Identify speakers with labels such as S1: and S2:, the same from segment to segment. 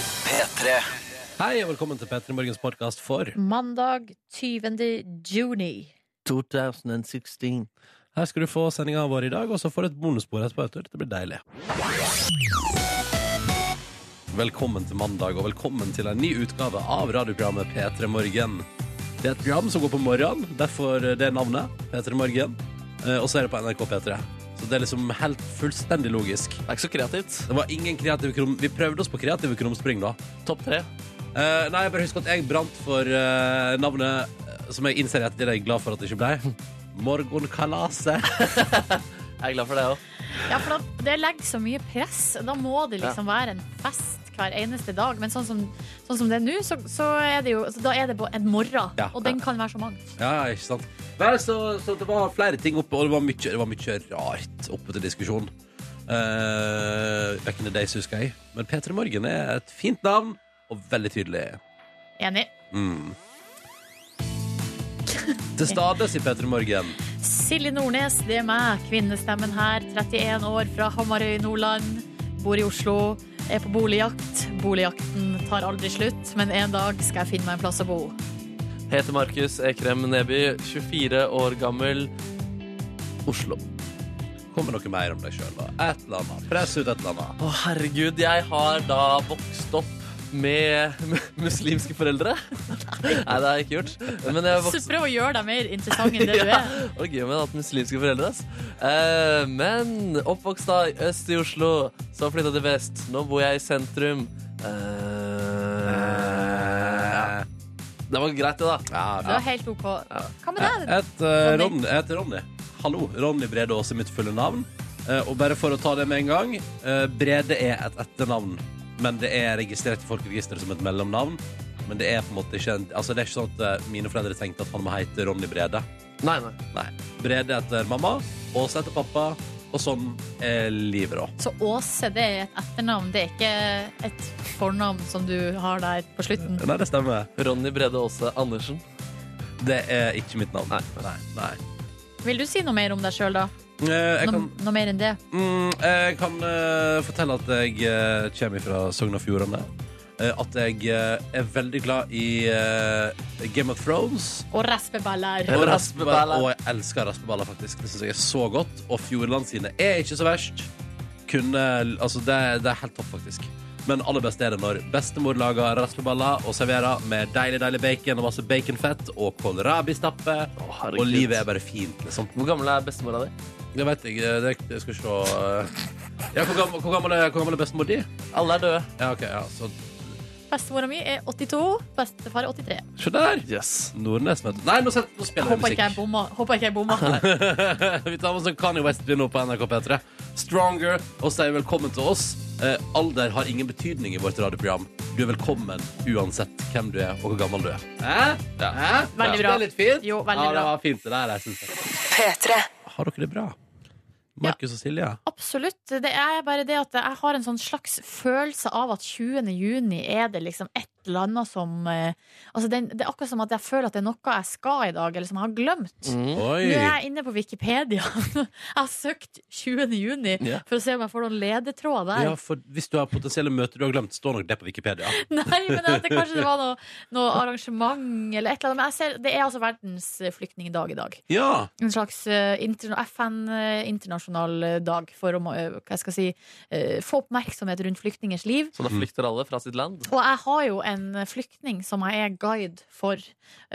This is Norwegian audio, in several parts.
S1: P3.
S2: Hei, og velkommen til P3 Morgens podkast for
S3: Mandag 20. juni.
S4: 2016.
S2: Her skal du få sendinga vår i dag, og så får du et bonusbord etterpå. vet du. Det blir deilig. Velkommen til mandag, og velkommen til en ny utgave av radioprogrammet P3 Morgen. Det er et program som går på morgenen, derfor det navnet. P3 Morgen. Eh, Og så er det på NRK P3. Så det er liksom helt fullstendig logisk.
S4: Det er ikke så kreativt.
S2: Det var ingen kreative krum... Vi prøvde oss på kreative krumspring, da.
S4: Topp tre.
S2: Eh, nei, jeg bare husker at jeg brant for eh, navnet eh, som jeg innser etter det jeg er glad for at det ikke ble. Morgenkalaset.
S4: Jeg er glad for det òg.
S3: Ja, for da, det legger så mye press. Da må det liksom være en fest hver eneste dag. Men sånn som, sånn som det er nå, så, så er det jo så Da er det bare en morgen.
S2: Ja.
S3: og den kan være så mangt.
S2: Ja, ja, ikke sant. Nei, så, så det var flere ting oppe, og det var mye, det var mye rart oppe til diskusjon. Uh, back in the days, husker jeg. Men P3 Morgen er et fint navn, og veldig tydelig.
S3: Enig.
S2: Mm. Til stades i P3 Morgen.
S3: Silje Nordnes, det er meg. Kvinnestemmen her. 31 år fra Hamarøy, Nordland. Bor i Oslo. Er på boligjakt. Boligjakten tar aldri slutt, men en dag skal jeg finne meg en plass å bo.
S4: Heter Markus Ekrem Neby, 24 år gammel. Oslo.
S2: Kommer noe mer om deg sjøl, da? Et eller annet. Press ut et eller annet.
S4: Å, herregud, jeg har da vokst opp med mu- muslimske foreldre. Nei, det har jeg ikke gjort. Men jeg har
S3: Så
S4: vokst
S3: prøv å gjøre deg mer interessant enn det du
S4: Ja,
S3: er.
S4: og gøy med at muslimske foreldre, ass. Eh, men oppvokst da i øst i Oslo, så flytta til vest. Nå bor jeg i sentrum. Eh, ja. Det var greit, det, da.
S3: Det var helt OK. Hva med deg?
S2: Jeg heter eh, Ronny. Jeg heter Ronny. Hallo. Ronny Brede Aas er mitt fulle navn. Eh, og bare for å ta det med en gang eh, Brede er et etternavn, men det er registrert i Folkeregisteret som et mellomnavn. Men det er på en måte ikke en, Altså det er ikke sånn at eh, mine foreldre tenkte at han må hete Ronny Brede.
S4: Nei, nei.
S2: Nei. Brede etter mamma, Åse etter pappa, og sånn er livet, da.
S3: Så Åse, det er et etternavn. Det er ikke et fornavn som du har der på slutten.
S2: Nei, det stemmer.
S4: Ronny Brede Aase Andersen.
S2: Det er ikke mitt navn. Nei. Nei.
S3: Vil du si noe mer om deg sjøl, da?
S2: Eh, jeg
S3: Noe,
S2: kan
S3: noe mer enn det?
S2: Mm, jeg kan eh, fortelle at jeg eh, kommer fra Sogn og Fjordane. Eh, at jeg eh, er veldig glad i eh, Game of Thrones.
S3: Og raspeballer.
S2: Og
S4: raspeballer.
S2: Og jeg elsker raspeballer, faktisk. Det syns jeg er så godt. Og Fjordland sine er ikke så verst. Kunne, altså det, er- det er helt topp, faktisk. Men aller best er det når bestemor lager raspeballer og serverer med deilig deilig bacon og masse baconfett og kålrabistappe.
S4: Å,
S2: Og livet er bare fint, liksom.
S4: Hvor gammel er bestemora di?
S2: Det vet jeg. Det, det skal vi se eh. ja, hvor, gammel, hvor, gammel er, hvor gammel er bestemor di?
S4: Alle er døde.
S2: Ja, ok, ja, så
S3: Bestemora mi er 82, bestefar er 83.
S2: Se der!
S4: Yes.
S2: Nordnes, vet du. Nei, nå, set, nå spiller jeg
S3: Håper ikke jeg
S2: musikk.
S3: bomma. Håper ikke jeg bomma.
S2: vi tar med oss en Kanye West nå på NRK P3. Stronger, og sier velkommen til oss. Eh, alder har ingen betydning i vårt radioprogram. Du er velkommen uansett hvem du er, og hvor gammel du er. Hæ? Hæ?
S3: Veldig
S2: Ja.
S3: bra.
S2: Det er litt fint?
S3: Jo, veldig
S2: ja, det
S3: bra.
S2: var fint det der, jeg synes jeg.
S5: P3.
S2: Har dere det bra? Markus og Silje?
S3: Absolutt. Det er bare det at jeg har en sånn slags følelse av at 20. juni er det liksom et eller annet som eh, Altså, det, det er akkurat som at jeg føler at det er noe jeg skal i dag, eller som jeg har glemt.
S2: Oi!
S3: Nå er jeg inne på Wikipedia. Jeg har søkt 20. juni
S4: Ja.
S3: for å se om jeg får noen ledetråd der.
S2: Ja, for hvis du har potensielle møter du har glemt, står nok det på Wikipedia.
S3: Nei, men at det kanskje det var noe, noe arrangement eller et eller annet. Men jeg ser, det er altså verdens flyktningdag i dag.
S2: Ja!
S3: En slags eh, interna FN-internasjonal dag for å må- eh, hva skal jeg si, eh, få oppmerksomhet rundt flyktningers liv.
S4: Så da flykter alle fra sitt land.
S3: Og jeg har jo en flyktning som jeg er guide for,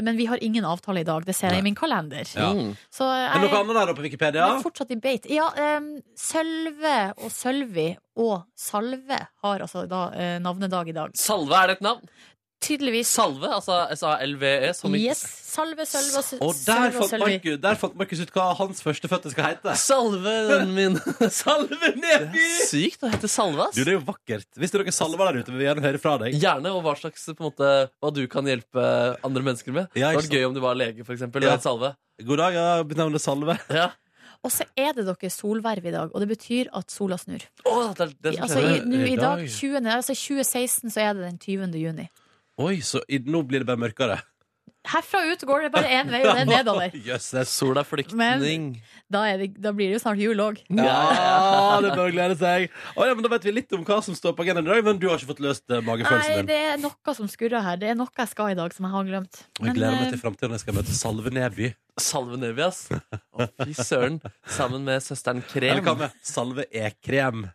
S3: men vi har ingen avtale i dag. Det ser jeg i min kalender.
S2: Ja.
S4: Mm.
S3: Så
S2: Er det noe
S3: jeg
S2: annet der da på Wikipedia?
S3: er fortsatt i beit. Ja, em, Sølve og Sølvi og Salve har altså da eh, navnedag i dag.
S4: Salve, er det et navn?
S3: Tydeligvis
S4: Salve, altså S-A-L-V-E. Som i
S3: Yes. Salve, Sølve og,
S2: Og der
S3: Sølve og
S2: fant,
S3: Sølvi.
S2: Markus, der fant Markus ut hva hans førstefødte skal hete.
S4: Salven min.
S2: Salve
S4: Det er sykt å hete
S2: Du,
S4: Salve, ass.
S2: det er jo vakkert. Hvis det er noen salver der ute, vil vi gjerne høre fra deg.
S4: Gjerne, og hva slags på en måte, Hva du kan hjelpe andre mennesker med.
S2: Ja, ikke
S4: det hadde vært gøy om du var lege, for eksempel. og
S2: Ja.
S4: het Salve.
S2: God dag, jeg benevner Salve.
S4: Ja.
S3: Og så er det dere solverv i dag, og det betyr at sola snur.
S4: Å, det er det som
S3: Altså, i,
S4: skjer.
S2: skjer
S3: nå,
S2: i
S3: i dag,
S2: dag.
S3: 20, altså 2016 så er det den 20. juni.
S2: Oi, så i, nå blir det bare mørkere.
S3: Herfra ut går det bare én vei, og det er nedover.
S2: Jøss, det er så
S4: Sola flyktning.
S3: Da, er det, da blir det jo snart jul òg.
S2: Ja, det bør glede seg. Å, ja, men da vet vi litt om hva som står på agendaen i dag, men du har ikke fått løst eh,
S3: Nei,
S2: magefølelsen din.
S3: det er noe som skurrer her. Det er noe jeg skal i dag som jeg har glemt.
S2: Og jeg gleder meg
S3: eh,
S2: til framtiden når jeg skal møte Salve Nedby.
S4: Salve Neby, ass. Å, fy søren. Sammen med søsteren
S2: Eller
S4: Krem.
S2: hva med Salve E-krem?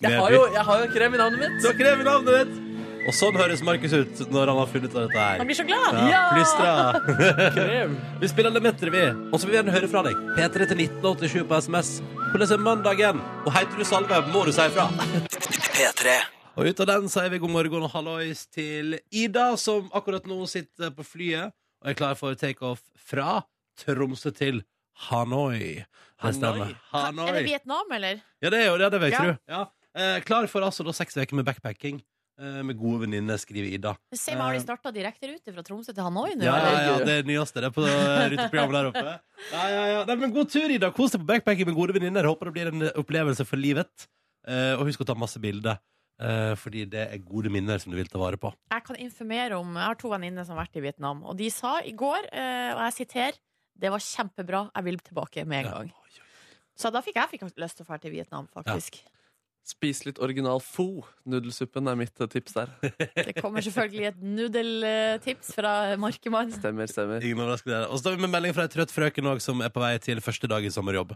S4: Jeg har, jo, jeg har jo Krem i navnet mitt.
S2: Så krever navnet ditt! Og sånn høres Markus ut når han har funnet ut av dette
S3: Han
S2: her.
S3: blir så glad!
S2: Ja, plystra.
S4: Krem.
S2: Vi spiller Lemaitre, vi. Og så vil vi gjerne høre fra deg. P3 til 1987 på SMS. Hvordan er mandagen? Og heter du Salve, må du si ifra. Og ut av den sier vi god morgen og hallois til Ida, som akkurat nå sitter på flyet og er klar for takeoff fra Tromsø til Hanoi. Det stemmer.
S3: Er det
S2: Hanoi.
S3: Vietnam, eller?
S2: Ja, det er jo det, det vil jeg
S3: Ja.
S2: tro. Ja. Eh, klar for altså da seks uker med backpacking. eh, Med gode venninner, skriver Ida.
S3: Se meg, har de starta direkterute fra Tromsø til Hanoi nå?
S2: Eh, Ja, ja,
S3: eller?
S2: ja, det er det nyeste. Det er på eh, ruteprogrammet der oppe. Ja, ja, ja. Nei, men god tur, Ida. Kos deg på backpacking med gode venninner. Håper det blir en opplevelse for livet. Eh, og husk å ta masse bilder, eh, fordi det er gode minner som du vil ta vare på.
S3: Jeg kan informere om Jeg har to venninner som har vært i Vietnam, og de sa i går, eh, og jeg siterer Det var kjempebra, jeg vil tilbake med en gang. Så da fikk jeg fikk lyst til å dra til Vietnam, faktisk.
S4: Spis litt original fo. Nudelsuppen er mitt eh, tips der.
S3: Det kommer selvfølgelig et nudeltips fra Markemann.
S4: Stemmer, stemmer.
S2: Ingen overraskelse der. Og så tar vi med melding fra ei trøtt frøken også, som er på vei til første dag i sommerjobb.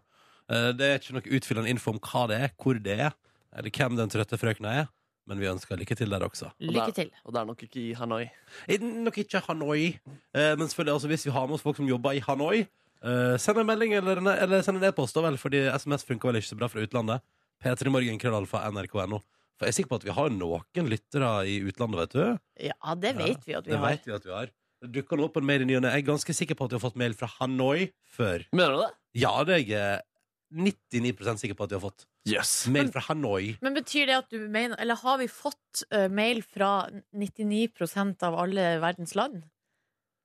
S2: Eh, Det er ikke noe utfyllende info om hva det er, hvor det er, eller hvem den trøtte frøkena er, men vi ønsker lykke til der også.
S3: Lykke til.
S4: Og det er nok ikke i Hanoi.
S2: Eh, Nok ikke Hanoi, eh, men selvfølgelig altså, hvis vi har med oss folk som jobber i Hanoi, eh, send en melding eller, en- eller send en e-post, da vel, fordi SMS funker vel ikke så bra fra utlandet. P3morgen, krøllalfa, nrk.no. For jeg er sikker på at vi har noen lyttere i utlandet, vet du.
S3: Ja, det vet vi at vi
S2: Det
S3: har.
S2: vet vi at vi har. Det dukker nå opp en mail i ny og ne. Jeg er ganske sikker på at vi har fått mail fra Hanoi før.
S4: Mener du det?
S2: Ja, det er jeg eh, 99 sikker på at de har fått.
S4: Yes.
S2: Mail fra Hanoi.
S3: Men betyr det at du mener Eller har vi fått eh, mail fra 99 av alle verdens land?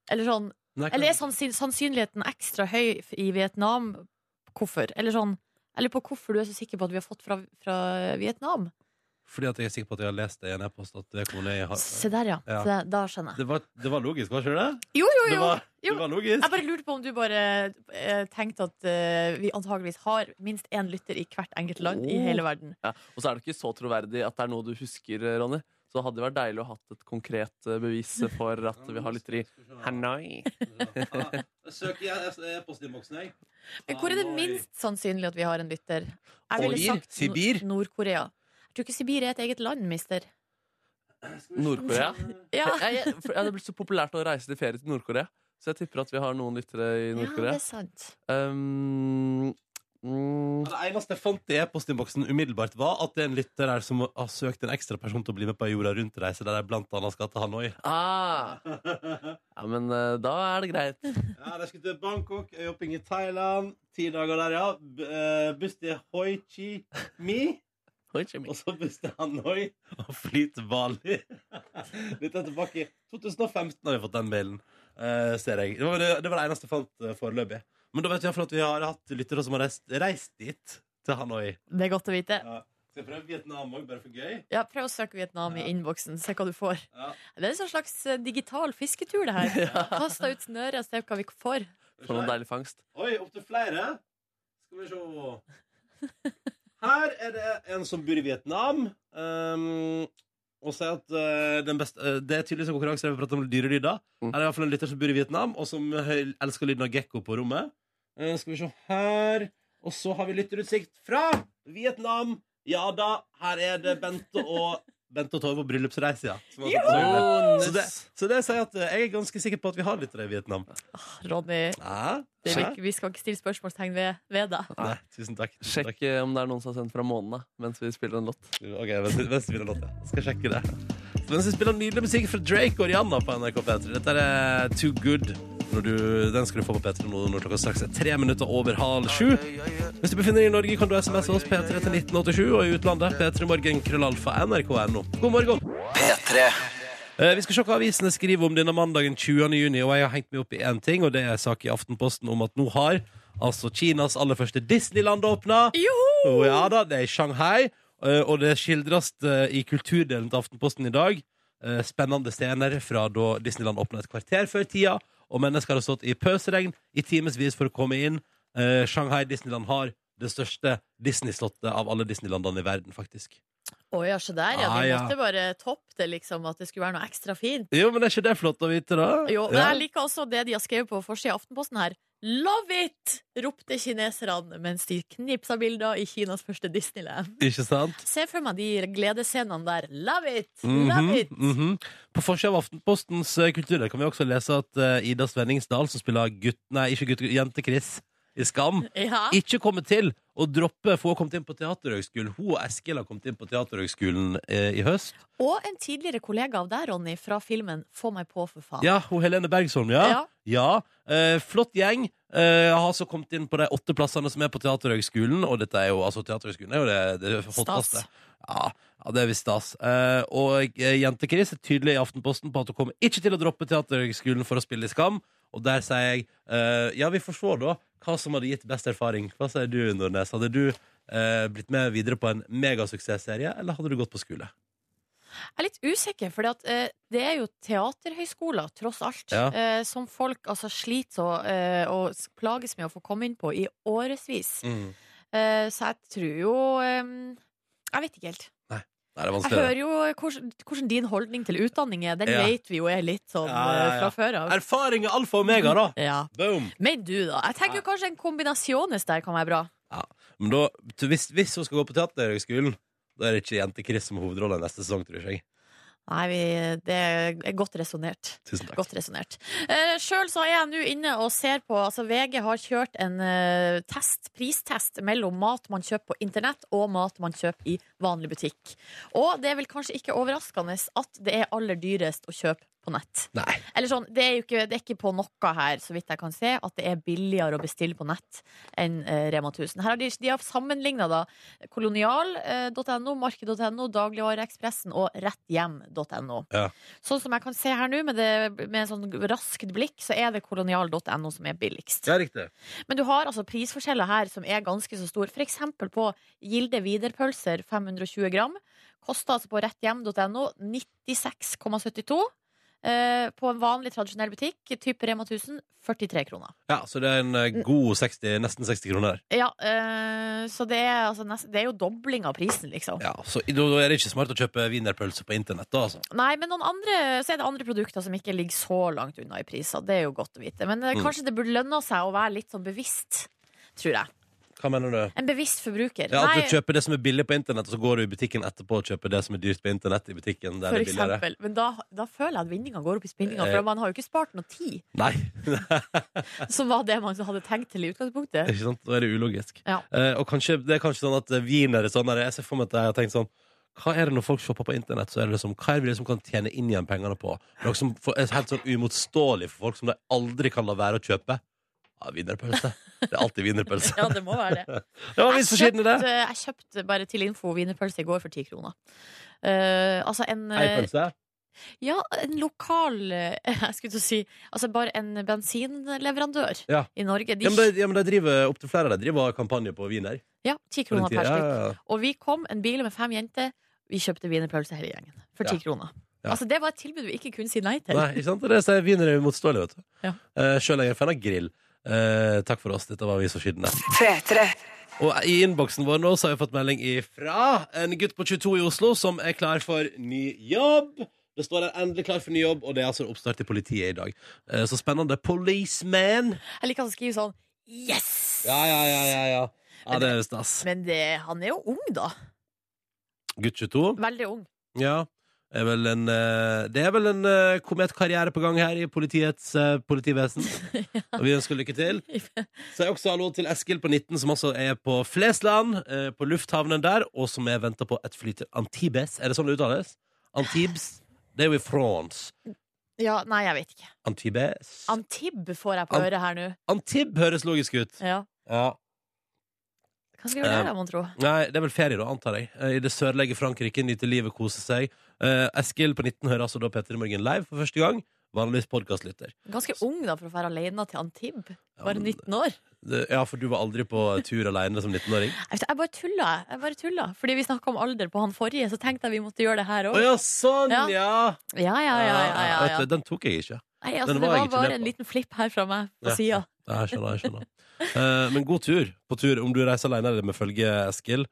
S3: Eller sånn
S2: Nei,
S3: Eller er sannsyn, sannsynligheten ekstra høy f- i Vietnam? Hvorfor? Eller sånn Eller på hvorfor du er så sikker på at vi har fått fra, fra Vietnam?
S2: Fordi at jeg er sikker på at jeg har lest det i en e-post. At det, kom ned i ha-
S3: Se der, ja.
S2: Ah, Ja.
S3: Så Da, da skjønner jeg.
S2: det, var, det var logisk, var ikke det?
S3: Jo, jo,
S2: Det
S3: jo!
S2: var, det var
S3: Jeg
S2: logisk.
S3: bare lurte på om du bare eh, tenkte at eh, vi antageligvis har minst én lytter i hvert enkelt land i
S4: Oh.
S3: hele verden.
S4: Ja. Og så er det ikke så troverdig at det er noe du husker, Ronny. Så det hadde vært deilig å ha hatt et konkret eh, bevis for at vi har lyttere i Hanoi.
S2: Søk i e-postinnboksen, jeg.
S3: Men hvor er det minst sannsynlig at vi har en lytter? Jeg ville
S2: Oi,
S3: sagt Nor-
S2: Sibir?
S3: Nord-Korea. Jeg tror ikke Sibir er et eget land, mister.
S4: Nord-Korea.
S3: Ja,
S4: Jeg, jeg, for, ja, det er blitt så populært å reise til ferie til Nord-Korea, så jeg tipper at vi har noen lyttere i
S3: ja det
S4: Nord-Korea.
S3: er sant.
S4: Um, mm,
S2: Det eneste jeg fant i e-postinnboksen umiddelbart, var at det er en lytter her som har søkt en ekstra person til å bli med på ei jorda rundt-reise, der de blant annet skal til Hanoi.
S4: ah. Ja, men eh, da er det greit.
S2: Ja, de skulle til Bangkok, øyehopping i Thailand. Ti dager der, ja. B eh, buss til Hoi Chi Mi.
S4: Oi, Jimmy.
S2: Og så buss til Hanoi og fly til Bali. Litt tilbake i 2015 har vi fått den mailen, eh, ser jeg. Det var det, det, var det eneste jeg fant eh, foreløpig. Men da vet vi i hvert fall at vi har hatt lyttere som har reist, reist dit, til Hanoi.
S3: Det er godt å vite.
S2: Ja. Skal jeg prøve Vietnam òg, bare for gøy?
S3: Ja, Prøv å søke Vietnam i
S2: Ja.
S3: innboksen. Se hva du får.
S2: Ja.
S3: Det er en sånn slags eh, digital fisketur, det her. Kast deg ut snøret og se hva vi får.
S4: For noen deilig fangst.
S2: Oi, opptil flere. Skal vi se. Her er det en som bor i Vietnam. ehm, og sier at eh, den beste, eh, Det er tydeligvis en konkurranse der vi prater om dyrelyder.
S4: Mm.
S2: Her er det i hvert fall en lytter som bor i Vietnam, og som høy- elsker lyden av gekko på rommet. Eh, skal vi se her Og så har vi lytterutsikt fra Vietnam. Ja da, her er det Bente og Bente og Torve på bryllupsreise, ja. Som har sagt så hyggelig.
S4: Oh,
S2: Så det,
S4: nuss.
S2: så det sier at eh, jeg er ganske sikker på at vi har lyttere i Vietnam.
S3: Ronny,
S2: Ja,
S3: det er vi, vi skal ikke stille spørsmålstegn ved, ved deg.
S2: Nei, tusen takk. Tusen takk.
S4: Sjekk eh, om det er noen som har sendt fra månen da, mens vi spiller en låt.
S2: Ok, mens vi- mens vi spiller låt, ja. Skal sjekke det. Så Mens vi spiller nydelig musikk fra Drake og Rihanna på NRK P3. Dette er Too Good. Når du, den skal du få på P3 nå når klokka straks er tre minutter over halv sju. Hvis du befinner deg i Norge, kan du SMS oss P3 til 1987, og i utlandet P3 morgen krøllalfa nrk.no. God morgen! Eh, Vi skal se hva avisene skriver om denne mandagen 20. juni, og jeg har hengt meg opp i én ting, og det er sak i Aftenposten om at nå har altså Kinas aller første Disneyland åpna.
S3: Joho!
S2: Ja da, det er i Shanghai, eh, og det skildres eh, i kulturdelen til Aftenposten i dag. eh, Spennende scener fra da Disneyland åpna et kvarter før tida, og mennesker har stått i pøsregn i timevis for å komme inn. Eh, Shanghai Disneyland har det største Disney-slottet av alle Disneylandene i verden, faktisk.
S3: Å ja, se der, ja.
S2: Ah,
S3: De
S2: ja.
S3: måtte bare toppe det, liksom, at det skulle være noe ekstra fint.
S2: Jo, men er ikke det flott å vite, da?
S3: Jo, men
S2: Ja.
S3: jeg liker også det de har skrevet på forsida av Aftenposten her. Love it! ropte kineserne mens de knipsa bilder i Kinas første Disneyland.
S2: Ikke sant?
S3: Se for meg de gledesscenene der. Love it!
S2: Mhm,
S3: Love it!
S2: mhm. På forsida av Aftenpostens eh, kulturder kan vi også lese at eh, Ida Svenningsdal, som spiller gutt... Nei, ikke gutt... Jente-Chris i Skam,
S3: Ja.
S2: ikke kommet til å droppe For hun har kommet inn på Teaterhøgskolen. Hun og Eskil har kommet inn på Teaterhøgskolen eh, i høst.
S3: Og en tidligere kollega av deg, Ronny, fra filmen Få meg på, for faen.
S2: Ja, hun Helene Bergsholm, ja.
S3: Ja.
S2: Ja, eh, Flott gjeng. Eh, har så kommet inn på de åtte plassene som er på Teaterhøgskolen. Og dette er jo, altså Teaterhøgskolen er jo det, det hotteste.
S3: Stas.
S2: Ja, ja, det er visst stas. Eh, og eh, Jente-Chris er tydelig i Aftenposten på at hun kommer ikke til å droppe Teaterhøgskolen for å spille i Skam. Og der sier jeg eh, ja, vi får se da hva som hadde gitt best erfaring. Hva sier du, Nordnes? Hadde du eh, blitt med videre på en megasuksessserie, eller hadde du gått på skole?
S3: Jeg er litt usikker, for eh, det er jo teaterhøyskoler, tross alt,
S2: Ja.
S3: eh, som folk altså, sliter så, eh, og s- plages med å få komme inn på i årevis.
S2: Mm.
S3: Eh, så jeg tror jo eh, Jeg vet ikke helt.
S2: Nei, det er
S3: Jeg
S2: vanskelig.
S3: hører jo hvordan, hvordan din holdning til utdanning er. Den
S2: Ja.
S3: vet vi jo er litt sånn
S2: Ja, ja,
S3: eh,
S2: ja.
S3: fra før av.
S2: Erfaring er alfa og omega, da!
S3: Ja.
S2: Boom!
S3: Men du, da. Jeg tenker jo kanskje en kombinasjones der kan være bra.
S2: Men da, t- hvis, hvis hun skal gå på teaterhøgskolen, da er det ikke Jente-Chris som hovedrolle neste sesong, tror jeg.
S3: Nei, vi, det er godt resonnert.
S2: Tusen takk.
S3: Godt resonnert. Eh, Sjøl så er jeg nå inne og ser på altså VG har kjørt en eh, test, pristest mellom mat man kjøper på internett og mat man kjøper i vanlig butikk. Og det er vel kanskje ikke overraskende at det er aller dyrest å kjøpe på nett.
S2: Nei.
S3: Eller sånn, det er jo ikke, det er ikke på noe her, så vidt jeg kan se, at det er billigere å bestille på nett enn eh, Rema 1000. Her har de, de har sammenligna da eh, kolonial.no, marked.no, dagligvareekspressen og retthjem.no.
S2: Ja.
S3: Sånn som jeg kan se her nå, med, det, med en sånn raskt blikk, så er det kolonial.no som er billigst.
S2: Ja, riktig.
S3: Men du har altså prisforskjeller her som er ganske så stor. For eksempel på Gilde Widerpølser 520 gram. Koster altså på retthjem.no 96,72. Eh, på en vanlig, tradisjonell butikk, type Rema 1000, 43 kroner.
S2: Ja, så det er en
S3: Mm.
S2: eh, god 60, nesten 60 kroner.
S3: Ja, eh, så det er, altså nest, det er jo dobling av prisen, liksom.
S2: Ja, så i- da da er det ikke smart å kjøpe wienerpølse på internett, da, altså.
S3: Nei, men noen andre, så er det andre produkter som ikke ligger så langt unna i priser. Det er jo godt å vite. Men eh,
S2: Mm.
S3: kanskje det burde lønne seg å være litt sånn bevisst, tror jeg.
S2: Hva mener du?
S3: En bevisst forbruker.
S2: Ja, at
S3: Nei,
S2: du kjøper det som er billig på internett, og så går du i butikken etterpå og kjøper det som er dyrt på internett i butikken der
S3: for
S2: det er billigere.
S3: eksempel. Men da, da føler jeg at vinninga går opp i spinninga,
S2: Eh.
S3: for man har jo ikke spart noe tid,
S2: Nei,
S3: som var det man hadde tenkt til i utgangspunktet.
S2: ikke sant? Da er det ulogisk.
S3: Ja.
S2: Eh, og kanskje, det er kanskje sånn at eh, wiener er sånn der, Jeg ser for meg at jeg har tenkt sånn hva er det når folk shopper på internett, så er det liksom, hva er det vi liksom kan tjene inn igjen pengene på? Noe som for- er helt sånn umotståelig for folk som de aldri kan la være å kjøpe. Ja, Wienerpølse. Det er alltid wienerpølse.
S3: Ja, det må være det.
S2: Det var
S3: Jeg
S2: visst så skitten i det!
S3: kjøpte, jeg kjøpte bare til info wienerpølse i går for ti kroner. Eh, altså en
S2: Ei
S3: eh,
S2: pølse.
S3: Ja, en lokal eh, Jeg skulle til å si Altså bare en bensinleverandør
S2: Ja.
S3: i Norge. De,
S2: Ja, men de, ja, men de driver opp til flere. De driver kampanje på wiener.
S3: ja, ti
S2: på den
S3: kroner per
S2: tiden.
S3: stykk.
S2: Ja, ja, ja.
S3: Og vi kom, en bil med fem jenter. Vi kjøpte wienerpølse hele gjengen. For ti
S2: Ja.
S3: kroner.
S2: Ja.
S3: Altså, det var et tilbud vi ikke kunne si nei til.
S2: Nei, ikke sant? Det sier wiener er umotståelig, vet du.
S3: Ja.
S2: Eh, Sjøl er jeg en fan av grill. Eh, takk for oss. Dette var Vi så skyddende. Og i innboksen vår nå så har vi fått melding ifra en gutt på 22 i Oslo som er klar for ny jobb. Det står der 'endelig klar for ny jobb', og det er altså oppstart i politiet i dag. Eh, Så spennende. Policeman.
S3: Jeg liker at han skriver sånn Yes!
S2: Ja, ja, ja, ja. ja. Ja, Det er jo stas.
S3: Men det, han er jo ung, da.
S2: Gutt 22.
S3: Veldig ung.
S2: Ja. Er vel en, eh, det er vel en eh, kometkarriere på gang her i politiets eh, politivesen. Og vi ønsker lykke til. Så er også hallo til Eskil på 19, som altså er på Flesland, eh, på lufthavnen der, og som er venta på et fly til Antibes. Er det sånn det uttales? Antibes? Det er jo i France.
S3: Ja, nei, jeg vet ikke.
S2: Antibes?
S3: Antib får jeg på
S2: An-
S3: øret her nå.
S2: Antib høres logisk ut.
S3: Ja.
S2: Ja.
S3: Hva skriver
S2: Eh,
S3: du der, mon tro?
S2: Nei, det er vel ferie, da, antar jeg. Eh, I det sørlige Frankrike, nyte livet, kose seg. Eh, Eskil på 19 hører altså da Petter i Morgen live for første gang. vanligvis podkastlytter.
S3: Ganske ung da, for å være alene til Antibes. Bare
S2: men-
S3: 19 år.
S2: Ja, for du var aldri på tur alene som 19-åring?
S3: Jeg vet- jeg bare tulla. jeg. Jeg bare tulla. Fordi vi snakka om alder på han forrige, så tenkte jeg vi måtte gjøre det her
S2: Å
S3: òg.
S2: ja, sånn,
S3: Ja.
S2: ja!
S3: Ja, ja, ja, ja, ja, ja.
S2: Vet du, Den tok jeg ikke.
S3: Nei, altså,
S2: den
S3: det
S2: var jeg
S3: var
S2: ikke med
S3: bare en
S2: på.
S3: liten flipp her fra meg på
S2: Ja.
S3: sida.
S2: Ja, Jeg skjønner, jeg skjønner. Eh, men god tur på tur om du reiser alene eller med følge, Eskil.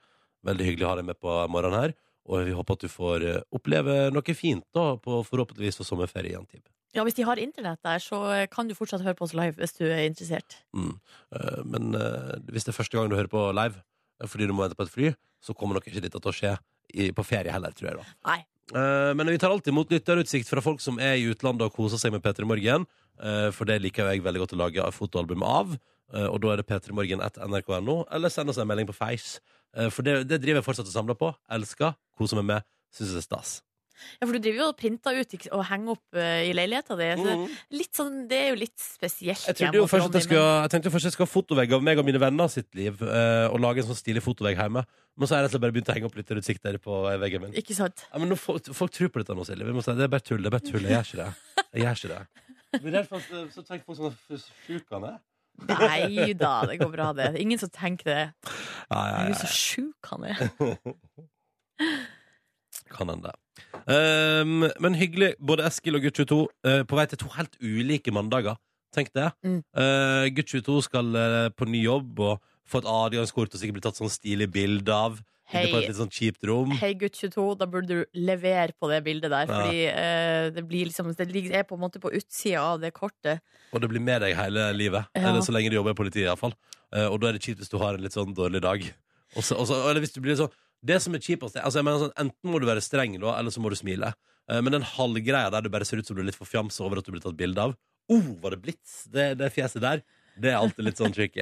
S2: Veldig hyggelig å ha deg med på morgenen her. Og vi håper at du får eh, oppleve noe fint da, på forhåpentligvis på sommerferie i Antibes.
S3: Ja, hvis de har internett der, så eh, kan du fortsatt høre på oss live hvis du er interessert.
S2: Mm. Eh, Men eh, hvis det er første gang du hører på live eh, fordi du må vente på et fly, så kommer nok ikke dette til å skje i, på ferie heller, tror jeg. da
S3: Nei.
S2: Eh, Men vi tar alltid imot lytterutsikt fra folk som er i utlandet og koser seg med P3 Morgen. eh, For det liker jo jeg veldig godt å lage fotoalbum av. Eh, Og da er det p3morgen at nrk.no, eller send oss en melding på Face. Eh, For det, det driver jeg fortsatt og samler på. Elsker, koser meg med, syns det er stas.
S3: Ja, for du driver jo og printer ut ikke- og henger opp eh, i leiligheta di. så
S2: Mhm.
S3: Litt sånn, det er jo litt spesielt.
S2: Jeg,
S3: hjemme
S2: trodde jo
S3: hos
S2: først at jeg,
S3: Ronny,
S2: skulle, jeg tenkte jo først jeg skulle ha fotovegg av meg og mine venner sitt liv, eh, og lage en sånn stilig fotovegg hjemme. Men så har jeg rett og slett bare begynt å henge opp litt utsikter på eh, veggen
S3: men-
S2: min.
S3: Ikke sant?
S2: Ja, men nå, folk, folk tror på dette nå, Silje. Vi må si, det er bare tull. det er bare tull, Jeg gjør ikke det. Jeg gjør ikke det. Men derfor så tenker folk sånn sjukende.
S3: Nei da, det går bra, det. Ingen som tenker det.
S2: Ja, ja,
S3: Gud,
S2: ja.
S3: så sjuk han er.
S2: Kan hende. Um, men hyggelig. Både Eskil og Gutt 22 eh, på vei til to helt ulike mandager. Tenk det.
S3: Mm.
S2: Eh, Gutt 22 skal eh, på ny jobb og få et adgangskort og sikkert bli tatt sånn stilig bilde av. Inne på et
S3: Hei,
S2: litt sånn kjipt rom.
S3: hei gutt 22, da burde du levere på det bildet der.
S2: Ja.
S3: Fordi eh, det blir liksom Det ligger- er på en måte på utsida av det kortet.
S2: Og det blir med deg hele livet.
S3: Ja.
S2: Eller så lenge du jobber i politiet, iallfall. Og da er det kjipt hvis du har en litt sånn dårlig dag. Og så- og så- eller hvis du blir sånn Det som er kjipest er- altså jeg mener sånn, Enten må du være streng, da, eller så må du smile. Eh, Men den halvgreia der du bare ser ut som du er litt forfjamsa over at du blir tatt bilde av oh, var det blitz? Det, det fjeset der. Det er alltid litt sånn tricky.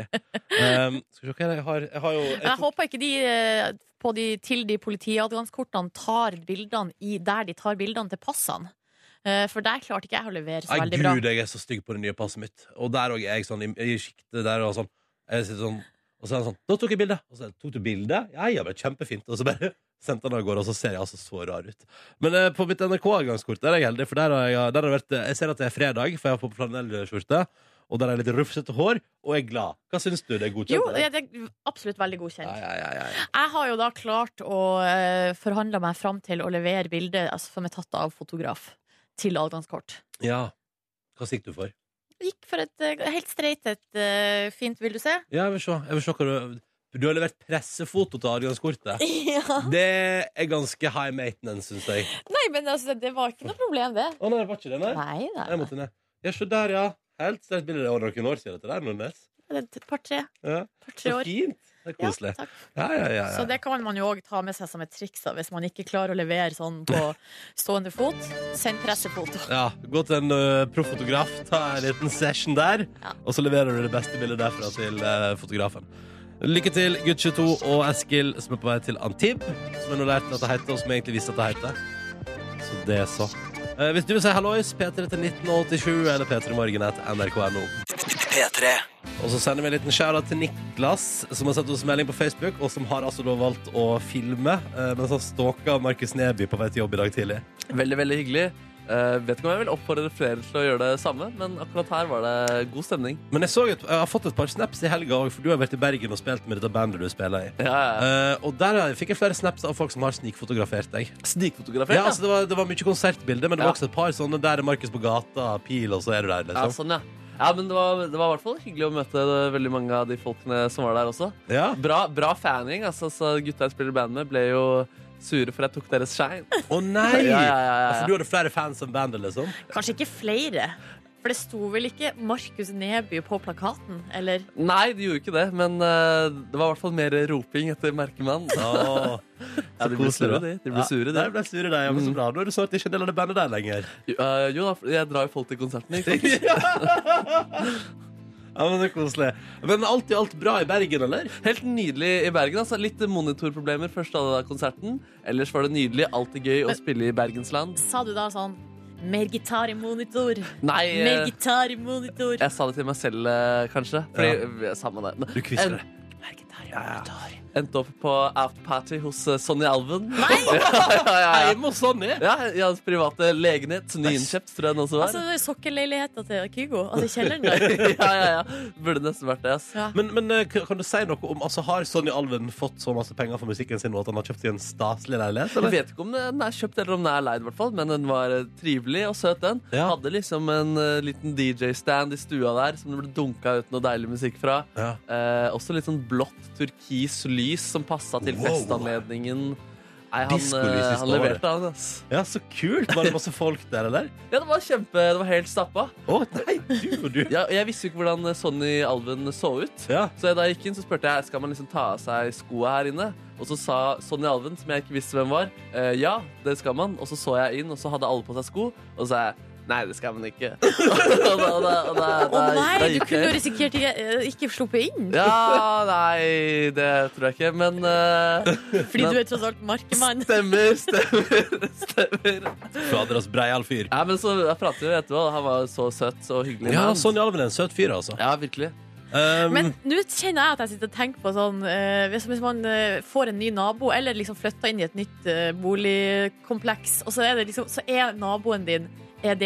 S2: Um, skal vi se hva er det jeg har Jeg har jo jeg
S3: Men jeg
S2: tok,
S3: håper ikke de, eh, på de til de politiadgangskortene tar bildene i der de tar bildene til passene. Eh, For der klarte ikke jeg å levere så
S2: Nei,
S3: veldig bra.
S2: gud, jeg er så stygg på det nye passet mitt. Og der òg er jeg sånn i, i sjiktet der og sånn. Jeg sitter sånn og så er han sånn 'Nå tok jeg bilde.' Og så er det, 'Tok du bilde?' Ja, ja, men kjempefint. Og så bare sendte han av gårde, og så ser jeg altså så rar ut. Men eh, på mitt NRK-avgangskort der er jeg heldig, for der har jeg, der har det vært eh, Jeg ser at det er fredag, for jeg har på flanellskjorte, og der er jeg litt rufsete hår, og jeg er glad. Hva syns du? Det er godkjent?
S3: Jo,
S2: eller?
S3: det er absolutt veldig godkjent.
S2: ja, ja, ja, ja, ja.
S3: Jeg har jo da klart å eh, forhandle meg fram til å levere bilde altså, som er tatt av fotograf, til adgangskort.
S2: ja. Hva sikter du for?
S3: Gikk for et eh, helt streit et eh, fint, vil du se?
S2: Ja, jeg vil se. Jeg vil se hva du Du har levert pressefoto til adgangskortet.
S3: Ja.
S2: Det er ganske high maintenance, syns jeg.
S3: Nei, men altså, det var ikke noe problem, det.
S2: Å nei, det var ikke det, nei?
S3: Nei, nei.
S2: Jeg måtte ned. Ja, se der, ja. Helt sterkt bilde. Det var noen år siden dette der, Nordnes.
S3: Det er Et par-tre
S2: Ja.
S3: par, tre
S2: Så
S3: år.
S2: fint. Det er koselig.
S3: Ja, takk.
S2: Ja, ja, ja.
S3: Så
S2: ja.
S3: det kan man jo òg ta med seg som et triks da, hvis man ikke klarer å levere sånn på stående fot. Send pressefoto.
S2: ja gå til en uh, proffotograf, ta en liten session der,
S3: Ja.
S2: og så leverer du det beste bildet derfra til eh, fotografen. Lykke til, gutt 22 og Eskil, som er på vei til Antib, som jeg nå lærte at det heter, og som jeg egentlig visste at det heter. Så det er så. Eh, hvis du vil si hallois, P3 til 1987 eller P3morgen etter nrk.no.
S1: P3.
S2: Og så sender vi en liten shout-out til Niklas, som har sett oss melding på Facebook, og som har altså da valgt å filme eh, mens han stalka Markus Neby på vei til jobb i dag tidlig.
S4: Veldig, veldig hyggelig. Eh, vet ikke om jeg vil oppfordre flere til å gjøre det samme, men akkurat her var det god stemning.
S2: Men jeg, så et, jeg har fått et par snaps i helga òg, for du har vært i Bergen og spilt med dette bandet du spiller i.
S4: Ja, ja.
S2: Eh, og der har jeg- fikk jeg flere snaps av folk som har snikfotografert deg.
S4: Snikfotografert,
S2: Ja, altså det, var, det var mye konsertbilder, men det
S4: Ja.
S2: var også et par sånne der er Markus på gata, pil, og så er du der,
S4: ja,
S2: liksom.
S4: sånn, ja. Ja, men det var, det var i hvert fall hyggelig å møte eh, veldig mange av de folkene som var der også.
S2: Ja.
S4: Bra, bra fanning. altså så Gutta jeg spiller i band med, ble jo sure for jeg tok deres shine.
S2: Å nei!
S4: Ja, ja, ja, ja, ja.
S2: Altså, du hadde flere fans enn bandet, liksom?
S3: Kanskje ikke flere. For det sto vel ikke Markus Neby på plakaten, eller?
S4: Nei, de gjorde ikke det, men eh, det var i hvert fall mer roping etter merkemann.
S2: Åh,
S4: Ja, de ble sure, de. De ble sure, de. Mm.
S2: Ja, de ble sure, de. Ja, men så bra. Nå er du snart ikke en del av det bandet der lenger.
S4: Jo, eh, jo da, jeg drar jo folk til konsertene. ikke sant?
S2: Ja, men det er koselig. Men alt i alt bra i Bergen, eller?
S4: Helt nydelig i Bergen. altså Litt monitorproblemer først av konserten. Ellers var det nydelig. Alltid gøy å spille i bergensland.
S3: Sa du da sånn Mer gitar i monitor!
S4: Nei,
S3: Mer
S4: eh,
S3: gitar i monitor!
S4: jeg sa det til meg selv, eh, kanskje. Fordi, ja. Samme det. Men-
S2: Du kviser
S4: En-
S2: det.
S4: Mer gitar, ja, gitar. Endte opp på outparty hos eh, Sonja Alven.
S3: Nei!
S4: ja, ja, ja.
S2: Hjemme hos Sonny.
S4: Ja, I hans private legenhet. Nyinnkjøpt, tror jeg den også var.
S3: Altså, det er sokkelleiligheta til Kygo. Altså kjelleren der.
S4: ja, ja, ja. Burde nesten vært det. ass
S3: Ja.
S2: Men, men eh, k- kan du si noe om altså, Har Sonny Alven fått så masse penger for musikken sin nå at han har kjøpt seg en staselig leilighet?
S4: Jeg
S2: Eller?
S4: vet ikke om den er kjøpt eller om den er leid, i hvert fall, men den var eh, trivelig og søt, den.
S2: Ja.
S4: Hadde liksom en eh, liten DJ-stand i stua der som det ble dunka ut noe deilig musikk fra.
S2: Ja.
S4: Eh, også litt sånn blått turkis lys som passa til
S2: Wow.
S4: festanledningen. Nei, han,
S2: Diskolys i
S4: eh, han
S2: stad,
S4: leverte, han. ass
S2: ja, så kult! Var det masse folk der, eller?
S4: Ja, det var kjempe, det var helt stappa.
S2: Å, nei, du og du.
S4: Jeg, jeg visste jo ikke hvordan eh, Sonny Alven så ut.
S2: Ja.
S4: Så da jeg gikk inn, så spurte jeg skal man liksom ta av seg skoa her inne. Og så sa Sonny Alven, som jeg ikke visste hvem var, eh, ja, det skal man. Og så så jeg inn, og så hadde alle på seg sko. Og så sa jeg nei, det skal man ikke. og da, og da, og da,
S3: Å
S4: da- da
S3: nei, du
S4: gikk
S3: kunne jo
S4: jeg.
S3: risikert ikke, eh, ikke sluppet inn,
S4: Ja, nei, det tror jeg ikke, men eh,
S3: fordi du er tross alt markemann.
S4: Stemmer, stemmer, stemmer.
S2: Fader, ass, breial fyr.
S4: Nei, men så jeg prater jo etterpå. Han var så søt og hyggelig.
S2: Ja,
S4: mann.
S2: Sonny Alven er en søt fyr, altså.
S4: ja, virkelig.
S2: Um,
S3: Men nå kjenner jeg at jeg sitter og tenker på sånn eh, Hvis hvis man eh, får en ny nabo, eller liksom flytter inn i et nytt eh, boligkompleks, og så er, det liksom, så er naboen din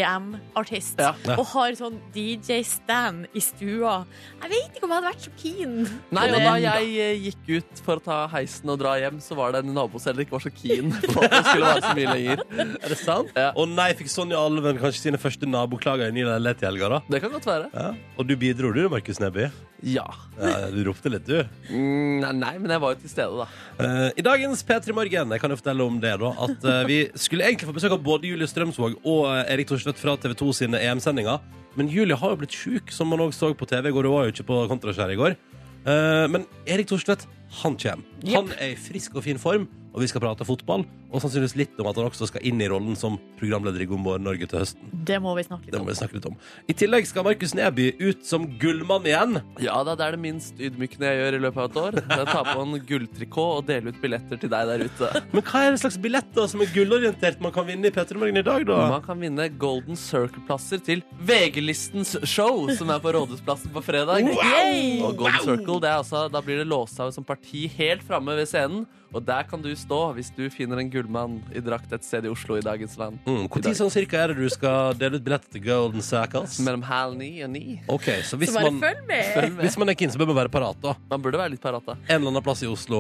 S3: EDM-artist
S4: Ja.
S2: Ja.
S3: og har sånn DJ-stand i stua Jeg vet ikke om jeg hadde vært så keen.
S4: Nei,
S3: på
S4: og
S3: det.
S4: da jeg eh, gikk ut for å ta heisen og dra hjem, så var det en nabo som heller ikke var så keen på at det skulle være så mye lenger.
S2: er det sant?
S4: Ja.
S2: Å nei, fikk Sonja Alven kanskje sine første naboklager i ny leilighet i helga, da?
S4: Det kan godt være.
S2: Ja. Og du bidro, du, Markus Neby.
S4: Ja.
S2: Ja, du ropte litt, du.
S4: Mm, nei, nei, men jeg var jo til stede, da.
S2: Eh, I dagens P3 Morgen jeg kan jo fortelle om det da at eh, vi skulle egentlig få besøk av både Julie Strømsvåg og eh, Erik Thorstvedt fra TV 2 sine EM-sendinger. Men Julie har jo blitt sjuk, som man òg så på TV i går. Hun var jo ikke på Kontraskjæret i går. Eh, Men Erik Thorstvedt, han kommer. Han er i frisk og fin form, og vi skal prate fotball. Og sannsynligvis litt om at han også skal inn i rollen som programleder i God morgen Norge til høsten.
S3: Det må vi snakke litt
S2: Det
S3: om.
S2: må vi snakke litt om. I tillegg skal Markus Neby ut som gullmann igjen.
S4: Ja da, det er det minst ydmykende jeg gjør i løpet av et år. Jeg tar på en gulltrikot og deler ut billetter til deg der ute.
S2: Men hva er det slags billetter som er gullorientert man kan vinne i P3 Morgen i dag, da?
S4: Man kan vinne Golden Circle-plasser til VG-listens show, som er på Rådhusplassen på fredag.
S3: Yay!
S4: Og Golden Circle, det er altså, da blir det låst av som parti helt framme ved scenen. Og der kan du stå hvis du finner en gullmann i drakt et sted i Oslo i dagens land.
S2: Mm,
S4: I
S2: Hvor
S4: dag.
S2: tid sånn cirka er det du skal dele ut billetter til Golden Circles?
S4: Mellom halv ni og ni.
S2: Ok, så hvis
S3: Så bare
S2: man,
S3: følg med.
S4: Følg med.
S2: hvis man er keen, så bør man være parat da.
S4: Man burde være litt parat, da.
S2: En eller annen plass i Oslo,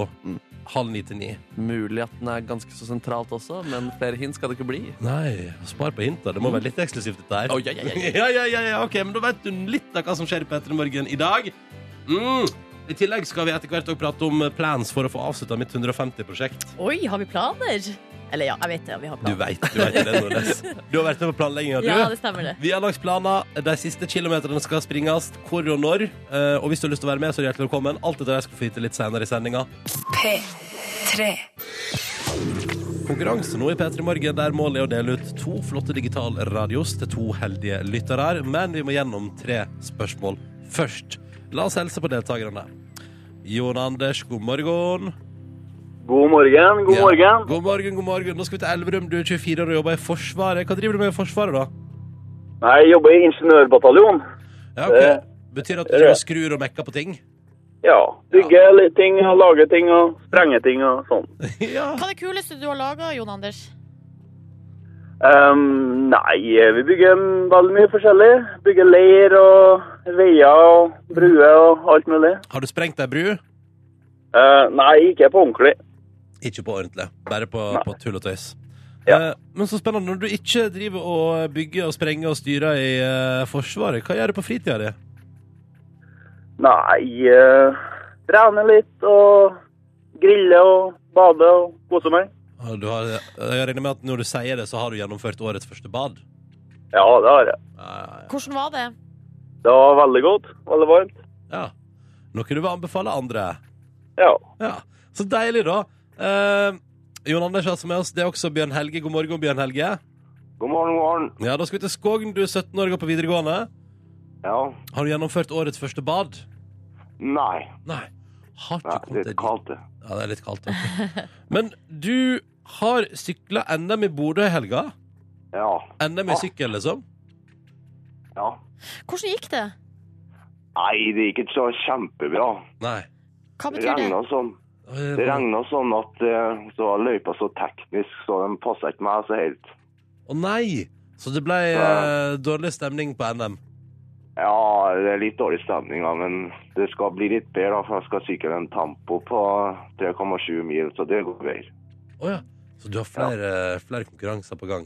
S2: halv ni til ni.
S4: Mulig at den er ganske så sentralt også, men flere hint skal det ikke bli.
S2: Nei, spar på hintet. Det må være litt eksklusivt dette her.
S4: Oi, ja, ja, ja, ja.
S2: Mm. ja, ja, ja, ja, ok, men da vet du litt av hva som skjer i P3 Morgen i dag. Mm. I tillegg skal vi etter hvert også prate om eh, plans for å få avslutta mitt 150-prosjekt.
S3: Oi, har vi planer? Eller ja, jeg vet det. Vi har
S2: Du
S3: planer.
S2: veit du vet det, Nordnes. Du har vært med på planlegginga, du.
S3: Ja, det stemmer det.
S2: Vi har lagt planer. De siste kilometerne skal springes. Hvor og når. Eh, Og hvis du har lyst til å være med, så er du hjertelig velkommen. Alt dette der skal vi få vite litt senere i sendinga.
S1: P3.
S2: Konkurranse nå i P3 Morgen, der målet er å dele ut to flotte digitalradios til to heldige lyttere. her. Men vi må gjennom tre spørsmål først. La oss helse på deltakerne. Jon Anders, god morgen.
S5: God morgen, god
S2: Ja.
S5: morgen.
S2: God morgen, god morgen. Nå skal vi til Elverum. Du er 24 år og jobber i Forsvaret. Hva driver du med i Forsvaret, da?
S5: Nei, jeg jobber i ingeniørbataljon.
S2: Ja,
S5: Eh,
S2: ok. Betyr at du driver og skrur og mekker på ting?
S5: Ja. Bygge litt ting og lage ting og sprenge ting og sånn.
S2: ja.
S3: Hva er det kuleste du har laga, Jon Anders?
S5: Ehm, nei, vi bygger veldig mye forskjellig. Bygger leir og veier og bruer og alt mulig.
S2: Har du sprengt ei bru?
S5: Eh, nei, ikke på ordentlig.
S2: Ikke på ordentlig. Bare på, på tull og tøys.
S5: Ja.
S2: Eh, Men så spennende. Når du ikke driver og bygger og sprenger og styrer i eh, Forsvaret, hva gjør du på fritida di?
S5: Nei, eh, trene litt og grille og bade og kose meg.
S2: Ah, Du har, jeg regner med at når du sier det, så har du gjennomført årets første bad. Eh,
S5: Ja, det har jeg.
S3: Hvordan var det?
S5: Det var veldig godt. Veldig varmt.
S2: Ja. Noe du vil anbefale andre.
S5: Ja.
S2: Ja. Så deilig, da. Eh, Jon Anders er altså med oss. Det er også Bjørn Helge. God morgen, Bjørn Helge.
S5: God morgen, god morgen.
S2: Ja, Da skal vi til Skogn. Du er 17 år og går på videregående.
S5: Ja.
S2: Har du gjennomført årets første bad?
S5: Nei.
S2: Nei. Har ikke kommet deg dit.
S5: det.
S2: Ja, det er litt kaldt. vet du. Men du har sykla NM i Bodø i helga.
S5: Ja.
S2: NM i sykkel, liksom.
S5: Ja.
S3: Hvordan gikk det?
S5: Nei, det gikk ikke så kjempebra.
S2: Nei.
S3: Hva
S5: Det
S3: betyr det?
S5: regna sånn.
S6: Det regna sånn at eh, så var løypa så teknisk, så den passa ikke meg så helt.
S2: Å nei! Så det ble
S6: Ja.
S2: eh, dårlig stemning på NM.
S6: Ja, det er litt dårlig stemning, da, men det skal bli litt bedre, da, for jeg skal sykle en tempo på 3,7 mil, så det går bedre.
S2: Å ja. Så du har flere, eh, flere konkurranser på gang.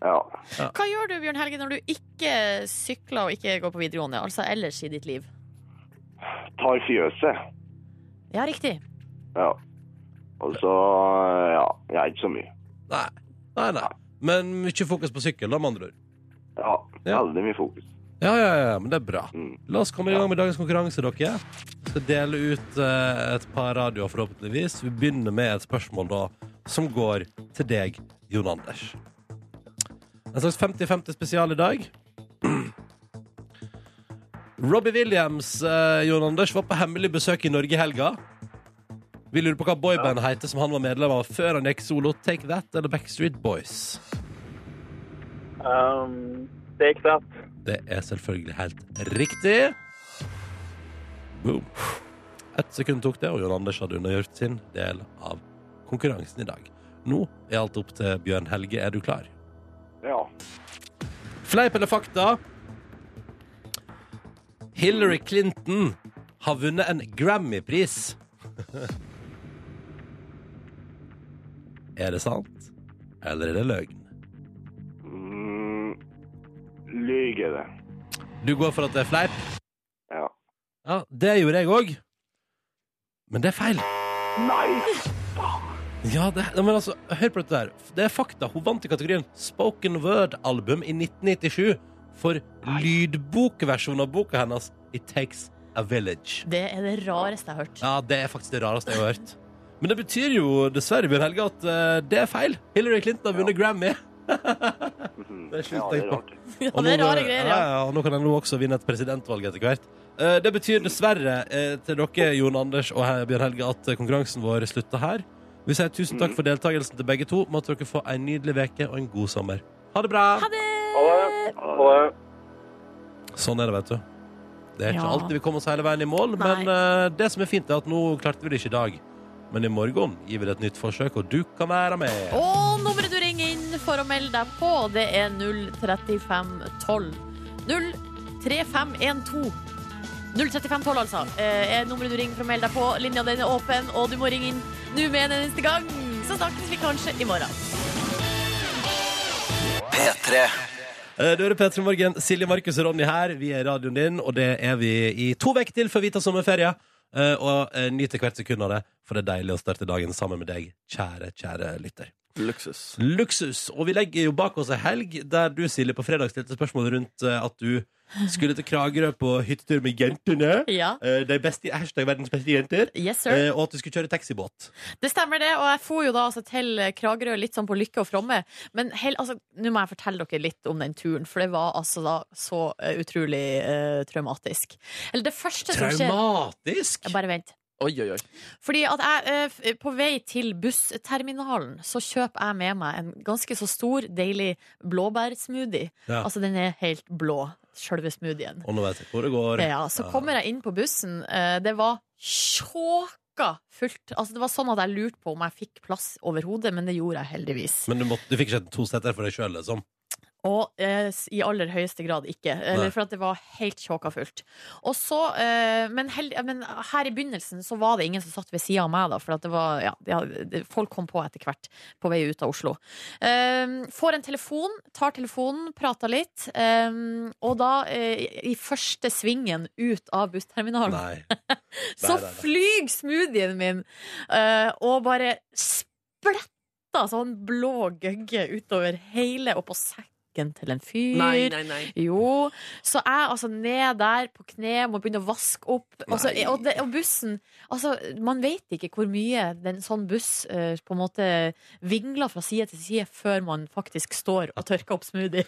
S6: Ja.
S3: Hva gjør du, Bjørn Helge, når du ikke sykler og ikke går på videregående? Altså ellers i ditt liv?
S6: Tar fjøset.
S3: Ja, riktig.
S6: Ja. Og så eh, ja, jeg er ikke så mye.
S2: Nei, nei. nei. Men mye fokus på sykkel, da, med andre ord.
S6: Ja,
S2: Ja.
S6: veldig mye fokus.
S2: Ja, ja, ja, men det er bra.
S6: Mm.
S2: La oss komme i gang med dagens konkurranse, dere. Skal dele ut eh, et par radioer, forhåpentligvis. Vi begynner med et spørsmål da, som går til deg, Jon Anders. En slags 50-50 spesial i dag. Robbie Williams, eh, Jon Anders, var på hemmelig besøk i Norge i helga. Vi lurer på hva boybandet heter som han var medlem av før han gikk solo. Take That eller Backstreet Boys?
S5: Um, det gikk rett.
S2: Det er selvfølgelig helt riktig. Boom. Ett sekund tok det, og Jon Anders hadde undergjort sin del av konkurransen i dag. Nå er alt opp til Bjørn Helge. Er du klar?
S6: Ja.
S2: Fleip eller fakta? Hillary Clinton har vunnet en Grammy-pris. er det sant, eller er det løgn?
S6: Mm, Lyger det.
S2: Du går for at det er fleip?
S6: Ja.
S2: Ja, det gjorde jeg òg. Men det er feil.
S6: Nei!
S2: Ja, det, nei, men altså, hør på dette der. Det er fakta. Hun vant i kategorien Spoken Word-album i 1997 for lydbokversjonen av boka hennes It Takes a Village.
S3: Det er det rareste jeg har hørt.
S2: Ja, det er faktisk det rareste jeg har hørt. Men det betyr jo dessverre, Bjørn Helge, at eh, det er feil. Hillary Clinton har vunnet Grammy. Det er slutt,
S6: Ja, det er rart.
S3: Ja,
S2: Og
S3: det er
S2: nå-
S3: rare greier, ja.
S2: ja, og nå kan han nå også vinne et presidentvalg etter hvert. Eh, Det betyr dessverre eh, til dere, Jon Anders og her, Bjørn Helge, at eh, konkurransen vår slutter her. Vi sier tusen takk for deltakelsen til begge to. Måtte dere få en nydelig veke og en god sommer. Ha det bra!
S3: Ha det!
S5: Ha det. Ha det.
S2: Sånn er det, vet du. Det er ikke
S3: Ja.
S2: alltid vi kommer oss hele veien i mål,
S3: Nei.
S2: men eh, det som er fint, er at nå klarte vi det ikke i dag. Men i morgen gir vi det et nytt forsøk, og du kan være med.
S3: Og nummeret du ringer inn for å melde deg på, det er 03512. 03512. 03512, altså, eh, er nummeret du ringer for å melde deg på. Linja den er åpen, og du må ringe inn nå med en eneste gang. Så snakkes vi kanskje i morgen.
S2: Eh, Du hører P3 Morgen. Silje, Markus og Ronny her. Vi er i radioen din, og det er vi i to uker til før vi tar sommerferie. Eh, Og eh, nyter hvert sekund av det, for det er deilig å starte dagen sammen med deg, kjære, kjære lytter.
S4: Luksus.
S2: Luksus. Og vi legger jo bak oss ei helg der du, Silje, på fredag stilte spørsmål rundt eh, at du skulle til Kragerø på hyttetur med jentene.
S3: Ja.
S2: Eh, De beste, hashtag verdens beste jenter.
S3: Yes, sir.
S2: Eh, Og at du skulle kjøre taxibåt.
S3: Det stemmer det, og jeg for jo da altså til Kragerø litt sånn på lykke og fromme. Men hel, altså, nå må jeg fortelle dere litt om den turen, for det var altså da så eh, utrolig eh, traumatisk. Eller det første som skjer
S2: Traumatisk!
S3: Bare vent.
S4: Oi, oi, oi.
S3: Fordi at jeg eh, f- på vei til bussterminalen, så kjøper jeg med meg en ganske så stor, deilig blåbærsmoothie.
S2: Ja.
S3: Altså den er helt blå, sjølve smoothien.
S2: Og nå vet jeg hvor det går.
S3: Ja, så kommer jeg inn på bussen. eh, Det var sjåka fullt. Altså, det var sånn at jeg lurte på om jeg fikk plass overhodet, men det gjorde jeg heldigvis.
S2: Men du, måtte, du fikk ikke en toseter for deg sjøl, liksom?
S3: Og eh, s- i aller høyeste grad ikke. Eller
S2: Nei.
S3: for at det var helt sjåka fullt. Og så, eh, men, held, men her i begynnelsen så var det ingen som satt ved sida av meg, da. For at det var, ja, ja, det- folk kom på etter hvert på vei ut av Oslo. Eh, får en telefon, tar telefonen, prater litt. Eh, og da, eh, i første svingen ut av bussterminalen,
S2: Nei.
S3: så
S2: nei, nei.
S3: flyr smoothien min eh, og bare spletta sånn blå gøgge utover hele og på sekken til en fyr.
S4: Nei, nei, nei.
S3: Jo. Så jeg altså ned der på kne, må begynne å vaske opp. Og, så,
S4: Nei.
S3: og, det, og bussen Altså, man vet ikke hvor mye en sånn buss eh, på en måte vingler fra side til side før man faktisk står og tørker opp smoothie.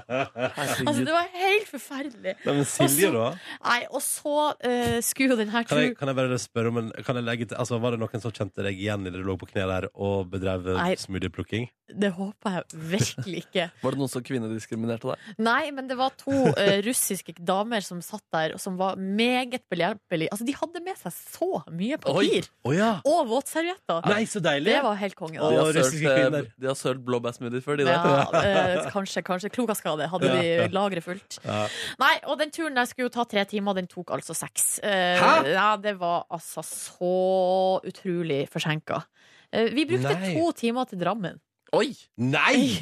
S3: altså, det var helt forferdelig.
S2: Nei, men Silje, da?
S3: Nei, og så eh, skulle jo den her
S2: Kan jeg,
S3: turen
S2: kan jeg bare spørre om en, kan jeg legge til, altså Var det noen som kjente deg igjen da du lå på kne der og bedrev eh,
S3: Nei.
S2: smoothieplukking?
S3: Det håper jeg virkelig ikke.
S4: Var det noen også kvinnediskriminerte deg?
S3: Nei, men det var to eh, russiske damer som satt der, og som var meget behjelpelige. Altså, de hadde med seg så mye papir!
S7: Å ja.
S3: Og våtservietter!
S2: Nei, så deilig!
S3: Det var helt konge,
S2: Og
S4: De
S3: da.
S4: har sølt,
S2: russiske
S4: eh,
S2: kvinner.
S4: De har sølt blåbærsmoothie før, de
S3: Ja,
S4: der.
S3: eh, kanskje, kanskje. Klokast av det. Hadde de lagret fullt.
S2: Ja.
S3: Nei, og den turen der skulle jo ta tre timer, den tok altså seks. Eh,
S7: Hæ?
S3: Ja, det var altså så utrolig forsinka. Eh, vi brukte
S7: Nei.
S3: to timer til Drammen.
S4: Oi!
S7: Nei!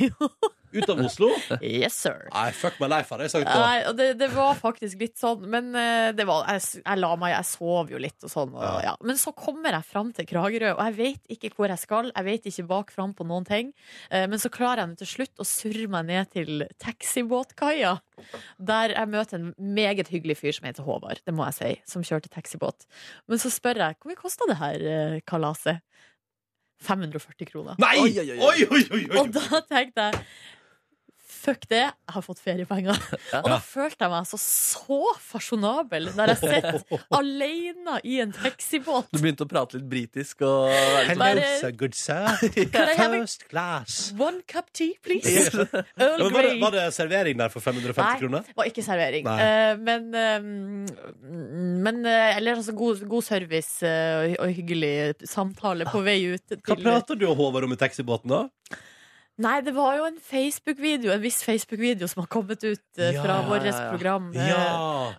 S7: Ut av Oslo?
S3: Yes, sir.
S7: Nei, fuck my life, hadde jeg sagt da.
S3: Nei, og det, det var faktisk litt sånn, men eh, det var, jeg, s- jeg la meg, jeg sov jo litt og sånn. Og,
S7: Ja.
S3: ja. Men så kommer jeg fram til Kragerø, og jeg vet ikke hvor jeg skal. Jeg vet ikke bak fram på noen ting. Eh, men så klarer jeg nå til slutt å surre meg ned til taxibåtkaia, der jeg møter en meget hyggelig fyr som heter Håvard, det må jeg si, som kjørte taxibåt. Men så spør jeg hvor mye kosta det her eh, kalaset? 540 kroner.
S7: Nei!
S4: Oi,
S7: Oi,
S4: oi, oi.
S7: oi, oi! oi,
S3: Og da tenkte jeg Fuck det, jeg har fått feriepenger. Og da følte jeg meg altså så fasjonabel når jeg sitter alene i en taxibåt.
S4: Du begynte å prate litt britisk og være sånn-
S2: Hello,
S3: Bare-
S2: sir, good sir.
S3: Could I have a
S2: First class.
S3: one cup tea, please? Earl
S2: Ja, men var, det,
S3: Grey.
S2: var det servering der for 550
S3: Nei.
S2: kroner?
S3: var ikke servering.
S2: Nei.
S3: Eh, men eh, mm, men eh, eller altså god, god service eh, og- og hyggelig samtale på vei ut
S2: Hva
S3: til
S2: prater du og Håvard om i taxibåten, da?
S3: Nei, det var jo en Facebook-video, en viss Facebook-video som har kommet ut eh,
S2: Ja,
S3: fra
S2: ja,
S3: vårt
S4: ja.
S3: program, eh,
S2: Ja!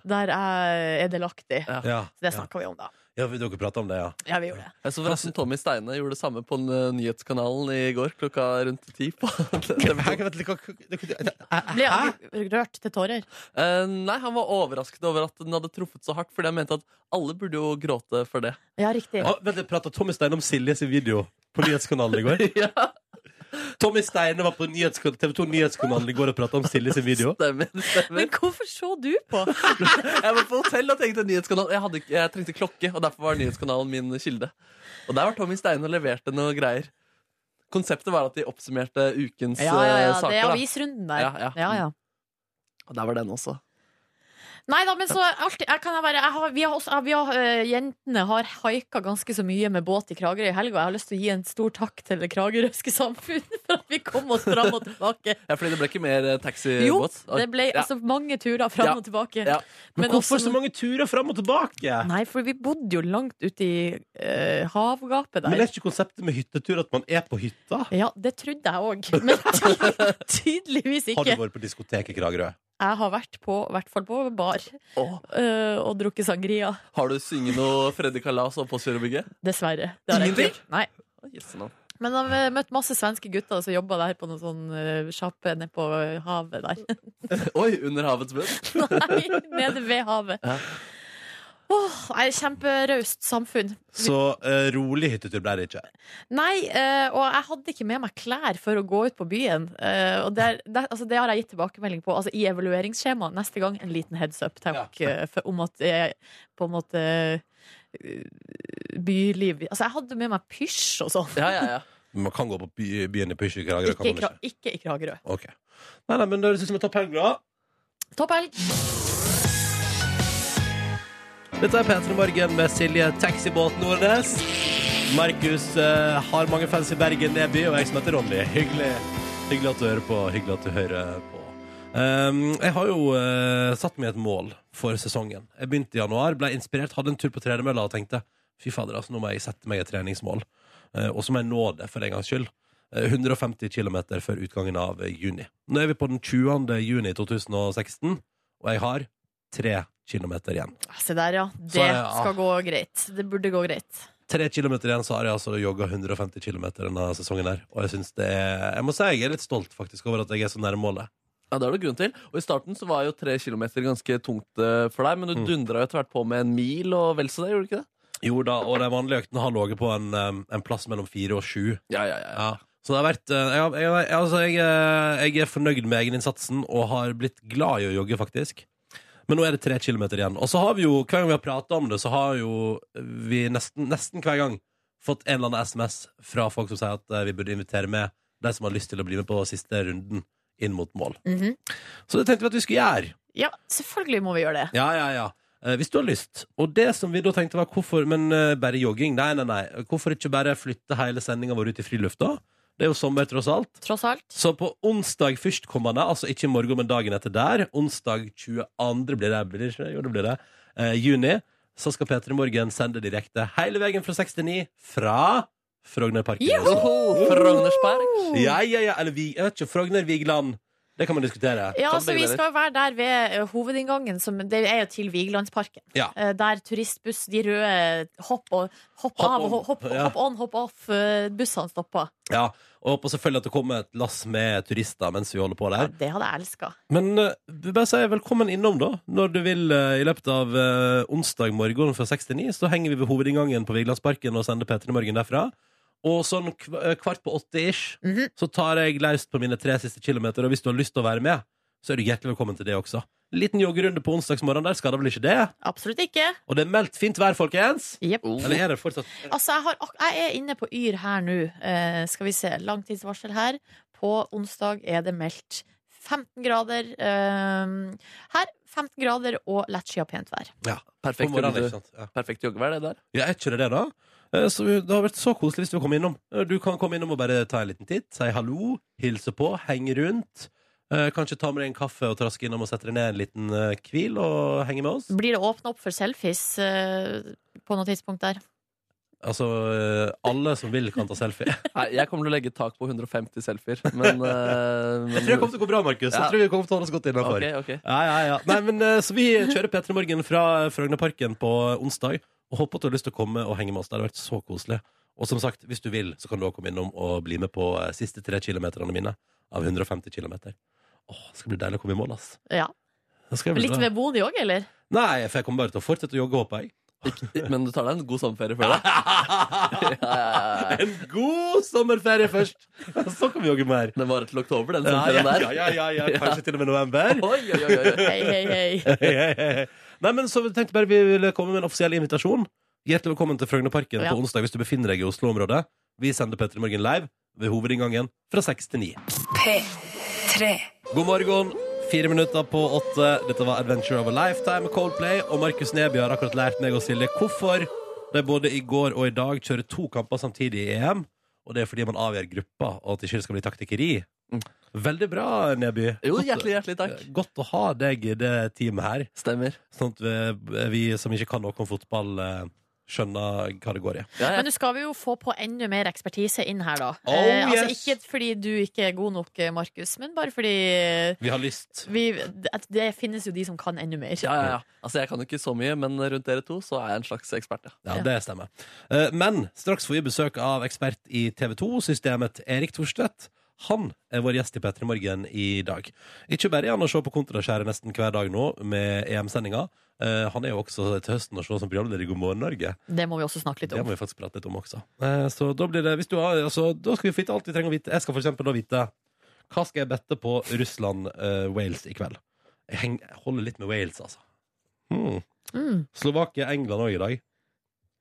S3: der jeg er delaktig.
S4: Ja.
S2: Ja,
S3: Så det
S2: ja.
S3: snakka vi om, da.
S2: ja vi- dere prater om det, ja.
S3: Ja, vi gjorde det.
S4: Jeg så forresten Tommy Steine gjorde det samme på den, eh, nyhetskanalen i går klokka rundt ti. på TV 2.
S3: Ble han rørt til tårer?
S4: Eh, nei, Han var overrasket over at den hadde truffet så hardt, fordi han mente at alle burde jo gråte for det.
S3: Ja, riktig.
S2: Ah, vent, jeg pratet Tommy Steine om Silje sin video på nyhetskanalen i går. Tommy Steine var på nyhetska- TV 2 Nyhetskanalen i går og pratet om Silje sin video.
S4: Stemmer, stemmer.
S3: Men hvorfor så du på?
S4: Jeg var på hotell og tenkte nyhetskanal. Jeg, hadde, ikke- jeg trengte klokke, og derfor var nyhetskanalen min kilde. Og der var Tommy Steine og leverte noe greier. Konseptet var at de oppsummerte ukens
S3: Ja, ja, ja,
S4: eh, saker.
S3: det er
S4: da.
S3: avisrunden der.
S4: Ja, ja.
S3: ja.
S4: Og der var den også.
S3: Nei da, men så alltid, jeg kan jeg bare jeg har, vi har også, vi har, eh, Jentene har haika ganske så mye med båt i Kragerø i helga. Jeg har lyst til å gi en stor takk til det kragerøske samfunnet for at vi kom oss fram og tilbake.
S4: Ja, fordi det ble ikke mer eh, taxibåt?
S3: Jo,
S4: Og-
S3: det ble
S4: ja.
S3: altså mange turer fram
S4: Ja.
S3: og tilbake. altså-
S4: Ja.
S2: Men
S3: også-
S2: hvorfor så mange turer fram og tilbake?
S3: Nei, for vi bodde jo langt ute i eh, havgapet der.
S2: Men er ikke konseptet med hyttetur at man er på hytta?
S3: Ja, det trodde jeg òg, men ty tydeligvis
S2: Har du
S3: ikke.
S2: vært på diskoteket i Kragerø?
S3: Jeg har vært på, i hvert fall på bar,
S4: Åh,
S3: øh, og drukket sangria.
S4: har du sunget noe Freddy Kalas og Påskjørebygget?
S3: Dessverre. Det har jeg ikke
S4: Ingenting?
S3: gjort. Nei. Men jeg har møtt masse svenske gutter som jobba der på noen sånn øh, sjappe nede på havet der.
S4: Oi, under havets bunn?
S3: Nei, nede ved havet.
S4: Ja.
S3: Åh, nei, Kjemperaust samfunn.
S2: Så eh, rolig hyttetur ble det ikke.
S3: Nei, eh, og jeg hadde ikke med meg klær for å gå ut på byen. eh, og det, er, det, er- altså, det har jeg gitt tilbakemelding på. Altså, I evalueringsskjemaet neste gang en liten heads up takk, eh, for, om at jeg på en måte eh, Byliv Altså, jeg hadde med meg pysj og sånn.
S4: Ja, ja, ja.
S2: Man kan gå på by, byen i Pysj i Kragerø,
S3: Ikke,
S2: kan
S3: i
S2: man
S3: Kra-
S2: ikke?
S3: ikke i Kragerø.
S2: Ok. Nei, nei, men det høres ut som en topp helg, da.
S3: Topp helg!
S2: Dette er P3 Morgen med Silje Taxibåt Nordnes. Markus eh, har mange fans i Bergen Neby, og jeg som heter Ronny. Hyggelig, hyggelig at du hører på. Hyggelig at du hører på. Um, jeg har jo eh, satt meg et mål for sesongen. Jeg begynte i januar, ble inspirert, hadde en tur på tredemølla og tenkte fy fader, altså, nå må jeg sette meg et treningsmål. Eh, og så må jeg nå det, for en gangs skyld. Eh, 150 km før utgangen av eh, juni. Nå er vi på den 20. juni 2016, og jeg har tre kilometer igjen.
S3: Ah, Se der, ja.
S2: Så,
S3: Det
S2: ja.
S3: skal gå greit. Det burde gå greit.
S2: Tre kilometer igjen, så har jeg altså jogga 150 km denne sesongen her. Og jeg synes det er, Jeg må si jeg er litt stolt faktisk over at jeg er så nærme målet.
S4: Ja, det har du grunn til. Og I starten så var jo tre kilometer ganske tungt eh, for deg, men
S2: Mm.
S4: du dundra jo etter hvert på med en mil og vel så det, gjorde du ikke det?
S2: Jo da, og de vanlige øktene har ligget på en, um, en plass mellom fire og sju.
S4: Ja, ja, ja.
S2: Ja. Så det har vært uh, jeg, har- jeg, har- altså, jeg, uh, jeg er fornøyd med egeninnsatsen og har blitt glad i å jogge, faktisk. Men nå er det tre kilometer igjen. Og så har vi jo, hver gang vi har prata om det, så har jo vi nesten, nesten hver gang fått en eller annen SMS fra folk som sier at uh, vi burde invitere med de som har lyst til å bli med på siste runden inn mot mål.
S3: Mhm.
S2: Så det tenkte vi at vi skulle gjøre.
S3: Ja, selvfølgelig må vi gjøre det.
S2: Ja, ja, ja. Eh, Hvis du har lyst. Og det som vi da tenkte var hvorfor Men eh, bare jogging? Nei, nei, nei. Hvorfor ikke bare flytte hele sendinga vår ut i frilufta? Det er jo sommer, tross alt.
S3: tross alt.
S2: Så på onsdag førstkommende, altså ikke i morgen, men dagen etter der, onsdag 22. blir det, blir det ikke? Jo, det blir det. Eh, juni, så skal P3 Morgen sende direkte hele veien fra 6 til 9 fra Frognerparken. i Oslo.
S4: Joho, Frognersberg.
S2: Ja, ja, ja, eller vi, jeg vet ikke, Frogner Vigeland. Det kan man diskutere.
S3: Ja,
S4: Sånn
S3: så
S4: begge
S3: Vi
S4: deler.
S3: skal være der ved eh, hovedinngangen, som det er jo til Vigelandsparken.
S2: Ja.
S3: Eh, Der turistbuss, de røde hopp, og, hopp,
S2: Hopp
S3: av og
S2: on.
S3: hopp, hopp,
S2: Ja.
S3: on, hopp off-bussene stopper.
S2: Ja, og håper selvfølgelig at det kommer et lass med turister mens vi holder på der.
S3: Det hadde jeg elska.
S2: Men eh, bare si velkommen innom, da. Når du vil eh, i løpet av eh, onsdag morgen fra 6 til 9, så henger vi ved hovedinngangen på Vigelandsparken og sender P3 Morgen derfra. Og sånn kv eh, kvart på åtte-ish
S3: Mhm.
S2: så tar jeg laust på mine tre siste kilometer. Og hvis du har lyst til å være med, så er du hjertelig velkommen til det også. Liten joggerunde på onsdagsmorgen der skader vel ikke det?
S3: Absolutt ikke.
S2: Og det er meldt fint vær, folkens!
S3: Jepp.
S4: Oh.
S2: Eller er det fortsatt
S3: Altså, jeg, har, ak- jeg er inne på Yr her nå. Eh, skal vi se. Langtidsvarsel her. På onsdag er det meldt 15 grader eh, her. 15 grader og lettskyet pent vær.
S2: på
S4: Perfekt,
S2: morgenen? Ikke
S4: jogge-
S2: sant? Ja.
S4: perfekt joggevær, det der.
S2: Ja, er ikke det det, da? Eh, Så Det har vært så koselig hvis du vil komme innom. Eh, Du kan komme innom og bare ta en liten titt, si hallo, hilse på, henge rundt. Eh, Kanskje ta med deg en kaffe og traske innom og sette deg ned en liten eh, hvil og henge med oss.
S3: Blir det åpna opp for selfies eh, på noe tidspunkt der?
S2: Altså, eh, alle som vil, kan ta selfie.
S4: Nei, jeg kommer til å legge tak på 150 selfier, men, eh, men
S2: Jeg tror det kommer til å gå bra, Markus. Jeg
S4: Ja.
S2: tror vi kommer til å holde oss godt innenfor
S4: Ok, ok.
S2: Ja, ja, ja. Nei, men, eh, så vi kjører P3 Morgen fra Frognerparken på onsdag. Og håper at du har lyst til å komme og henge med oss. Det hadde vært så koselig. Og som sagt, hvis du vil, så kan du også komme innom og bli med på eh, siste tre kilometerne mine av 150 km. Åh, det skal bli deilig å komme i mål, ass.
S3: Ja.
S2: Det skal bli
S3: Litt
S2: bra.
S3: vemodig òg, eller?
S2: Nei, for jeg kommer bare til å fortsette å jogge, håper jeg.
S4: Men du tar deg en god sommerferie før det. Ja, ja, ja.
S2: En god sommerferie først! Så kan vi jogge mer.
S4: Den varer til oktober, Sånn
S2: Ja,
S4: den
S2: ja,
S4: sommerferien der.
S2: ja, ja, ja, ja. Kanskje til og med november.
S4: Oi, oi, oi, oi.
S3: Hei, hei, hei.
S2: Nei, men så vi tenkte bare vi ville komme med en offisiell invitasjon. Hjertelig velkommen til Frognerparken
S3: Ja.
S2: på onsdag hvis du befinner deg i Oslo-området. Vi sender Petter i Morgen live ved hovedinngangen fra 6 til 9.
S1: P3.
S2: God morgen. Fire minutter på åtte. Dette var Adventure of a Lifetime, Coldplay. Og Markus Neby har akkurat lært meg og Silje hvorfor de både i går og i dag kjører to kamper samtidig i EM. Og det er fordi man avgjør gruppa, og at det ikke skal bli taktikkeri. Veldig bra, Neby.
S4: Mm. Jo,
S2: Godt-
S4: hjertelig, hjertelig takk.
S2: Eh, Godt å ha deg i det teamet her.
S4: Stemmer.
S2: Sånn at vi, vi som ikke kan noe om fotball, eh, skjønner hva det går i.
S4: Ja,
S3: Men
S4: ja.
S3: nå skal vi jo få på enda mer ekspertise inn her, da.
S2: Oh,
S3: altså,
S2: yes.
S3: ikke fordi du ikke er god nok, eh, Markus, men bare fordi eh,
S2: Vi har lyst.
S3: vi, at det finnes jo de som kan enda mer.
S4: Ja, ja, ja. Altså, jeg kan jo ikke så mye, men rundt dere to så er jeg en slags ekspert, ja.
S2: Ja, det stemmer. Eh, Men straks får vi besøk av ekspert i TV 2-systemet, Erik Thorstvedt. Han er vår gjest i P3 Morgen i dag. Ikke bare er han å se på Kontraskjæret nesten hver dag nå med EM-sendinga. eh, Han er jo også til høsten å se som programleder i God morgen Norge.
S3: Det må vi også snakke litt
S2: Det
S3: om.
S2: må vi faktisk prate litt om også. Eh, Så da blir det hvis du har, altså, Da skal vi få vite alt vi trenger å vite. Jeg skal for eksempel da vite hva skal jeg bette på Russland-Wales i kveld. Jeg, heng, jeg holder litt med Wales, altså. Hmm.
S3: Mm.
S2: Slovakia-England òg i dag.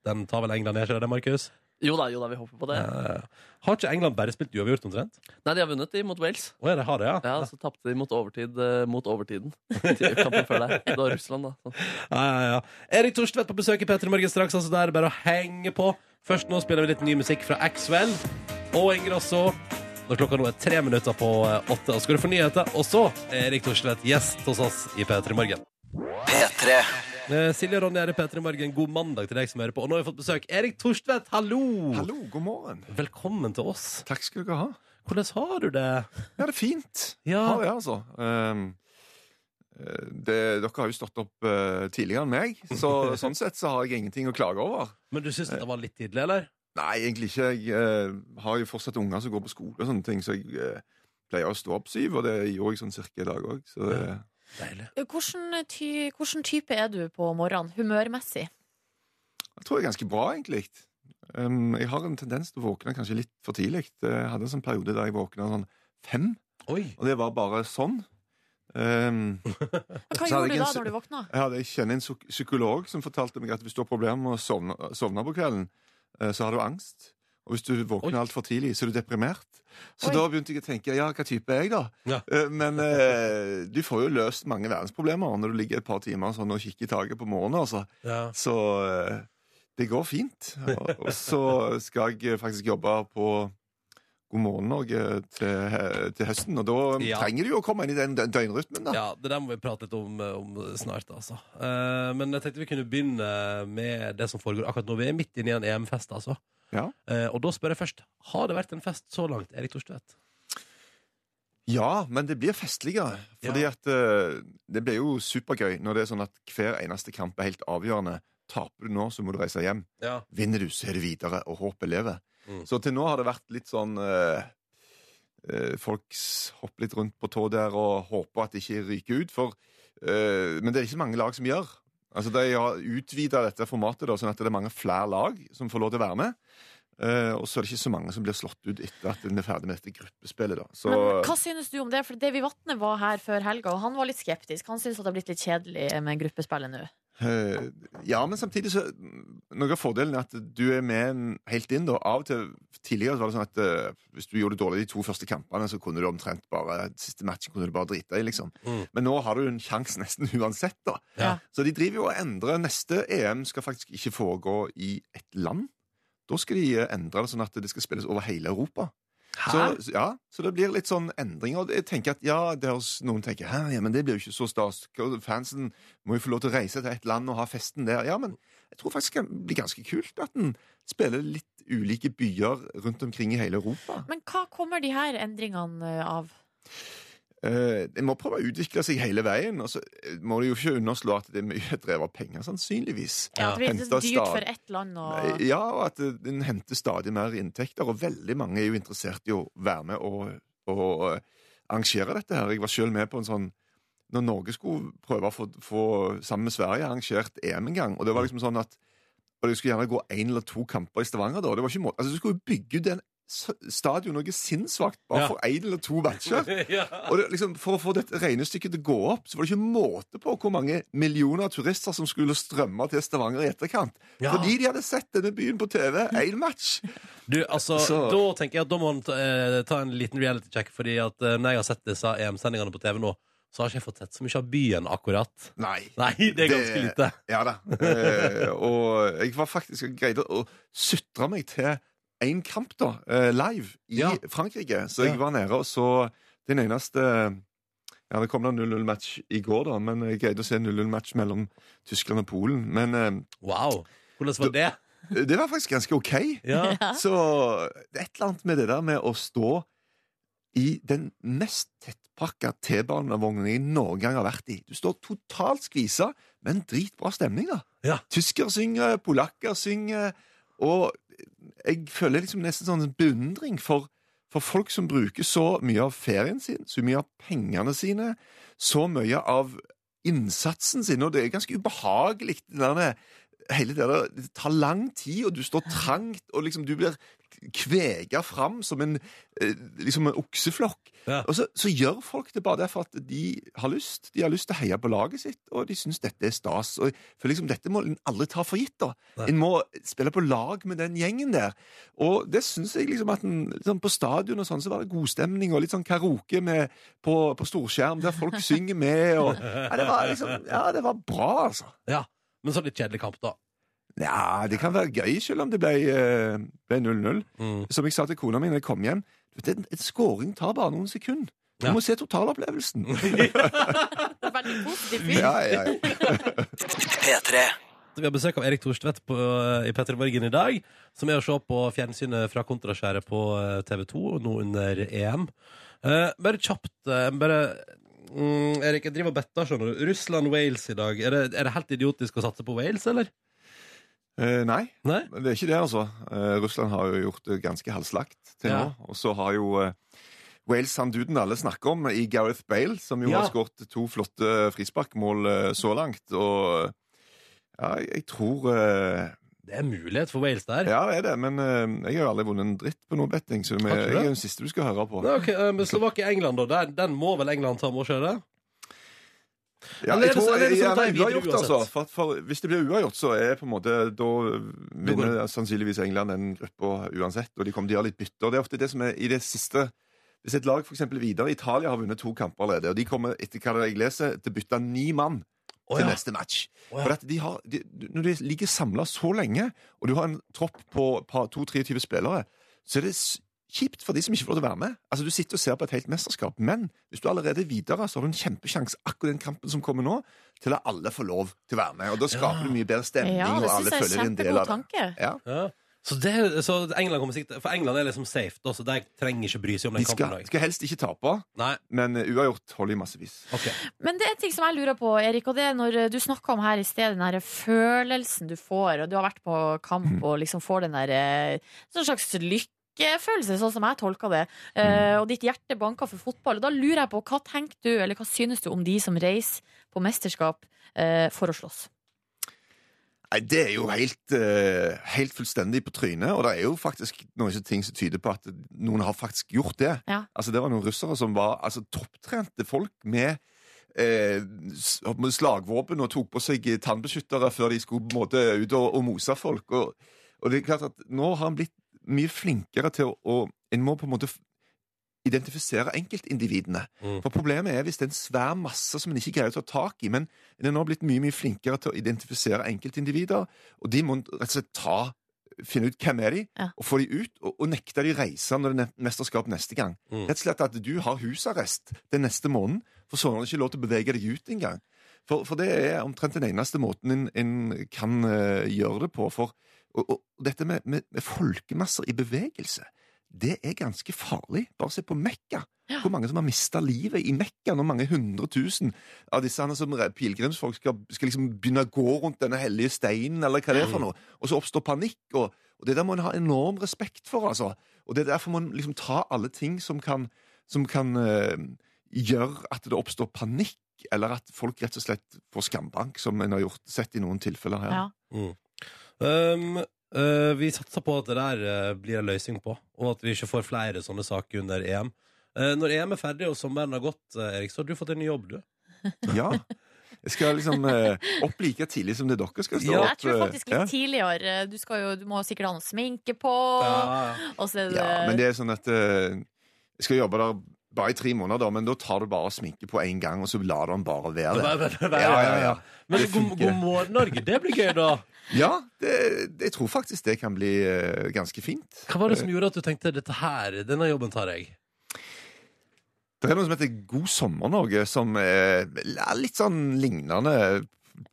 S2: Den tar vel England ned, ikke det, Markus?
S4: Jo da, jo da, vi håper på det.
S2: Eh, har ikke England bare spilt uavgjort, omtrent?
S4: Nei, de har vunnet, de, mot Wales.
S2: Å ja, de har det, ja?
S4: Ja, så tapte de mot, overtid, eh, mot overtiden. Til Kampen før der. Det var Russland, da. Så.
S2: Ja, ja, ja. Erik Torstvedt på besøk i P3 Morgen straks, altså det er bare å henge på. Først nå spiller vi litt ny musikk fra Axwell og Ingrosso. Når klokka nå er tre minutter på eh, åtte, og skal du få nyheter. Og så er Erik Torstvedt gjest hos oss i P3 Morgen. Eh, Silje og Ronny er i P3 Morgen. God mandag til deg som hører på. Og nå har vi fått besøk. Erik Torstvedt, hallo!
S8: Hallo, god morgen.
S2: Velkommen til oss.
S8: Takk skal dere ha.
S2: Hvordan har du det?
S8: Ja, det er fint.
S2: Ja.
S8: Har det, altså. Ehm, eh, det, dere har jo stått opp eh, tidligere enn meg, så sånn sett så har jeg ingenting å klage over.
S2: Men du syns det var litt tidlig, eller?
S8: Nei, egentlig ikke. Jeg eh, har jo fortsatt unger som går på skole og sånne ting, så jeg eh, pleier å stå opp syv, og det gjorde jeg sånn cirka i dag òg. Så det,
S2: Deilig.
S3: Hvordan, ty, hvordan type er du på morgenen, humørmessig?
S8: jeg tror jeg er ganske bra, egentlig. Ehm, jeg har en tendens til å våkne kanskje litt for tidlig. Jeg hadde en sånn periode der jeg våkna sånn fem,
S2: Oi.
S8: og det var bare sånn. Ehm,
S3: Men
S8: Så
S3: Hva
S8: hadde
S3: gjorde
S8: jeg
S3: du da
S8: en-
S3: når du våkna?
S8: Jeg hadde jeg kjenner en psyk- psykolog som fortalte meg at hvis du har problemer med å sovne, sovne på kvelden, eh, så har du angst. Og hvis du våkner altfor tidlig, så er du deprimert. Så
S3: Oi.
S8: da begynte jeg å tenke ja, hva type er jeg, da?
S2: Ja.
S8: Eh, Men eh, du får jo løst mange verdensproblemer når du ligger et par timer sånn og kikker i taket på morgenen. Altså.
S2: Ja.
S8: Så eh, det går fint. Og, og så skal jeg faktisk jobbe på God morgen Norge til, til høsten. Og da
S2: Ja.
S8: trenger du jo å komme inn i den dø- døgnrytmen, da.
S2: Ja, det der må vi prate litt om, eh, om snart, altså. Eh, men jeg tenkte vi kunne begynne med det som foregår akkurat nå. Vi er midt inne i en EM-fest, altså.
S8: Ja.
S2: Eh, og da spør jeg først, har det vært en fest så langt, Erik Torstvedt?
S8: Ja, men det blir festligere. Fordi at eh, det blir jo supergøy når det er sånn at hver eneste kamp er helt avgjørende. Taper du nå, så må du reise hjem.
S2: Ja.
S8: Vinner du, så er det videre, og håpet lever.
S2: Mm.
S8: Så til nå har det vært litt sånn eh, eh, Folk s- hopper litt rundt på tå der og håper at det ikke ryker ut. For, eh, men det er ikke mange lag som gjør. Altså, De har utvida dette formatet, da, sånn at det er mange flere lag som får lov til å være med. Eh, og så er det ikke så mange som blir slått ut etter at en er ferdig med dette gruppespillet. da. Så,
S3: Men hva synes du om det? For Davy Vatne var her før helga, og han var litt skeptisk. Han synes at det har blitt litt kjedelig med gruppespillet nå.
S8: Eh, ja, men samtidig så mm, Noe av fordelen er at du er med en- helt inn. da Av og til tidligere så var det sånn at eh, hvis du gjorde det dårlig de to første kampene, så kunne du omtrent bare siste matchen kunne du bare drite i, liksom.
S2: Mm.
S8: Men nå har du en sjanse nesten uansett, da.
S2: Ja.
S8: Så de driver jo og endrer. Neste EM skal faktisk ikke foregå i et land. Da skal de eh, endre det sånn at det skal spilles over hele Europa. Så, så- ja, så det blir litt sånn endringer. Og jeg tenker at ja, det høres noen tenker Hæ, ja, men det blir jo ikke så stas. Fansen må jo få lov til å reise til et land og ha festen der. Ja, men jeg tror faktisk det blir ganske kult at en spiller litt ulike byer rundt omkring i hele Europa.
S3: Men hva kommer de her endringene eh, av?
S8: Eh, en må prøve å utvikle seg hele veien, og så eh, må du jo ikke underslå at det er mye drevet av penger, sannsynligvis.
S3: Ja, at det blir litt
S8: Henter
S3: dyrt
S8: stad-
S3: for ett land og
S8: Ja, og at eh, en henter stadig mer inntekter, og veldig mange er jo interessert i å være med og, og eh, arrangere dette her. Jeg var selv med på en sånn Når Norge skulle prøve å få, få sammen med Sverige arrangert EM en gang, og det var liksom sånn at og det skulle gjerne gå én eller to kamper i Stavanger da. og Det var ikke må altså, du skulle jo bygge ut en s- stadion noe sinnssvakt bare
S2: Ja.
S8: for én eller to matcher.
S2: ja.
S8: Og det, liksom, For å få dette regnestykket til å gå opp, så var det ikke måte på hvor mange millioner turister som skulle strømme til Stavanger i etterkant. Fordi de hadde sett denne byen på TV én match.
S2: Du, altså,
S8: Så-
S2: da tenker jeg at da må man ta, eh, ta en liten reality check, fordi at eh, når jeg har sett disse EM-sendingene på TV nå, så har ikke jeg fått sett så mye av byen akkurat.
S8: Nei.
S2: Nei, det er ganske
S8: Det-
S2: lite.
S8: Ja da. Eh, og jeg var faktisk jeg greide å sutre meg til én kamp, da, eh, live i
S2: Ja.
S8: Frankrike. Så jeg
S2: Ja.
S8: var nede og så den eneste Ja, det kom da 0-0-match i går, da, men jeg greide å se 0-0-match mellom Tyskland og Polen. Men eh,
S2: Wow. Hvordan var
S8: Du-
S2: det?
S8: det var faktisk ganske OK.
S2: Ja.
S8: Så det er et eller annet med det der med å stå i den mest tettpakka T-banevognen jeg noen gang har vært i. Du står totalt skvisa, men dritbra stemning, da.
S2: Ja.
S8: Tysker synger, polakker synger, og jeg føler liksom nesten sånn beundring for for folk som bruker så mye av ferien sin, så mye av pengene sine, så mye av innsatsen sin, og det er ganske ubehagelig, det der, hele det der, det tar lang tid, og du står trangt, og liksom du blir kvega fram som en, eh, liksom en okseflokk.
S2: Ja.
S8: Og så, så gjør folk det bare derfor at de har lyst. De har lyst til å heie på laget sitt, og de syns dette er stas. Og for liksom, dette må en aldri ta for gitt, da.
S2: Nei.
S8: En må spille på lag med den gjengen der. Og det syns jeg liksom at en, liksom på stadion og sånn, så var det godstemning, og litt sånn karaoke med, på, på storskjerm, der folk synger med, og ja, det var liksom Ja, det var bra, altså.
S2: ja. Men så litt kjedelig kamp, da.
S8: Ja, det kan være gøy, selv om det ble eh, ble 0-0.
S2: Mm.
S8: Som jeg sa til kona mi når jeg kom hjem, du vet, en, en scoring tar bare noen sekunder. Du
S2: Ja.
S8: må se totalopplevelsen.
S3: Veldig positivt.
S8: ja, ja, ja.
S2: Vi har besøk av Erik Thorstvedt på, eh, i Petter Morgen i dag, som er å se på fjernsynet fra Kontraskjæret på eh, TV 2 nå under EM. Eh, bare kjapt, eh, bare mm, Erik, jeg driver og better, skjønner du. Russland-Wales i dag. Er det, er det helt idiotisk å satse på Wales, eller?
S8: Eh, nei,
S2: Nei?
S8: det er ikke det, altså. Eh, Russland har jo gjort det ganske halvslakt til
S2: Ja.
S8: nå. Og så har jo eh, Wales han duden alle snakker om, i Gareth Bale, som jo
S2: Ja.
S8: har skåret to flotte frisparkmål eh, så langt. Og ja, jeg, jeg tror eh,
S2: Det er mulighet for Wales der.
S8: Ja, det er det, men eh, jeg har jo aldri vunnet en dritt på noe betting, så vi-
S2: Har du det?
S8: jeg er den siste du skal høre på.
S2: Nei, ok, eh, men Slovakia-England, da. Den, den må vel England ta med å kjøre?
S8: Ja,
S2: Eller er
S8: jeg
S2: det så-
S8: tror
S2: eller er det sånn
S8: ja,
S2: at det er
S8: nei, uavgjort,
S2: videre
S8: altså.
S2: uansett?
S8: For, at- for hvis det blir uavgjort, så er på en måte Da vinner sannsynligvis England den gruppa uansett, og de kommer til å gjøre litt bytter. Det er ofte det som er i det siste Hvis et lag f.eks. videre Italia har vunnet to kamper allerede, og de kommer etter hva jeg leser, til å bytte ni mann
S2: Å,
S8: til
S2: ja.
S8: neste match.
S2: Å, ja.
S8: For at de har, de, når de ligger samla så lenge, og du har en tropp på 22-23 spillere, så er det s- kjipt for de som ikke får lov til å være med. Altså, Du sitter og ser på et helt mesterskap, men hvis du allerede er videre, så har du en kjempesjanse akkurat den kampen som kommer nå, til at alle får lov til å være med. Og da skaper du mye bedre stemning,
S3: Ja, det
S8: og alle
S3: syns jeg er
S8: føler de er en del
S3: kjempegod
S8: av det.
S3: tanke.
S8: Ja.
S2: Ja. Så, det, så England kommer sikkert For England er liksom safe, da, så de trenger ikke bry seg om den
S8: De
S2: kampen.
S8: skal,
S2: i dag.
S8: skal helst ikke tape,
S2: Nei,
S8: men eh, uavgjort holder i massevis.
S2: ok
S3: Men det er en ting som jeg lurer på, Erik, og det er når eh, du snakka om her i sted, den der følelsen du får, og du har vært på kamp
S8: Mm.
S3: og liksom får den der eh, sånn slags lykkefølelse, sånn som jeg tolka det,
S8: Mm.
S3: eh, og ditt hjerte banka for fotball. Og da lurer jeg på, hva tenker du, eller hva synes du om de som reiser på mesterskap eh, for å slåss?
S8: Nei, Det er jo helt, eh, helt fullstendig på trynet, og det er jo faktisk noen ting som tyder på at noen har faktisk gjort det.
S3: Ja.
S8: Altså, Det var noen russere som var altså, topptrente folk med eh, s- med slagvåpen og tok på seg eh, tannbeskyttere før de skulle på en måte ut og, og mose folk. Og, og det er klart at nå har han blitt mye flinkere til å å- En må på en måte f- identifisere enkeltindividene.
S2: Mm.
S8: For problemet er hvis det er en svær masse som en ikke greier å ta tak i. men en er nå blitt mye mye flinkere til å identifisere enkeltindivider, og de må rett og slett ta, finne ut hvem er de,
S3: Ja.
S8: og få de ut, og, og nekte de reise når det er ne- mesterskap neste gang.
S2: Mm.
S8: Rett og slett at du har husarrest den neste måneden, for sånn har du ikke lov til å bevege deg ut engang. For, for det er omtrent den eneste måten en, en kan eh, gjøre det på. For, og, og dette med, med, med folkemasser i bevegelse, det er ganske farlig. Bare se på Mekka. Hvor mange som har mista livet i Mekka når mange hundre tusen av disse her som re- pilegrimsfolk skal, skal liksom begynne å gå rundt denne hellige steinen, eller hva det er for noe, og så oppstår panikk. Og, og det der må en ha enorm respekt for, altså. Og det er derfor må en liksom ta alle ting som kan, som kan eh, gjøre at det oppstår panikk, eller at folk rett og slett får skambank, som en har gjort, sett i noen tilfeller her.
S3: Ja.
S2: Um, eh, vi satser på at det der eh, blir en løsning på, og at vi ikke får flere sånne saker under EM. Eh, når EM er ferdig og sommeren har gått, eh, Erik, så har du fått en ny jobb, du.
S8: Ja. Jeg skal liksom eh, opp like tidlig som det dere skal stå
S2: Ja,
S3: Jeg
S8: opp.
S3: tror
S8: eh,
S3: faktisk litt tidligere. eh, Du, skal jo, du må sikkert ha noe sminke på. Og så er det,
S8: Ja, men det er sånn at eh, Jeg skal jobbe der bare i tre måneder, da, men da tar du bare sminke på én gang, og så lar du den bare være det. Ja, ja, ja.
S2: Men
S8: Det
S2: god,
S8: funker.
S2: god morgen, Norge. Det blir gøy, da.
S8: Ja, det, jeg tror faktisk det kan bli eh, ganske fint.
S2: Hva var det som gjorde at du tenkte dette her, denne jobben tar jeg?
S8: Det er noe som heter God sommer Norge, som er litt sånn lignende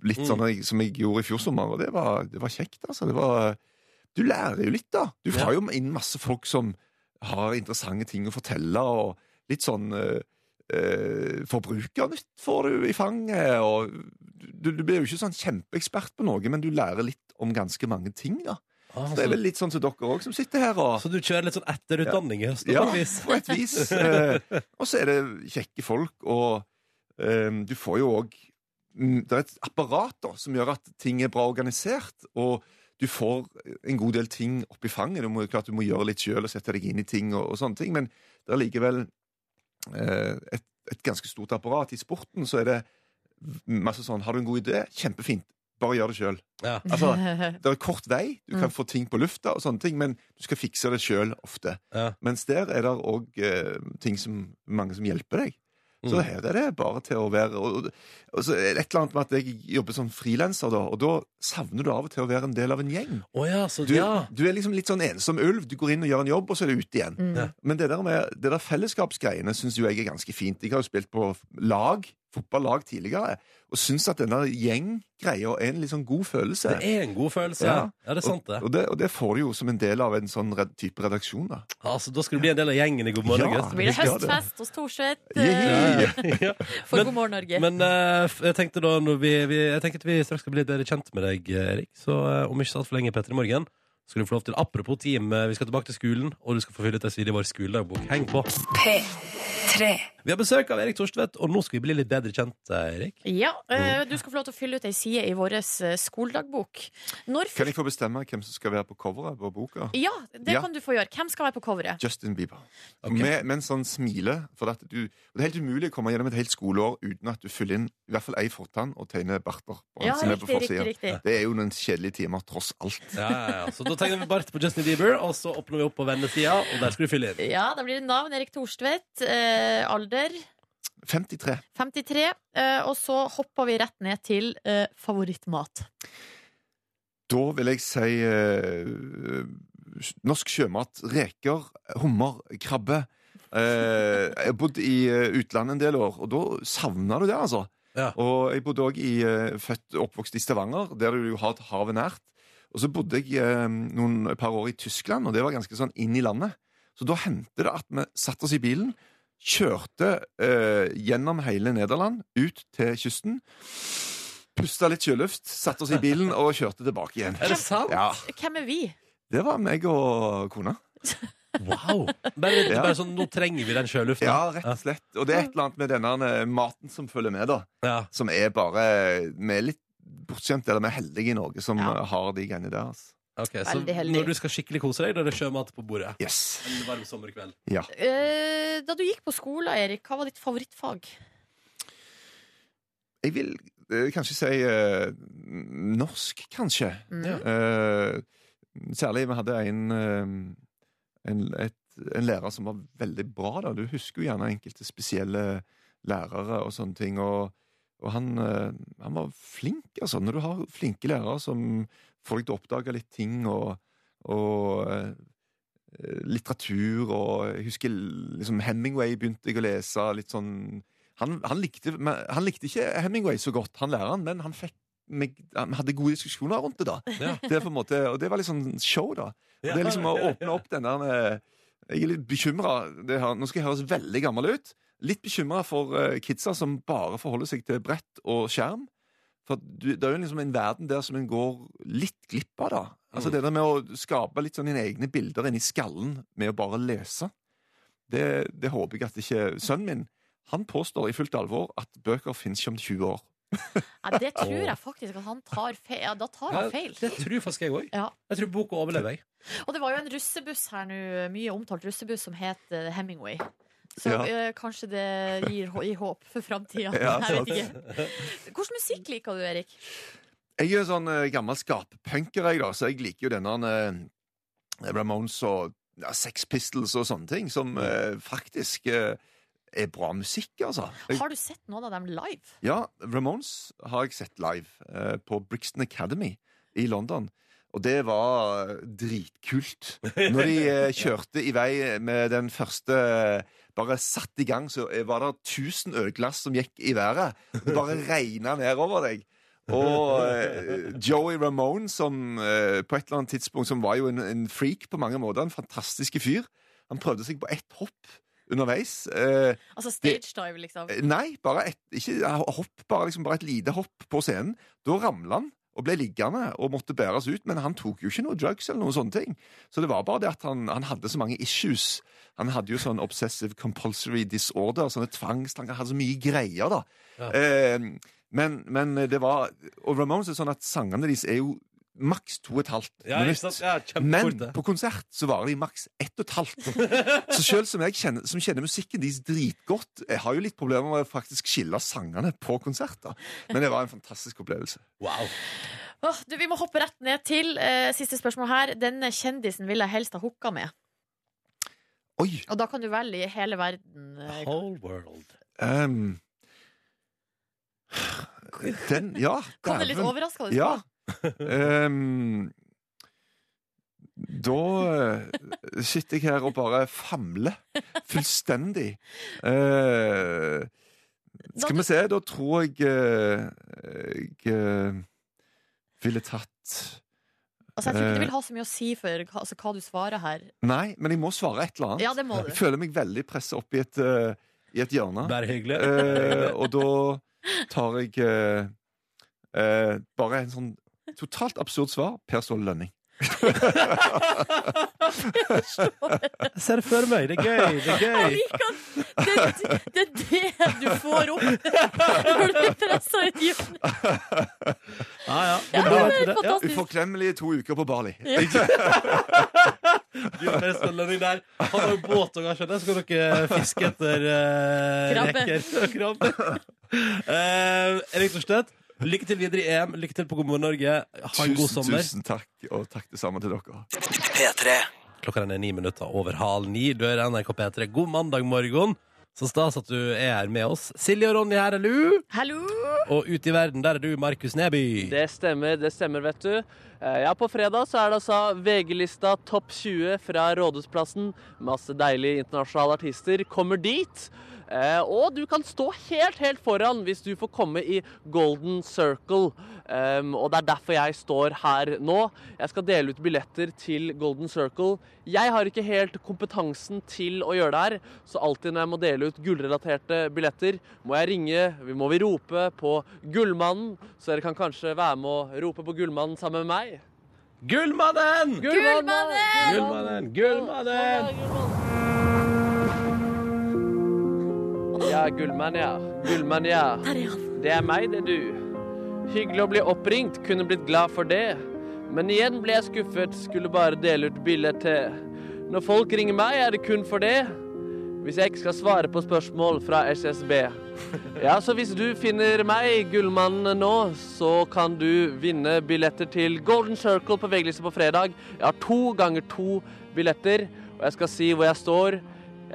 S8: Litt sånn jeg- som jeg gjorde i fjor sommer, og det var, det var kjekt, altså. Det var, du lærer jo litt, da. Du får jo inn masse folk som har interessante ting å fortelle, og litt sånn eh, eh, Forbrukernytt får du i fanget, og du, du blir jo ikke sånn kjempeekspert på noe, men du lærer litt om ganske mange ting, da.
S2: Ah,
S8: Så det
S2: så,
S8: er vel litt sånn som dere òg, som sitter her og
S2: så du kjører litt sånn etterutdanning i høst, da,
S8: ja,
S2: på et vis?
S8: på et vis. Eh, og så er det kjekke folk, og eh, du får jo òg Det er et apparat da, som gjør at ting er bra organisert, og du får en god del ting opp i fanget. Du må, klart, du må gjøre litt sjøl og sette deg inn i ting, og, og sånne ting, men det er likevel eh, et, et ganske stort apparat. I sporten så er det masse sånn Har du en god idé? Kjempefint. Bare gjør det sjøl.
S2: Ja.
S8: Altså, det er kort vei, du kan få ting på lufta, og sånne ting, men du skal fikse det sjøl ofte.
S2: Ja.
S8: Mens der er det òg eh, ting som mange som hjelper deg. Så
S2: Mm.
S8: her er det bare til å være og, og så er det Et eller annet med at jeg jobber som frilanser, da, og da savner du av og til å være en del av en gjeng.
S2: Å ja, så
S8: Du,
S2: ja.
S8: du er liksom litt sånn ensom ulv. Du går inn og gjør en jobb, og så er du ute igjen.
S2: Ja.
S8: Men det der, med, det der fellesskapsgreiene syns jo jeg er ganske fint. Jeg har jo spilt på lag, fotballag tidligere, og syns at denne gjenggreia er en litt sånn god følelse.
S2: Det er en god følelse. Ja,
S8: Ja.
S2: det er sant, det.
S8: Og, og det. Og det får du jo som en del av en sånn red, type redaksjon, da.
S2: Altså, da skal du bli en del av gjengen i God morgen,
S8: Ja.
S2: gutt.
S3: så blir det
S8: vi skal ha det.
S3: høstfest hos Thorseth
S8: Yeah.
S3: eh,
S2: Ja.
S3: for
S2: Men-
S3: God morgen, Norge.
S2: Men eh, f- jeg tenkte da når vi, vi, Jeg tenkte at vi straks skal bli litt bedre kjent med deg, Erik. Så eh, om ikke så altfor lenge, Petter, i morgen skal du få lov til Apropos team, eh, vi skal tilbake til skolen, og du skal få fylle ut en side i vår skoledagbok. Heng på.
S9: P3.
S2: Vi har besøk av Erik Torstvedt, og nå skal vi bli litt bedre kjent, eh, Erik.
S3: Ja,
S8: Mm.
S3: eh, du skal få lov til å fylle ut ei side i vår eh, skoledagbok. Når
S8: Kan jeg få bestemme hvem som skal være på coveret på boka?
S3: Ja, det
S8: Ja.
S3: kan du få gjøre. Hvem skal være på coveret?
S8: Justin Bieber.
S2: Ok.
S8: Med, med en sånn smile. For at du, og det er helt umulig å komme gjennom et helt skoleår uten at du fyller inn i hvert fall ei fortann og tegner barter. på
S3: Ja,
S8: han som er på
S3: riktig, riktig,
S8: forsiden.
S3: riktig.
S8: Det er jo noen kjedelige timer, tross alt.
S2: Ja, ja, ja. Så da tegner vi bart på Justin Bieber, og så åpner vi opp på vennesida, og der skal du fylle inn.
S3: Ja, da blir det navn. Erik Thorstvedt. Eh, alder
S8: 53.
S3: 53. Eh, og så hopper vi rett ned til eh, favorittmat.
S8: Da vil jeg si eh, norsk sjømat. Reker, hummer, krabbe. Eh, jeg bodde i eh, utlandet en del år, og da savna du det, altså.
S2: Ja.
S8: Og jeg bodde òg i eh, født oppvokst i Stavanger, der du jo har et havet nært. Og så bodde jeg eh, noen et par år i Tyskland, og det var ganske sånn inn i landet. Så da hendte det at vi satte oss i bilen, kjørte eh, gjennom hele Nederland, ut til kysten. Pusta litt sjøluft, satte oss i bilen og kjørte tilbake igjen.
S2: Er det sant?
S8: Ja,
S3: Hvem er vi?
S8: Det var meg og kona.
S2: Wow. Bare,
S8: Ja.
S2: bare sånn, nå trenger vi den sjølufta.
S8: Ja, rett og slett. Og det er et eller annet med denne eh, maten som følger med, da.
S2: Ja.
S8: Som er bare eh, Vi er litt bortskjemte, eller vi er heldige i Norge som
S3: Ja.
S8: eh, har de greiene der. Altså.
S2: Ok, så
S3: Veldig heldig.
S2: når du skal skikkelig kose deg, da er det sjømat på bordet.
S8: Yes.
S2: En varm sommerkveld.
S3: Eh, Da du gikk på skolen, Erik, hva var ditt favorittfag?
S8: Jeg vil eh, kanskje si eh, norsk, kanskje.
S3: Mm.
S8: Eh, særlig vi hadde en, eh, en, et, en lærer som var veldig bra. Da. Du husker jo gjerne enkelte spesielle lærere og sånne ting. Og, og han, eh, han var flink, altså. Når du har flinke lærere som får deg til å oppdage litt ting, og, og eh, litteratur og Jeg husker liksom Hemingway begynte jeg å lese litt sånn han, han, likte, men han likte ikke Hemingway så godt, han læreren, men han fikk meg, han hadde gode diskusjoner rundt det, da.
S2: Ja.
S8: Det er på en måte, og det var litt sånn show, da. Og det er liksom å åpne opp den der eh, Jeg er litt bekymra. Nå skal jeg høres veldig gammel ut. Litt bekymra for eh, kidsa som bare forholder seg til brett og skjerm. For at du, det er jo liksom en verden der som en går litt glipp av, da. Altså
S2: Mm.
S8: Det der med å skape litt sånn dine egne bilder inni skallen med å bare lese, det, det håper jeg at ikke Sønnen min han påstår i fullt alvor at bøker fins ikke om 20 år.
S3: Nei, det tror jeg faktisk at han tar feil. Ja, da tar han feil.
S2: Det tror faktisk jeg òg.
S3: Ja.
S2: Jeg tror boka overlever, jeg.
S3: Og det var jo en russebuss her nå, mye omtalt russebuss, som het eh, Hemingway. Så
S8: Ja.
S3: eh, kanskje det gir, hå- gir håp for framtida.
S8: Ja,
S3: jeg vet ikke. Hvilken musikk liker du, Erik?
S8: Jeg er jo sånn eh, gammel skappunker, jeg, da, så jeg liker jo denne eh, Ramones og ja, Sex Pistols og sånne ting, som eh, faktisk eh, er bra musikk, altså. Jeg,
S3: Har du sett noen av dem live?
S8: ja, Ramones har jeg sett live eh, på Brixton Academy i London. Og det var eh, dritkult. Når de eh, kjørte i vei med den første eh, Bare satt i gang, så eh, var det 1000 ølglass som gikk i været. Det bare regna nedover deg. Og eh, Joey Ramone, som eh, på et eller annet tidspunkt Som var jo en, en freak på mange måter. En fantastisk fyr. Han prøvde seg på ett hopp underveis. Eh,
S3: Altså stage dive, liksom.
S8: Eh, Nei, bare et, ikke ja, hopp, bare, liksom, bare et lite hopp på scenen. Da ramla han og ble liggende og måtte bæres ut, men han tok jo ikke noe drugs eller noen sånne ting. Så det var bare det at han, han hadde så mange issues. Han hadde jo sånn obsessive compulsory disorder, sånne tvangstanker, hadde så mye greier, da.
S2: Ja.
S8: Eh, men, men det var Og Ramones er sånn at sangene deres er jo maks to og et halvt
S2: Ja, ikke
S8: minutt.
S2: sant? Ja,
S8: Men
S2: kjempefort, det.
S8: på konsert så varer de maks ett og et halvt. Så selv som jeg kjenner, som kjenner musikken deres dritgodt, jeg har jo litt problemer med å faktisk skille sangene på konserter. Men det var en fantastisk opplevelse.
S2: Wow.
S3: Åh, du, vi må hoppe rett ned til eh, siste spørsmål her. Denne kjendisen vil jeg helst ha hooka med.
S8: Oi!
S3: Og da kan du velge i hele verden. eh,
S2: Whole world.
S8: ehm, den Ja.
S3: Kom det litt
S8: dæven.
S3: overraskende?
S8: Ja.
S3: på?
S8: Ehm, da eh, sitter jeg her og bare famler fullstendig. Eh, skal vi se, da tror jeg eh, jeg eh, ville tatt
S3: Altså, jeg tror ikke
S8: Eh.
S3: det vil ha så mye å si for hva- altså, hva du svarer her.
S8: Nei, men jeg må svare et eller annet.
S3: Ja, det må du.
S8: Jeg føler meg veldig pressa opp i et, eh, i et hjørne.
S2: Bare hyggelig.
S8: Eh, og da tar jeg eh, eh, bare en sånn totalt absurd svar. Per Ståle Lønning.
S10: Jeg ser det for meg. Det er gøy. Det er
S3: Jeg
S10: gøy.
S3: liker at det, det, det er det du får opp når du blir pressa i tiden.
S10: Ja, ja.
S3: Ja, det er helt
S10: ja.
S3: fantastisk.
S8: Uforklemmelige to uker på Bali.
S10: Du er best av lønning der. Han har jo båt og kanskje, så skal dere fiske etter eh,
S3: Krabbe.
S10: reker og krabbe. Eh, Erik Thorstvedt, lykke til videre i EM. Lykke til på God morgen Norge. Ha en god
S8: Tusen,
S10: sommer.
S8: tusen takk, og takk det samme til dere.
S2: Klokka den er ni minutter over halv ni. Du hører NRK P3. God mandag morgen. Så stas at du er her med oss. Silje og Ronny her, er du?
S3: Hallo!
S2: Og
S10: og ut i verden. Der er du, Markus Neby.
S4: Det stemmer, det stemmer, vet du. Eh, Ja, på fredag så er det altså VG-lista Topp 20 fra Rådhusplassen. Masse deilige internasjonale artister kommer dit. Eh, og du kan stå helt, helt foran hvis du får komme i Golden Circle. Em, og det er derfor jeg står her nå. Jeg skal dele ut billetter til Golden Circle. Jeg har ikke helt kompetansen til å gjøre det her, så alltid når jeg må dele ut gullrelaterte billetter, må jeg ringe, vi må vi rope på Gullmannen, så dere kan kanskje være med å rope på Gullmannen sammen med meg.
S2: Gullmannen!
S3: Gullmannen!
S2: Gullmannen! Gullmannen!
S4: Ja, Gullmann, ja. Gullmann, ja. Det er meg, det, du. Hyggelig å bli oppringt. Kunne blitt glad for det. Men igjen ble jeg skuffet. Skulle bare dele ut billetter. Når folk ringer meg, er det kun for det. Hvis jeg ikke skal svare på spørsmål fra SSB. Ja, så hvis du finner meg, Gullmannen, nå, så kan du vinne billetter til Golden Circle på VG-lista på fredag. Jeg har to ganger to billetter, og jeg skal si hvor jeg står.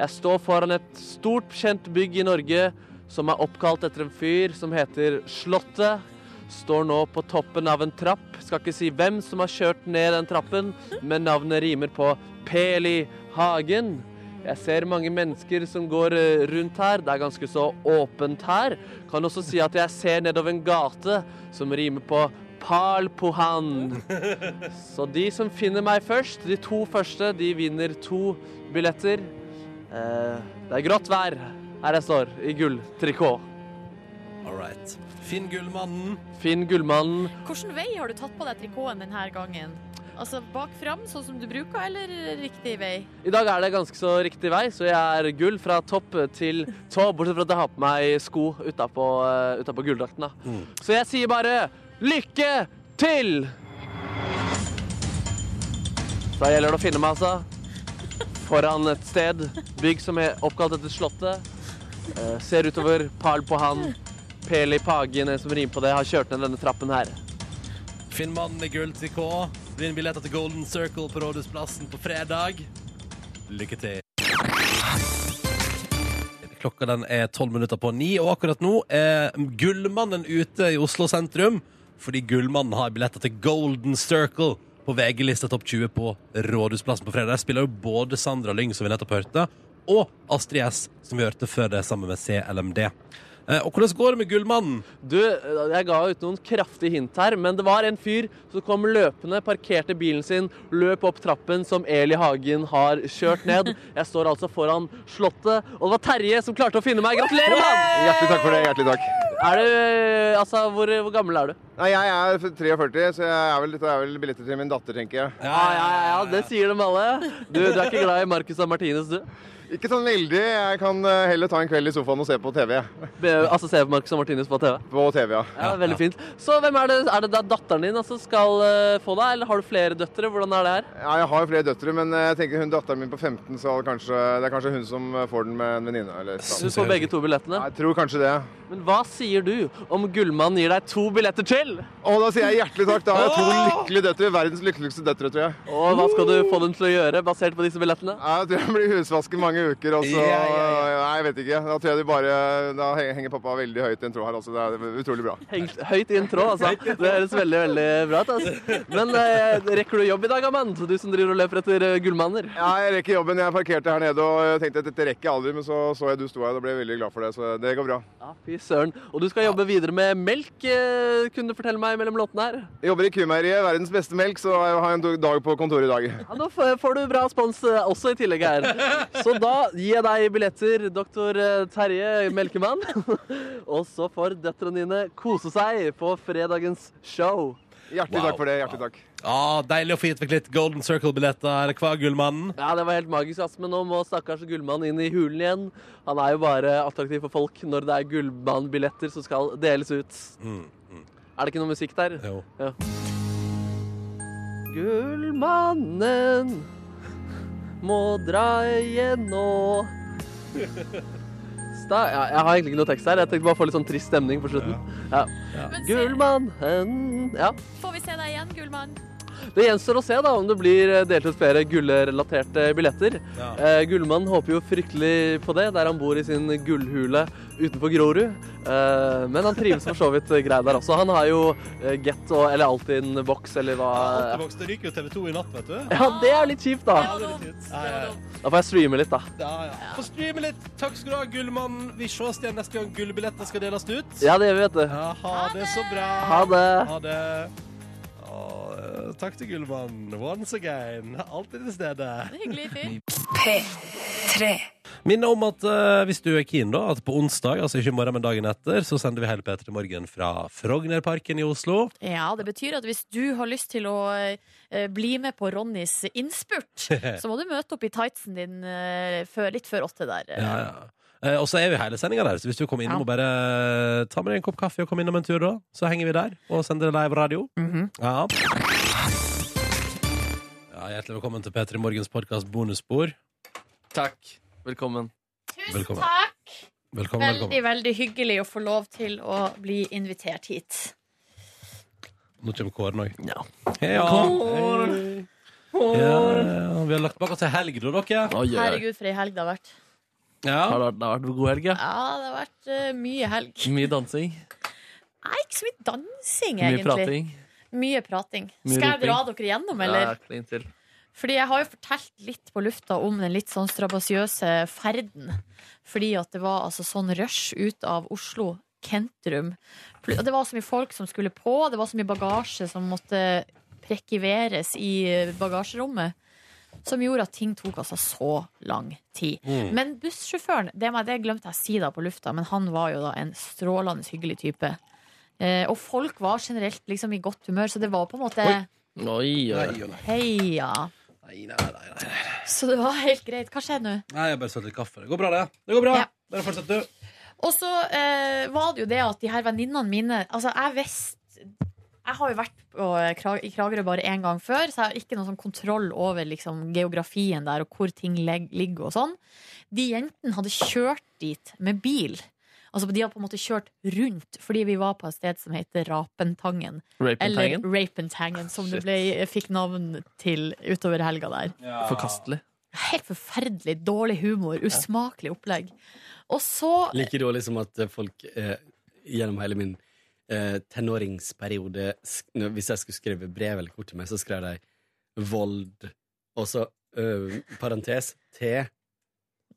S4: Jeg står foran et stort kjent bygg i Norge som er oppkalt etter en fyr som heter Slottet. Står nå på toppen av en trapp. Skal ikke si hvem som har kjørt ned den trappen, men navnet rimer på Peli Hagen. Jeg ser mange mennesker som går eh, rundt her. Det er ganske så åpent her. Kan også si at jeg ser nedover en gate som rimer på Palpohan. Så de som finner meg først, de to første, de vinner to billetter. Eh, det er grått vær her jeg står, i gulltrikot.
S10: All right. Finn Gullmannen.
S4: Finn Gullmannen.
S3: Hvilken vei har du tatt på deg trikoten denne gangen? Altså bak fram, sånn som du bruker, eller riktig vei?
S4: I dag er det ganske så riktig vei, så jeg er gull fra topp til tå, bortsett fra at jeg har på meg sko utapå, eh, utapå gulldrakten. da. Så jeg sier bare lykke til! Da gjelder det å finne meg, altså. Foran et sted. Bygg som er oppkalt etter Slottet. Eh, ser utover Parl på han. Peli Pagen, en som rimer på det, har kjørt ned denne trappen her.
S10: Finn mannen i gulltrikot. Vinn billetter til Golden Circle på Rådhusplassen på fredag. Lykke til. Klokka den er tolv minutter på ni, og akkurat nå er Gullmannen ute i Oslo sentrum. Fordi Gullmannen har billetter til Golden Circle på VG-lista Topp 20 på Rådhusplassen på fredag. Der spiller jo både Sandra Lyng, som vi nettopp hørte, og Astrid S, som vi hørte før det, sammen med CLMD. Eh, Og hvordan går det med Gullmannen?
S4: Du, jeg ga ut noen kraftige hint her, men det var en fyr som kom løpende, parkerte bilen sin, løp opp trappen som Eli Hagen har kjørt ned. Jeg står altså foran Slottet, og det var Terje som klarte å finne meg. Gratulerer, mann!
S11: Hjertelig takk for det. hjertelig takk.
S4: Er du Altså, hvor, hvor gammel er du?
S11: Nei, Jeg er 43, så jeg er vel, dette er vel billetter til min datter, tenker jeg.
S4: Ja, ja, ja, ja, det sier de alle. Du, du er ikke glad i Marcus og Martinus, du?
S11: Ikke sånn veldig. Jeg kan eh, heller ta en kveld i sofaen og se på TV.
S4: Be- Altså, se på Marcus og Martinus på TV.
S11: På TV, ja.
S4: Ja, Veldig fint. Så hvem er det Er det da datteren din altså, skal eh, få deg, eller har du flere døtre? Hvordan er det her?
S11: ja. Jeg har jo flere døtre, men eh, jeg tenker hun datteren min på 15, så det er kanskje, det er kanskje hun som eh, får den med en venninne. eller et eller
S4: Du
S11: annet.
S4: får begge to billettene.
S11: Jeg tror kanskje det. Men
S4: Hva sier du om Gullmannen gir deg to billetter til?
S11: Og da sier jeg hjertelig takk. Da har jeg to lykkelige døtre. Verdens lykkeligste døtre, tror jeg.
S4: Og hva skal du få dem til å gjøre basert på disse billettene?
S11: Jeg tror jeg blir husvasket mange uker, og så Nei, jeg vet ikke. Da tror jeg de bare Da henger pappa veldig høyt i en tråd her, altså. Det er utrolig bra.
S4: Hengt høyt i en tråd, altså. Det høres veldig veldig bra ut. altså. Men eh, rekker du jobb i dag, Amand? Du som driver og løper etter eh, gullmanner.
S11: Ja, jeg rekker jobben. Jeg parkerte her nede og jeg tenkte at dette rekker jeg aldri, men så så jeg du sto her og da ble jeg veldig glad for det, så det går bra.
S4: Ja, fy søren. Og du skal jobbe videre med melk, eh, kunne du fortelle meg mellom låtene her?
S11: Jeg jobber i Kumeieriet, verdens beste melk, så jeg har en do- dag på kontoret i dag.
S4: Ja, Nå f- får du bra spons eh, også i tillegg her. Så da gir jeg deg billetter, doktor eh, Terje Melkemann. Og så får døtrene dine kose seg på fredagens show.
S11: Hjertelig takk for det. Hjertelig takk.
S10: Ah, deilig å få gitt vekk litt Golden Circle-billetter. Er det hva, Gullmannen?
S4: Ja, det var helt magisk, ass, men nå må stakkars Gullmann inn i hulen igjen. Han er jo bare attraktiv for folk når det er Gullmann-billetter som skal deles ut.
S2: Mm,
S4: Er det ikke noe musikk der?
S10: Jo.
S4: Ja. Gullmannen må dra igjen nå. Sta ja, jeg har egentlig ikke noe tekst her. Jeg tenkte bare å få litt sånn trist stemning på slutten. Ja.
S3: Men se,
S4: Gullmannen Ja.
S3: får vi se deg igjen, Gullmann?
S4: Det gjenstår å se da om det blir eh, delt ut flere gullrelaterte billetter. Eh, Gullmann håper jo fryktelig på det, der han bor i sin gullhule utenfor Grorud. Eh, men han trives for så vidt eh, greit der også. Han har jo eh, Get og eller Altinn-boks eller hva eh.
S10: Altevågs, det ryker jo TV 2 i natt, vet du.
S4: Ja, det er litt kjipt, da.
S3: Det var dumt.
S10: Ja, ja, ja.
S4: Da får jeg streame litt, da.
S10: Ja, ja. Få streame litt. Takk skal du ha, Gullmannen. Vi ses igjen neste gang gullbilletter skal deles ut.
S4: Ja, det gjør vi, vet du.
S10: Ja, ha det så bra.
S4: Ha det.
S10: Ha det. Å, eh, takk til Gullmannen once again. Alltid til stede.
S3: Hyggelig fyr.
S1: P3.
S2: Minne om at eh, hvis du er keen, da, at på onsdag, altså ikke i morgen, men dagen etter, så sender vi hele P3 Morgen fra Frognerparken i Oslo.
S3: Ja, det betyr at hvis du har lyst til å eh, bli med på Ronnys innspurt, så må du møte opp i tightsen din eh, før, litt før åtte der. eh.
S2: Ja, ja. Eh, Og så er vi hele sendinga der, så hvis du kommer innom
S3: Ja.
S2: og bare ta med deg en kopp kaffe og kom innom en tur, da, så henger vi der og sender live radio.
S3: Mhm.
S2: Ja. ja. Hjertelig velkommen til P3 Morgens podkast bonusspor.
S4: Takk. Velkommen.
S3: Tusen
S2: Velkommen.
S3: takk!
S2: Velkommen,
S3: Veldig,
S2: velkommen.
S3: veldig hyggelig å få lov til å bli invitert hit.
S2: Nå kommer Kåren òg.
S4: Ja.
S2: Hei, ja. Hei. Ja, ja, vi har lagt bak oss ei helg, da, dere.
S4: Oi, oi, oi.
S3: Herregud, for ei helg det har vært.
S2: Ja.
S4: Har det vært- det har vært en god helg, ja?
S3: Ja, det har vært eh, mye helg.
S4: Mye dansing,
S3: Nei, ikke så mye dansing,
S4: mye
S3: egentlig.
S4: prating.
S3: Mye prating.
S4: Mye
S3: Skal jeg dra
S4: roping.
S3: dere gjennom,
S4: Ja,
S3: eller?
S4: klin til.
S3: Fordi jeg har jo fortalt litt på lufta om den litt sånn strabasiøse ferden. Fordi at det var altså sånn rush ut av Oslo Kentrum. Pl- Og det var så mye folk som skulle på, det var så mye bagasje som måtte prekiveres i eh, bagasjerommet. Som gjorde at ting tok altså så lang tid. Men bussjåføren, det, må jeg- det glemte jeg å si da på lufta, men han var jo da en strålende hyggelig type. Eh, og folk var generelt liksom i godt humør, så det var på en måte
S4: Oi, oi.
S3: Heia.
S2: Nei, nei, nei, nei.
S3: Så det var helt greit. Hva skjer nå?
S2: Nei, jeg bare sølte litt kaffe. Det går bra, det. Det går bra.
S3: Ja.
S2: Bare fortsett, du.
S3: Og så eh, var det jo det at de her venninnene mine Altså, jeg visste jeg har jo vært på, eh, Kra- i Kragerø bare én gang før, så jeg har ikke noen sånn kontroll over liksom, geografien der og hvor ting leg- ligger og sånn. De jentene hadde kjørt dit med bil. Altså, De hadde på en måte kjørt rundt fordi vi var på et sted som heter Rapentangen. Eller
S4: Rapentangen.
S3: Rapentangen, som det
S4: Shit.
S3: ble, fikk navn til utover helga der.
S4: Forkastelig.
S3: Helt forferdelig dårlig humor. Usmakelig opplegg. Og så
S12: Like dårlig som at eh, folk eh, gjennom hele min eh, tenåringsperiode sk når- Hvis jeg skulle skrive brev eller kort til meg, så skrev de vold, og så eh, parentes T.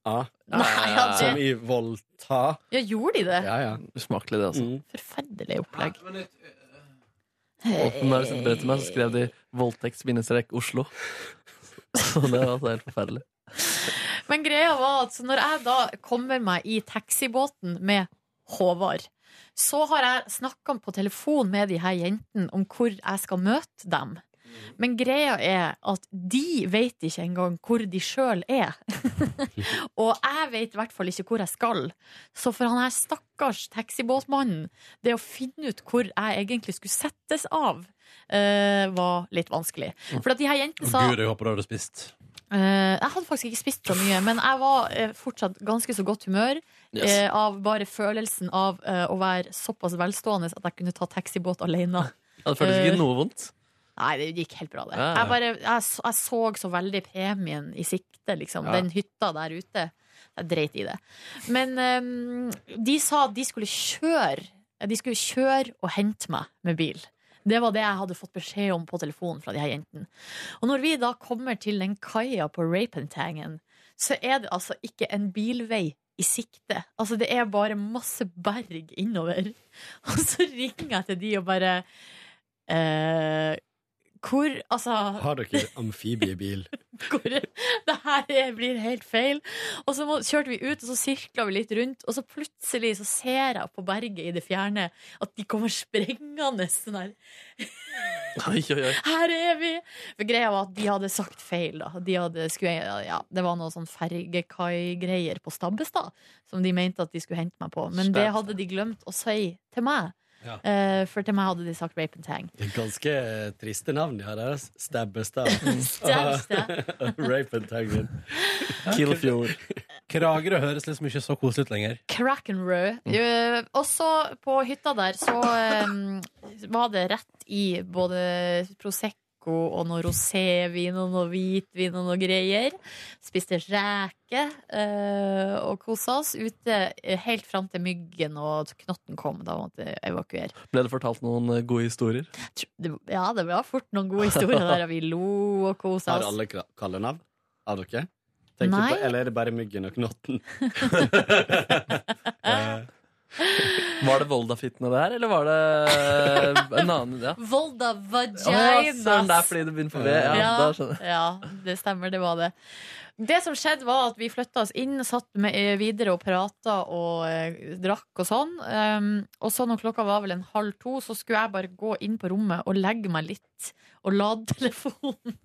S12: A.
S3: Nei, ja,
S12: Som
S3: det,
S12: i voldta.
S3: ja, gjorde de det?
S12: Ja, ja.
S4: Usmakelig, det, altså.
S12: Mm.
S3: Forferdelig opplegg.
S4: Og når de sendte brev til meg, så skrev de 'voldtekts-Oslo'. Så det var altså helt forferdelig.
S3: Men greia var at så når jeg da kommer meg i taxibåten med Håvard, så har jeg snakka på telefon med de her jentene om hvor jeg skal møte dem. Men greia er at de vet ikke engang hvor de sjøl er. og jeg vet i hvert fall ikke hvor jeg skal. Så for han her stakkars taxibåtmannen, det å finne ut hvor jeg egentlig skulle settes av, eh, var litt vanskelig. For at de her jentene sa
S2: Gud, jeg håper du har spist.
S3: Eh, jeg hadde faktisk ikke spist så mye, men jeg var eh, fortsatt ganske så godt humør eh, av bare følelsen av eh, å være såpass velstående at jeg kunne ta taxibåt alene.
S4: Ja, det føltes ikke noe vondt.
S3: Nei, det gikk helt bra, det.
S4: Ja, ja.
S3: Jeg, bare, jeg, så- jeg så så veldig premien i sikte, liksom.
S4: Ja.
S3: Den hytta der ute. Jeg dreit i det. Men eh, de sa at de skulle kjøre. De skulle kjøre og hente meg med bil. Det var det jeg hadde fått beskjed om på telefonen fra de her jentene. Og når vi da kommer til den kaia på Rapentangen, så er det altså ikke en bilvei i sikte. Altså, det er bare masse berg innover. Og så ringer jeg til de og bare eh, Hvor Altså
S12: Har dere amfibiebil?
S3: hvor det her er- blir helt feil. Og så må, kjørte vi ut, og så sirkla vi litt rundt, og så plutselig så ser jeg på berget i det fjerne at de kommer sprengende sånn her.
S4: Oi, oi, oi.
S3: Her er vi! For greia var at de hadde sagt feil, da. De hadde, skulle, ja, det var noe sånn fergekai-greier på Stabbestad som de mente at de skulle hente meg på. Men det hadde de glemt å si til meg.
S2: Ja.
S3: Eh, for til meg hadde de sagt rape and tang.
S12: Det er ganske triste navn de har der. altså. Stabbestad.
S3: Stemmer det?
S12: Rapentangen.
S4: Killfjord.
S2: Kragerø høres liksom ikke så koselig ut lenger.
S3: Krakenrød.
S4: Mm.
S3: Eh, også på hytta der så eh, var det rett i både Prosecco prosecco og noe rosévin og noe hvitvin og noe greier. Spiste reke eh, og kosa oss ute eh, helt fram til myggen og knotten kom. Da måtte jeg evakuere.
S4: Ble det fortalt noen eh, gode historier?
S3: Det, ja, det var fort noen gode historier der. og Vi lo og kosa
S12: Har
S3: oss.
S12: alle kla- kallenavn av dere? Tenker
S3: Nei.
S12: på- Eller er det bare myggen og knotten?
S4: Var det Volda-fittene det her, eller var det eh, en annen idé?
S3: Volda
S4: Å,
S3: vaginas.
S4: søren, det er fordi det begynner på V. Ja, da skjønner jeg.
S3: ja, det stemmer, det var det. Det som skjedde, var at vi flytta oss inn, satt med, eh, videre og prata og eh, drakk og sånn. Um, og så når klokka var vel en halv to, så skulle jeg bare gå inn på rommet og legge meg litt og lade telefonen.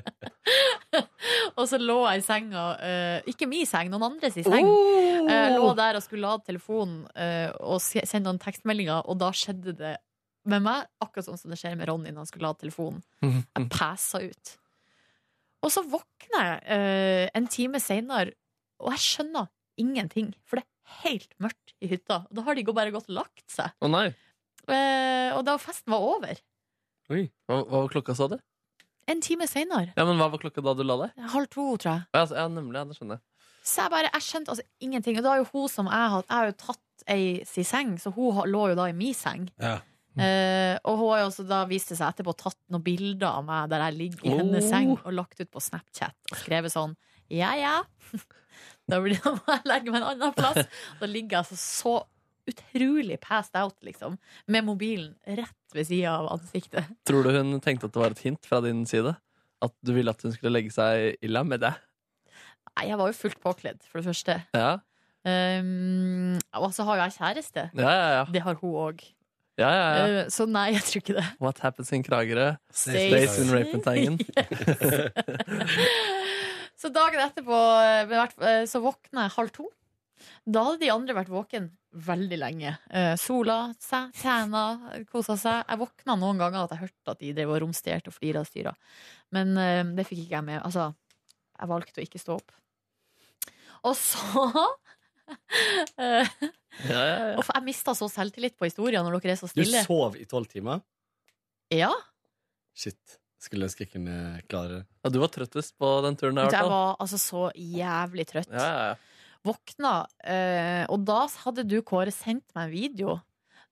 S3: og så lå jeg i senga, eh, ikke min seng, noen andres i seng.
S4: Oh!
S3: Jeg Eh, lå der og skulle lade telefonen eh, og se- sende noen tekstmeldinger, og da skjedde det med meg akkurat sånn som det skjer med Ronny når han skulle lade telefonen. Jeg passa ut. Og så våkner jeg eh, en time seinere, og jeg skjønner ingenting, for det er helt mørkt i hytta. Og da har de gå- bare gått og lagt seg.
S4: Å nei.
S3: Eh, og da festen var over,
S4: Hva, hva var klokka, sa du?
S3: en time seinere,
S4: Ja, men Hva var klokka da du la deg?
S3: halv to, tror jeg
S4: Ja, altså, ja nemlig. Ja, det skjønner jeg.
S3: Så jeg bare, jeg skjønte altså ingenting Og da er jo hun som jeg har Jeg har jo tatt ei si seng Så hun har- lå jo da i min seng
S2: Ja.
S3: Eh, Og hun har jo også da viste seg etterpå Tatt noen bilder av meg der jeg ligger i hennes seng Og lagt ut på Snapchat Og skrevet sånn, ja ja Da blir det om jeg legger meg en annen plass Da ligger jeg altså så utrolig Passed out liksom Med mobilen rett ved siden av ansiktet
S4: Tror du hun tenkte at det var et hint fra din side? At du ville at hun skulle legge seg i lag med deg?
S3: Nei, jeg var jo fullt påkledd for det første
S4: Ja,
S3: um, Og så har jo jeg kjæreste
S4: ja, ja. ja.
S3: Det har hun også
S4: ja, ja, ja.
S3: Eh, Så nei, jeg tror ikke det.
S4: What happens in Kragerø?
S3: Stays.
S4: Stays in Rapentangen.
S3: Så dagen etterpå eh, hvert- eh, så våkna jeg halv to. Da hadde de andre vært våken veldig lenge. Eh, Sola seg, tjena, kosa seg. Jeg våkna noen ganger at jeg hørte at de drev og romsterte og flira og styra. Men eh, det fikk ikke jeg med. Altså, jeg valgte å ikke stå opp. Og så eh,
S4: Ja, ja, ja.
S3: uff, Jeg mista så selvtillit på historien når dere er så
S12: Du
S3: stille.
S12: sov i tolv timer?
S3: Ja,
S12: Shit. Skulle ønske jeg kunne klare det.
S4: ja, du var trøttest på den turen. i hvert
S3: Jeg
S4: fall.
S3: var altså så jævlig trøtt.
S4: Ja, ja, ja.
S3: våkna, eh, og da hadde du, Kåre, sendt meg en video.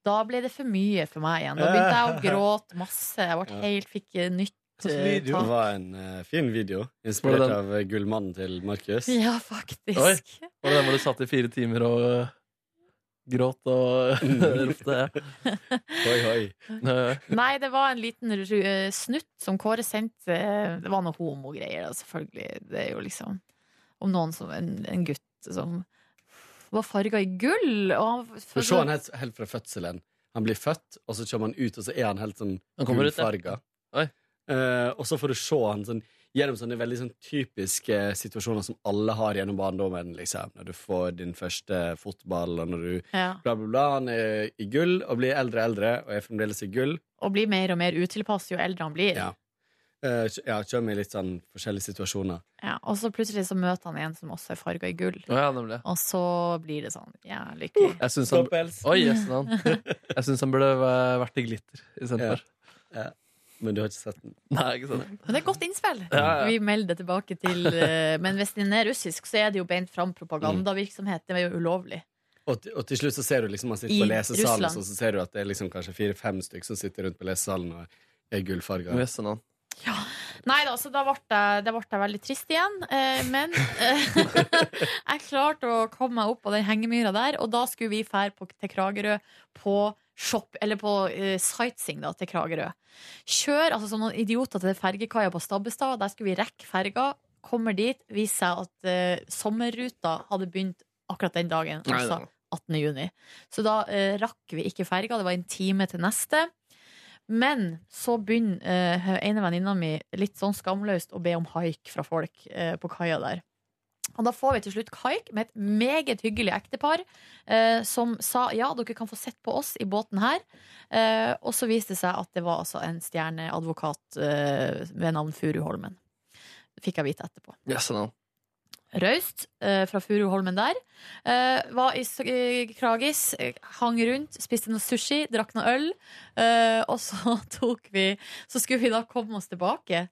S3: Da ble det for mye for meg igjen. Da begynte jeg å gråte masse. Jeg ble
S12: Ja.
S3: helt, fikk eh, nytt eh,
S12: Det
S3: tak.
S12: var en eh, fin video,
S4: Var det
S12: inspirert
S4: den?
S12: av eh, gullmannen til Markus.
S3: Ja, faktisk.
S4: Var det den hvor du satt i fire timer og øh, gråt og ropte?
S12: Hoi, hoi.
S4: Ja.
S3: Nei, det var en liten ru- eh, snutt som Kåre sendte. eh, Det var noe homogreier, da, selvfølgelig. Det er jo liksom om noen som En, en gutt som var farga i gull. Og han,
S12: For se han helt, helt fra fødselen. Han blir født, og så kommer han ut, og så er han helt sånn
S4: Han kommer ut, ja.
S12: gullfarga.
S4: Oi.
S12: Eh, og så får du se han sånn, gjennom sånne veldig sånn typiske situasjoner som alle har gjennom barndommen. Liksom. Når du får din første fotball, og når du
S3: ja,
S12: bla, bla, bla. Han er i gull og blir eldre og eldre, og er fremdeles i gull.
S3: og blir mer og mer utilpass jo eldre han blir.
S12: Ja. Eh, kj- ja, kommer i litt sånn forskjellige situasjoner.
S3: Ja, og så plutselig så møter han en som også er farga i gull.
S4: Å, ja, nemlig.
S3: Og så blir det sånn Ja, lykkelig.
S4: Jeg syns han, Oi, yes, han. Jeg synes han burde væ- vært i glitter istedenfor.
S12: Men du har ikke sett den.
S4: Nei, ikke sant?
S3: Men det er godt innspill.
S4: Ja, ja.
S3: Vi melder det tilbake til eh, Men hvis den er russisk, så er det jo beint fram propagandavirksomhet. Det er jo ulovlig.
S12: Og til, og til slutt så ser du liksom han sitter
S3: I
S12: på lesesalen,
S3: Russland.
S12: og så ser du at det er liksom kanskje fire-fem stykker som sitter rundt på lesesalen og er gullfarga.
S4: Yes, han.
S3: Nei da, så da ble jeg, da ble jeg veldig trist igjen. eh, men eh, jeg klarte å komme meg opp av den hengemyra der, og da skulle vi fære på, til Kragerø på shop, eller på eh, sightseeing da, til Kragerø. Kjør altså som noen idioter til fergekaia på Stabbestad. Der skulle vi rekke ferga. Kommer dit, viser seg at eh, sommerruta hadde begynt akkurat den dagen.
S4: Nei,
S3: Altså
S4: nei.
S3: 18. juni. Så da eh, rakk vi ikke ferga. Det var en time til neste. Men så begynner eh, ene venninna mi litt sånn skamløst å be om haik fra folk eh, på kaia der. Og da får vi til slutt haik med et meget hyggelig ektepar eh, som sa ja, dere kan få sett på oss i båten her. Eh, og så viste det seg at det var altså en stjerneadvokat eh, ved navn Furuholmen. Fikk jeg vite etterpå.
S4: Yes, han.
S3: Raust eh, fra Furuholmen der. Eh, var i S- i Kragis, eh, hang rundt, spiste noe sushi, drakk noe øl. eh, og så tok vi Så skulle vi da komme oss tilbake.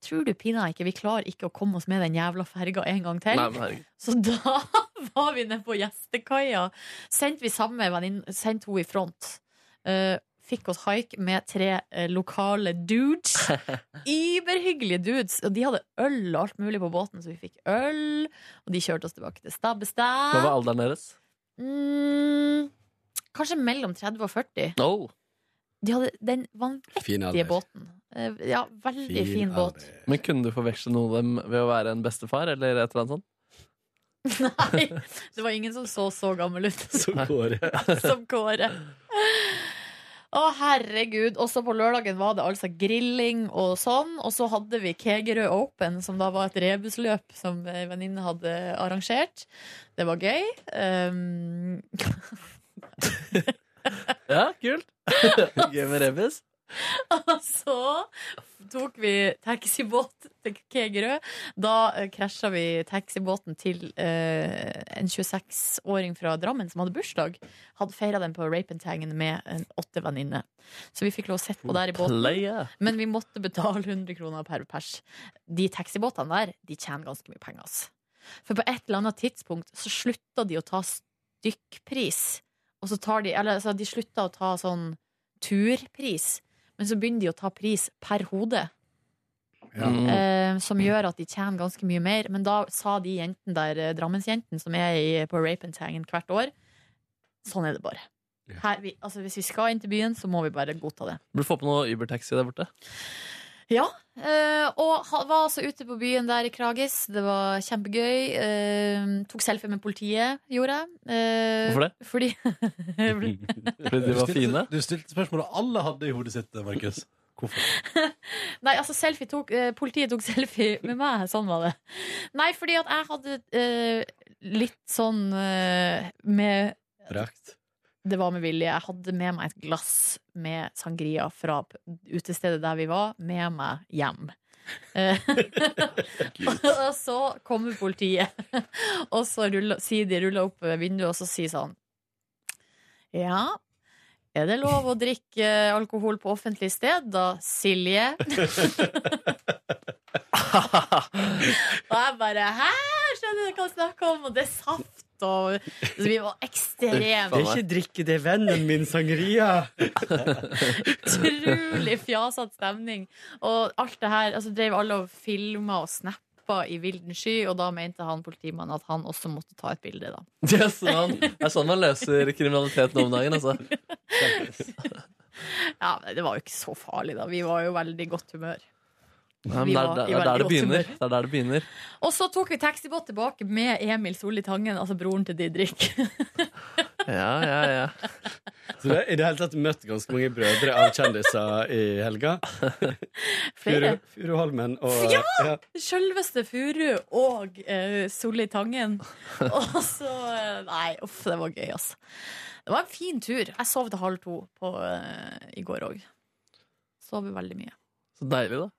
S3: Tror du pinadø ikke vi klarer ikke å komme oss med den jævla ferga en gang til?
S4: Nei, men herregud.
S3: Så da var vi nede på gjestekaia. Sendte vi samme venninne, sendte hun i front. Eh, fikk oss haik med tre eh, lokale dudes. Iberhyggelige dudes. Og de hadde øl og alt mulig på båten, så vi fikk øl. Og de kjørte oss tilbake til Stabbestad.
S4: Hva var alderen deres?
S3: Mm, kanskje mellom 30 og 40.
S4: No.
S3: De hadde den vanvittige
S12: Fin alder.
S3: båten. Eh, Ja, veldig fin,
S12: Fin
S3: båt.
S12: alder.
S4: Men kunne du forveksle noen av dem ved å være en bestefar eller et eller annet sånt?
S3: Nei, det var ingen som så så gammel ut
S12: Så går det.
S3: som Kåre. Å, herregud. Også på lørdagen var det altså grilling og sånn. Og så hadde vi Kegerø Open, som da var et rebusløp som ei venninne hadde arrangert. Det var gøy. Um,
S4: Ja, kult. Gøy med rebus.
S3: Og så tok vi taxibåt til Kegerø. Da eh, krasja vi taxibåten til eh, en 26-åring fra Drammen som hadde bursdag. Hadde feira den på Rapentangen med en åtte venninner. Så vi fikk lov å sitte på der i båten.
S4: Playa.
S3: Men vi måtte betale 100 kroner per pers. De taxibåtene der de tjener ganske mye penger. ass. For på et eller annet tidspunkt så slutta de å ta stykkpris. Og så tar de, eller, altså, de slutta å ta sånn turpris, men så begynner de å ta pris per hode.
S4: Mm.
S3: Eh, som gjør at de tjener ganske mye mer. Men da sa de jentene der, eh, Drammensjentene som er i, på Rapentangen hvert år, sånn er det bare. Her, vi, altså, hvis vi skal inn til byen, så må vi bare godta det.
S4: Burde få på noe Uber-taxi der borte.
S3: Eh. Ja, eh, og ha- var altså ute på byen der i Kragis. Det var kjempegøy. Eh, tok selfie med politiet, gjorde jeg. Eh,
S4: Hvorfor det?
S3: Fordi
S4: Fordi de var fine.
S2: Du stilte spørsmålet alle hadde i hodet sitt, Markus. Hvorfor?
S3: Nei, altså selfie tok eh, Politiet tok selfie med meg, sånn var det. Nei, fordi at jeg hadde eh, litt sånn eh, med
S12: Rakt.
S3: Det var med vilje. Jeg hadde med meg et glass med sangria fra p- utestedet der vi var, med meg hjem. Eh, og så kommer politiet, og så ruller, sier de ruller opp vinduet, og så sier sånn Ja, er det lov å drikke alkohol på offentlig sted da, Silje? Og jeg bare Hæ, skjønner du hva jeg snakker om? Og det er saft. Og så vi var ekstremt
S12: Det er ikke drikke, det er vennen min, sangria.
S3: Utrolig fjasete stemning. Og alt det her altså, drev alle og filma og snappa i vilden sky, og da mente han politimannen at han også måtte ta et bilde, da.
S4: Det er sånn, det er sånn man løser kriminalitet nå om dagen, altså.
S3: Ja, men Det var jo ikke så farlig, da. Vi var jo veldig i godt humør.
S4: Nei, men
S3: Vi
S4: det,
S3: var
S4: er, det, er der
S3: i
S4: det,
S3: veldig godt
S4: begynner. det er der det begynner.
S3: Og så tok vi taxibåt tilbake med Emil Solli Tangen, altså broren til Didrik.
S4: Ja, ja, ja.
S12: Så det, I det hele tatt møtt ganske mange brødre av kjendiser i helga.
S3: Flere.
S12: Furu- Furuholmen og
S3: Ja!
S12: ja.
S3: Sjølveste Furu og eh, Solli Tangen. Og så eh, Nei, uff, det var gøy, altså. Det var en fin tur. Jeg sov til halv to på, eh, i går òg. Sov veldig mye.
S4: Så deilig, da.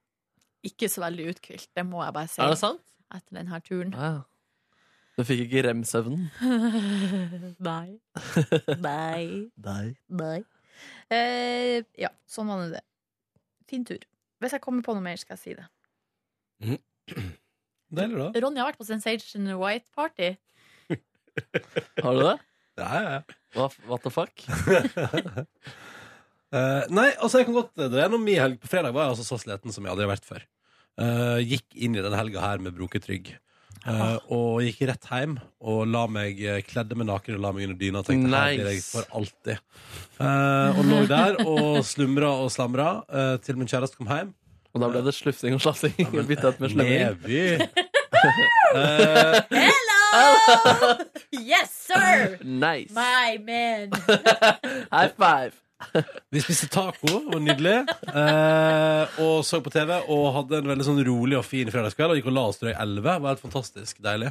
S3: Ikke så veldig uthvilt, det må jeg bare si.
S4: Er det sant?
S3: Etter denne turen.
S4: Ja. Du fikk ikke rem-søvnen?
S3: Nei. Nei.
S4: Nei.
S3: Nei. Eh, ja, sånn var nå det. Fin tur. Hvis jeg kommer på noe mer, skal jeg si det.
S2: Deilig, da.
S3: Ronny har vært på Sensation White Party.
S4: Har du det?
S2: Ja, ja, ja.
S4: Hva, what the fuck?
S2: Eh, nei, altså jeg kan godt dra gjennom min helg. På fredag var jeg altså så sliten som jeg aldri har vært før. Eh, gikk inn i den helga her med broket rygg. Eh, og gikk rett hjem og la meg eh, kledde meg naken og la meg under dyna. Og tenkte her blir jeg
S4: Nice.
S2: for alltid. Eh, og lå der og slumra og slamra eh, til min kjæreste kom hjem.
S4: Og da ble det slufsing og slafsing. Bytta ut med slemming.
S2: Neby. Eh,
S3: Yes, sir!
S4: Nice!
S3: My man!
S4: High five!
S2: Vi spiste taco, det var nydelig. Eh, og så på TV og hadde en veldig sånn rolig og fin fredagskveld. Og gikk og la oss til elleve. Det var helt fantastisk deilig.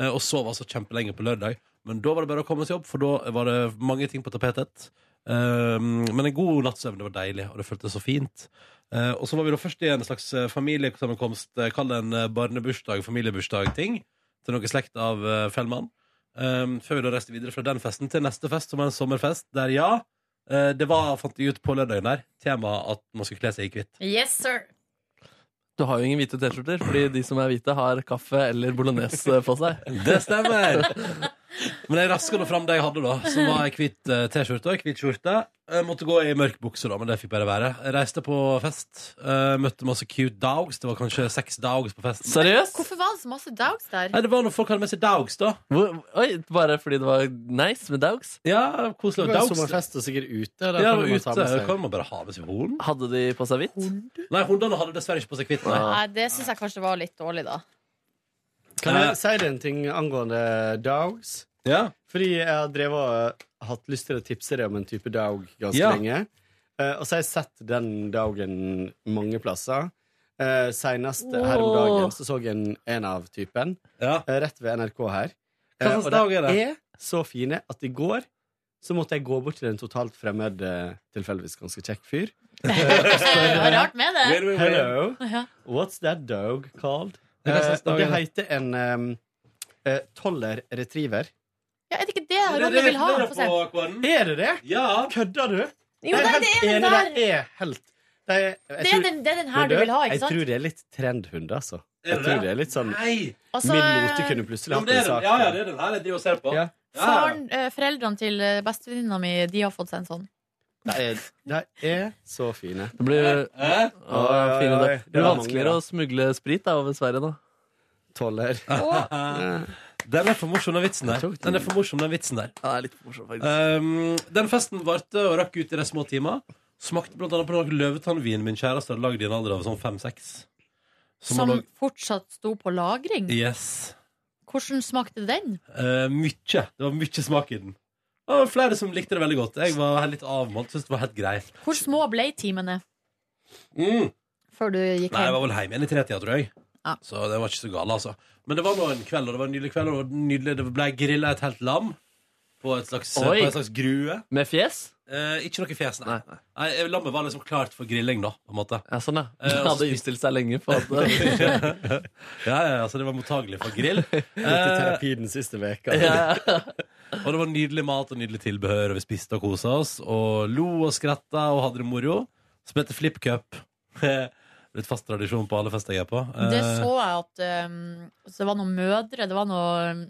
S2: Eh, og sov altså kjempelenge på lørdag. Men da var det bare å komme seg opp, for da var det mange ting på tapetet. Eh, men en god natts søvn, det var deilig, og det føltes så fint. Eh, og så var vi da først i en slags eh, familiesammenkomst, eh, kall det en eh, barnebursdag, familiebursdag-ting. til noe slekt av eh, Fellmann. Um, før vi da reiste videre fra den festen til neste fest, som er en sommerfest, der ja, eh, det var, fant jeg ut på lørdagen der, temaet at man skulle kle seg i hvitt.
S3: Yes, sir.
S4: Du har jo ingen hvite T-skjorter, fordi de som er hvite, har kaffe eller bolognese på seg.
S2: Det stemmer! Men jeg raska nå fram det jeg hadde, da. Som var ei hvit eh, T-skjorte og ei hvit skjorte. Jeg måtte gå i mørk bukse, da, men det fikk bare være. Jeg reiste på fest. eh, møtte masse cute dogs. Det var kanskje seks dogs på festen.
S4: Seriøst?
S3: Hvorfor var det så masse dogs der?
S2: Nei, det var når folk hadde med seg dogs, da.
S4: Hvor, oi, bare fordi det var nice med dogs?
S2: Ja, koselig.
S12: Det var jo
S2: Dogs.
S12: sommerfest og sikkert ute. Da
S2: Ja,
S12: kan man
S2: ute.
S12: ta med seg.
S2: Kan man bare ha med seg horn?
S4: Hadde de på seg hvitt?
S2: Nei, hundene hadde dessverre ikke på seg hvitt. Nei.
S12: Ah.
S3: Nei, det syns jeg kanskje var litt dårlig, da.
S12: Kan
S2: Eh,
S12: jeg si deg en ting angående dogs?
S2: ja.
S12: Fordi jeg har drevet og eh, hatt lyst til å tipse deg om en type dog ganske
S2: Ja.
S12: lenge. Eh, og så har jeg sett den dogen mange plasser. Uh, Seinest her om dagen så så jeg en, en av typen
S2: Ja.
S12: eh, rett ved NRK her.
S2: Hva slags
S12: Eh, og
S2: dog er
S12: De
S2: det?
S12: er så fine at i går så måtte jeg gå bort til en totalt fremmed, eh, tilfeldigvis ganske kjekk fyr.
S3: Det var rart med det.
S2: Wait, wait, wait.
S12: Hello,
S3: Ja.
S12: what's that dog called?
S2: Det er hva slags
S12: Eh, og
S2: dog
S12: det
S2: er det?
S12: heter en um, eh, toller retriever.
S3: Ja, er det ikke det Ronny vil ha? Få se.
S12: Er det det?
S2: Ja.
S12: Kødder du?
S3: Jo, nei, det er den der.
S12: Det er helt det er, jeg
S3: Det
S12: tror-
S3: er den, det er den
S12: Men
S3: her du vil ha, ikke
S12: Jeg
S3: sant?
S12: tror det er litt trendhund, altså.
S2: Er
S12: Jeg
S2: det
S12: tror
S2: det?
S12: det er litt sånn
S2: Nei!
S3: Altså,
S12: Min mote kunne plutselig
S2: Jo, men
S12: hatt
S2: det
S12: en
S2: er den.
S12: sak.
S2: Ja, ja, det er den her jeg driver og ser på.
S12: Ja.
S2: Ja.
S3: Faren, eh, foreldrene til eh, bestevenninna mi, de har fått seg en sånn.
S12: De er, de er så fine.
S4: Det blir,
S2: Hæ?
S4: å,
S12: Oi, oi,
S4: fine,
S12: oi.
S4: da.
S12: Det
S4: det blir
S12: var mange,
S4: vanskeligere
S12: da.
S4: å smugle sprit da, over Sverige nå.
S12: Toller. Eh,
S2: Den er for morsom, den vitsen der.
S12: Jeg tok den.
S2: Den er for morsom, den vitsen der.
S4: Ja, det er litt morsomt, faktisk.
S2: Um, den festen varte og rakk ut i de små timer. Smakte blant annet på noe løvetannvin min kjæreste hadde lagd i en alder av sånn fem-seks. Som
S3: Som
S2: han lag-
S3: fortsatt sto på lagring.
S2: Yes.
S3: Hvordan smakte den?
S2: Eh, mykje. Det var mye smak i den. Det var flere som likte det veldig godt. Jeg var litt avmålt. Syntes det var helt greit.
S3: Hvor små ble timene
S2: Mm.
S3: før du
S2: Nei, jeg
S3: gikk hjem?
S2: var vel hjemme igjen i tretida, tror jeg.
S3: Ja.
S2: Så det var ikke så gale, altså. Men det var nå en kveld, og det var en nydelig kveld, og det, var nydelig, det ble grilla et helt lam på et slags, på
S4: Oi.
S2: et slags grue.
S4: Med fjes?
S2: Eh, ikke noe fjes, nei.
S4: Nei, nei.
S2: nei. Lammet var liksom klart for grilling, da, på en måte.
S4: Ja, sånn, ja.
S2: Eh,
S4: Den
S2: og så
S4: hadde innstilt seg lenge på at
S2: Ja, ja, altså det var mottagelig for grill.
S12: Til
S2: Eh,
S12: terapi den siste veka.
S4: ja.
S2: og det var nydelig mat og nydelig tilbehør, og vi spiste og kosa oss, og lo og skratta og hadde det moro. Spilte flipcup. Litt fast tradisjon på alle fester jeg er på. Eh,
S3: Det så jeg at eh, så det var noen mødre Det var noe mm,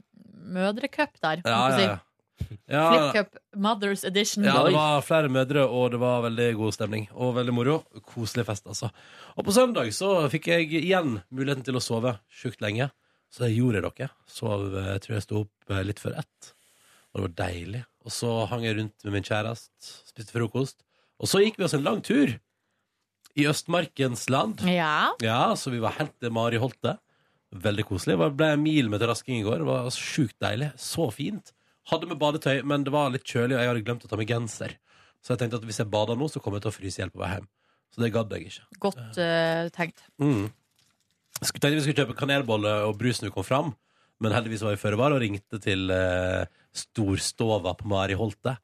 S3: mødrecup der.
S2: ja,
S3: holdt på å si.
S2: ja, ja. ja,
S3: Flipcup Mothers Edition.
S2: Ja, det
S4: Oi.
S2: var flere mødre, og det var veldig god stemning. Og veldig moro. Koselig fest, altså. Og på søndag så fikk jeg igjen muligheten til å sove sjukt lenge. Så det gjorde jeg dere. Sov, eh, jeg tror jeg sto opp eh, litt før ett. Og det var deilig. Og så hang jeg rundt med min kjæreste, spiste frokost. Og så gikk vi oss en lang tur i Østmarkens land.
S3: Ja.
S2: Ja, så vi var helt til Mari Holte. Veldig koselig. Det ble en mil med terrasking i går. Det var sjukt deilig. Så fint. Hadde med badetøy, men det var litt kjølig, og jeg hadde glemt å ta med genser. Så jeg tenkte at hvis jeg bader nå, så kommer jeg til å fryse i hjel på vei hjem. Så det gadd jeg ikke.
S3: Godt eh, tenkt.
S2: Mm. Skulle tenkte vi skulle kjøpe kanelbolle og brus når vi kom fram, men heldigvis var vi føre var og ringte til eh, storstova på Mari Holte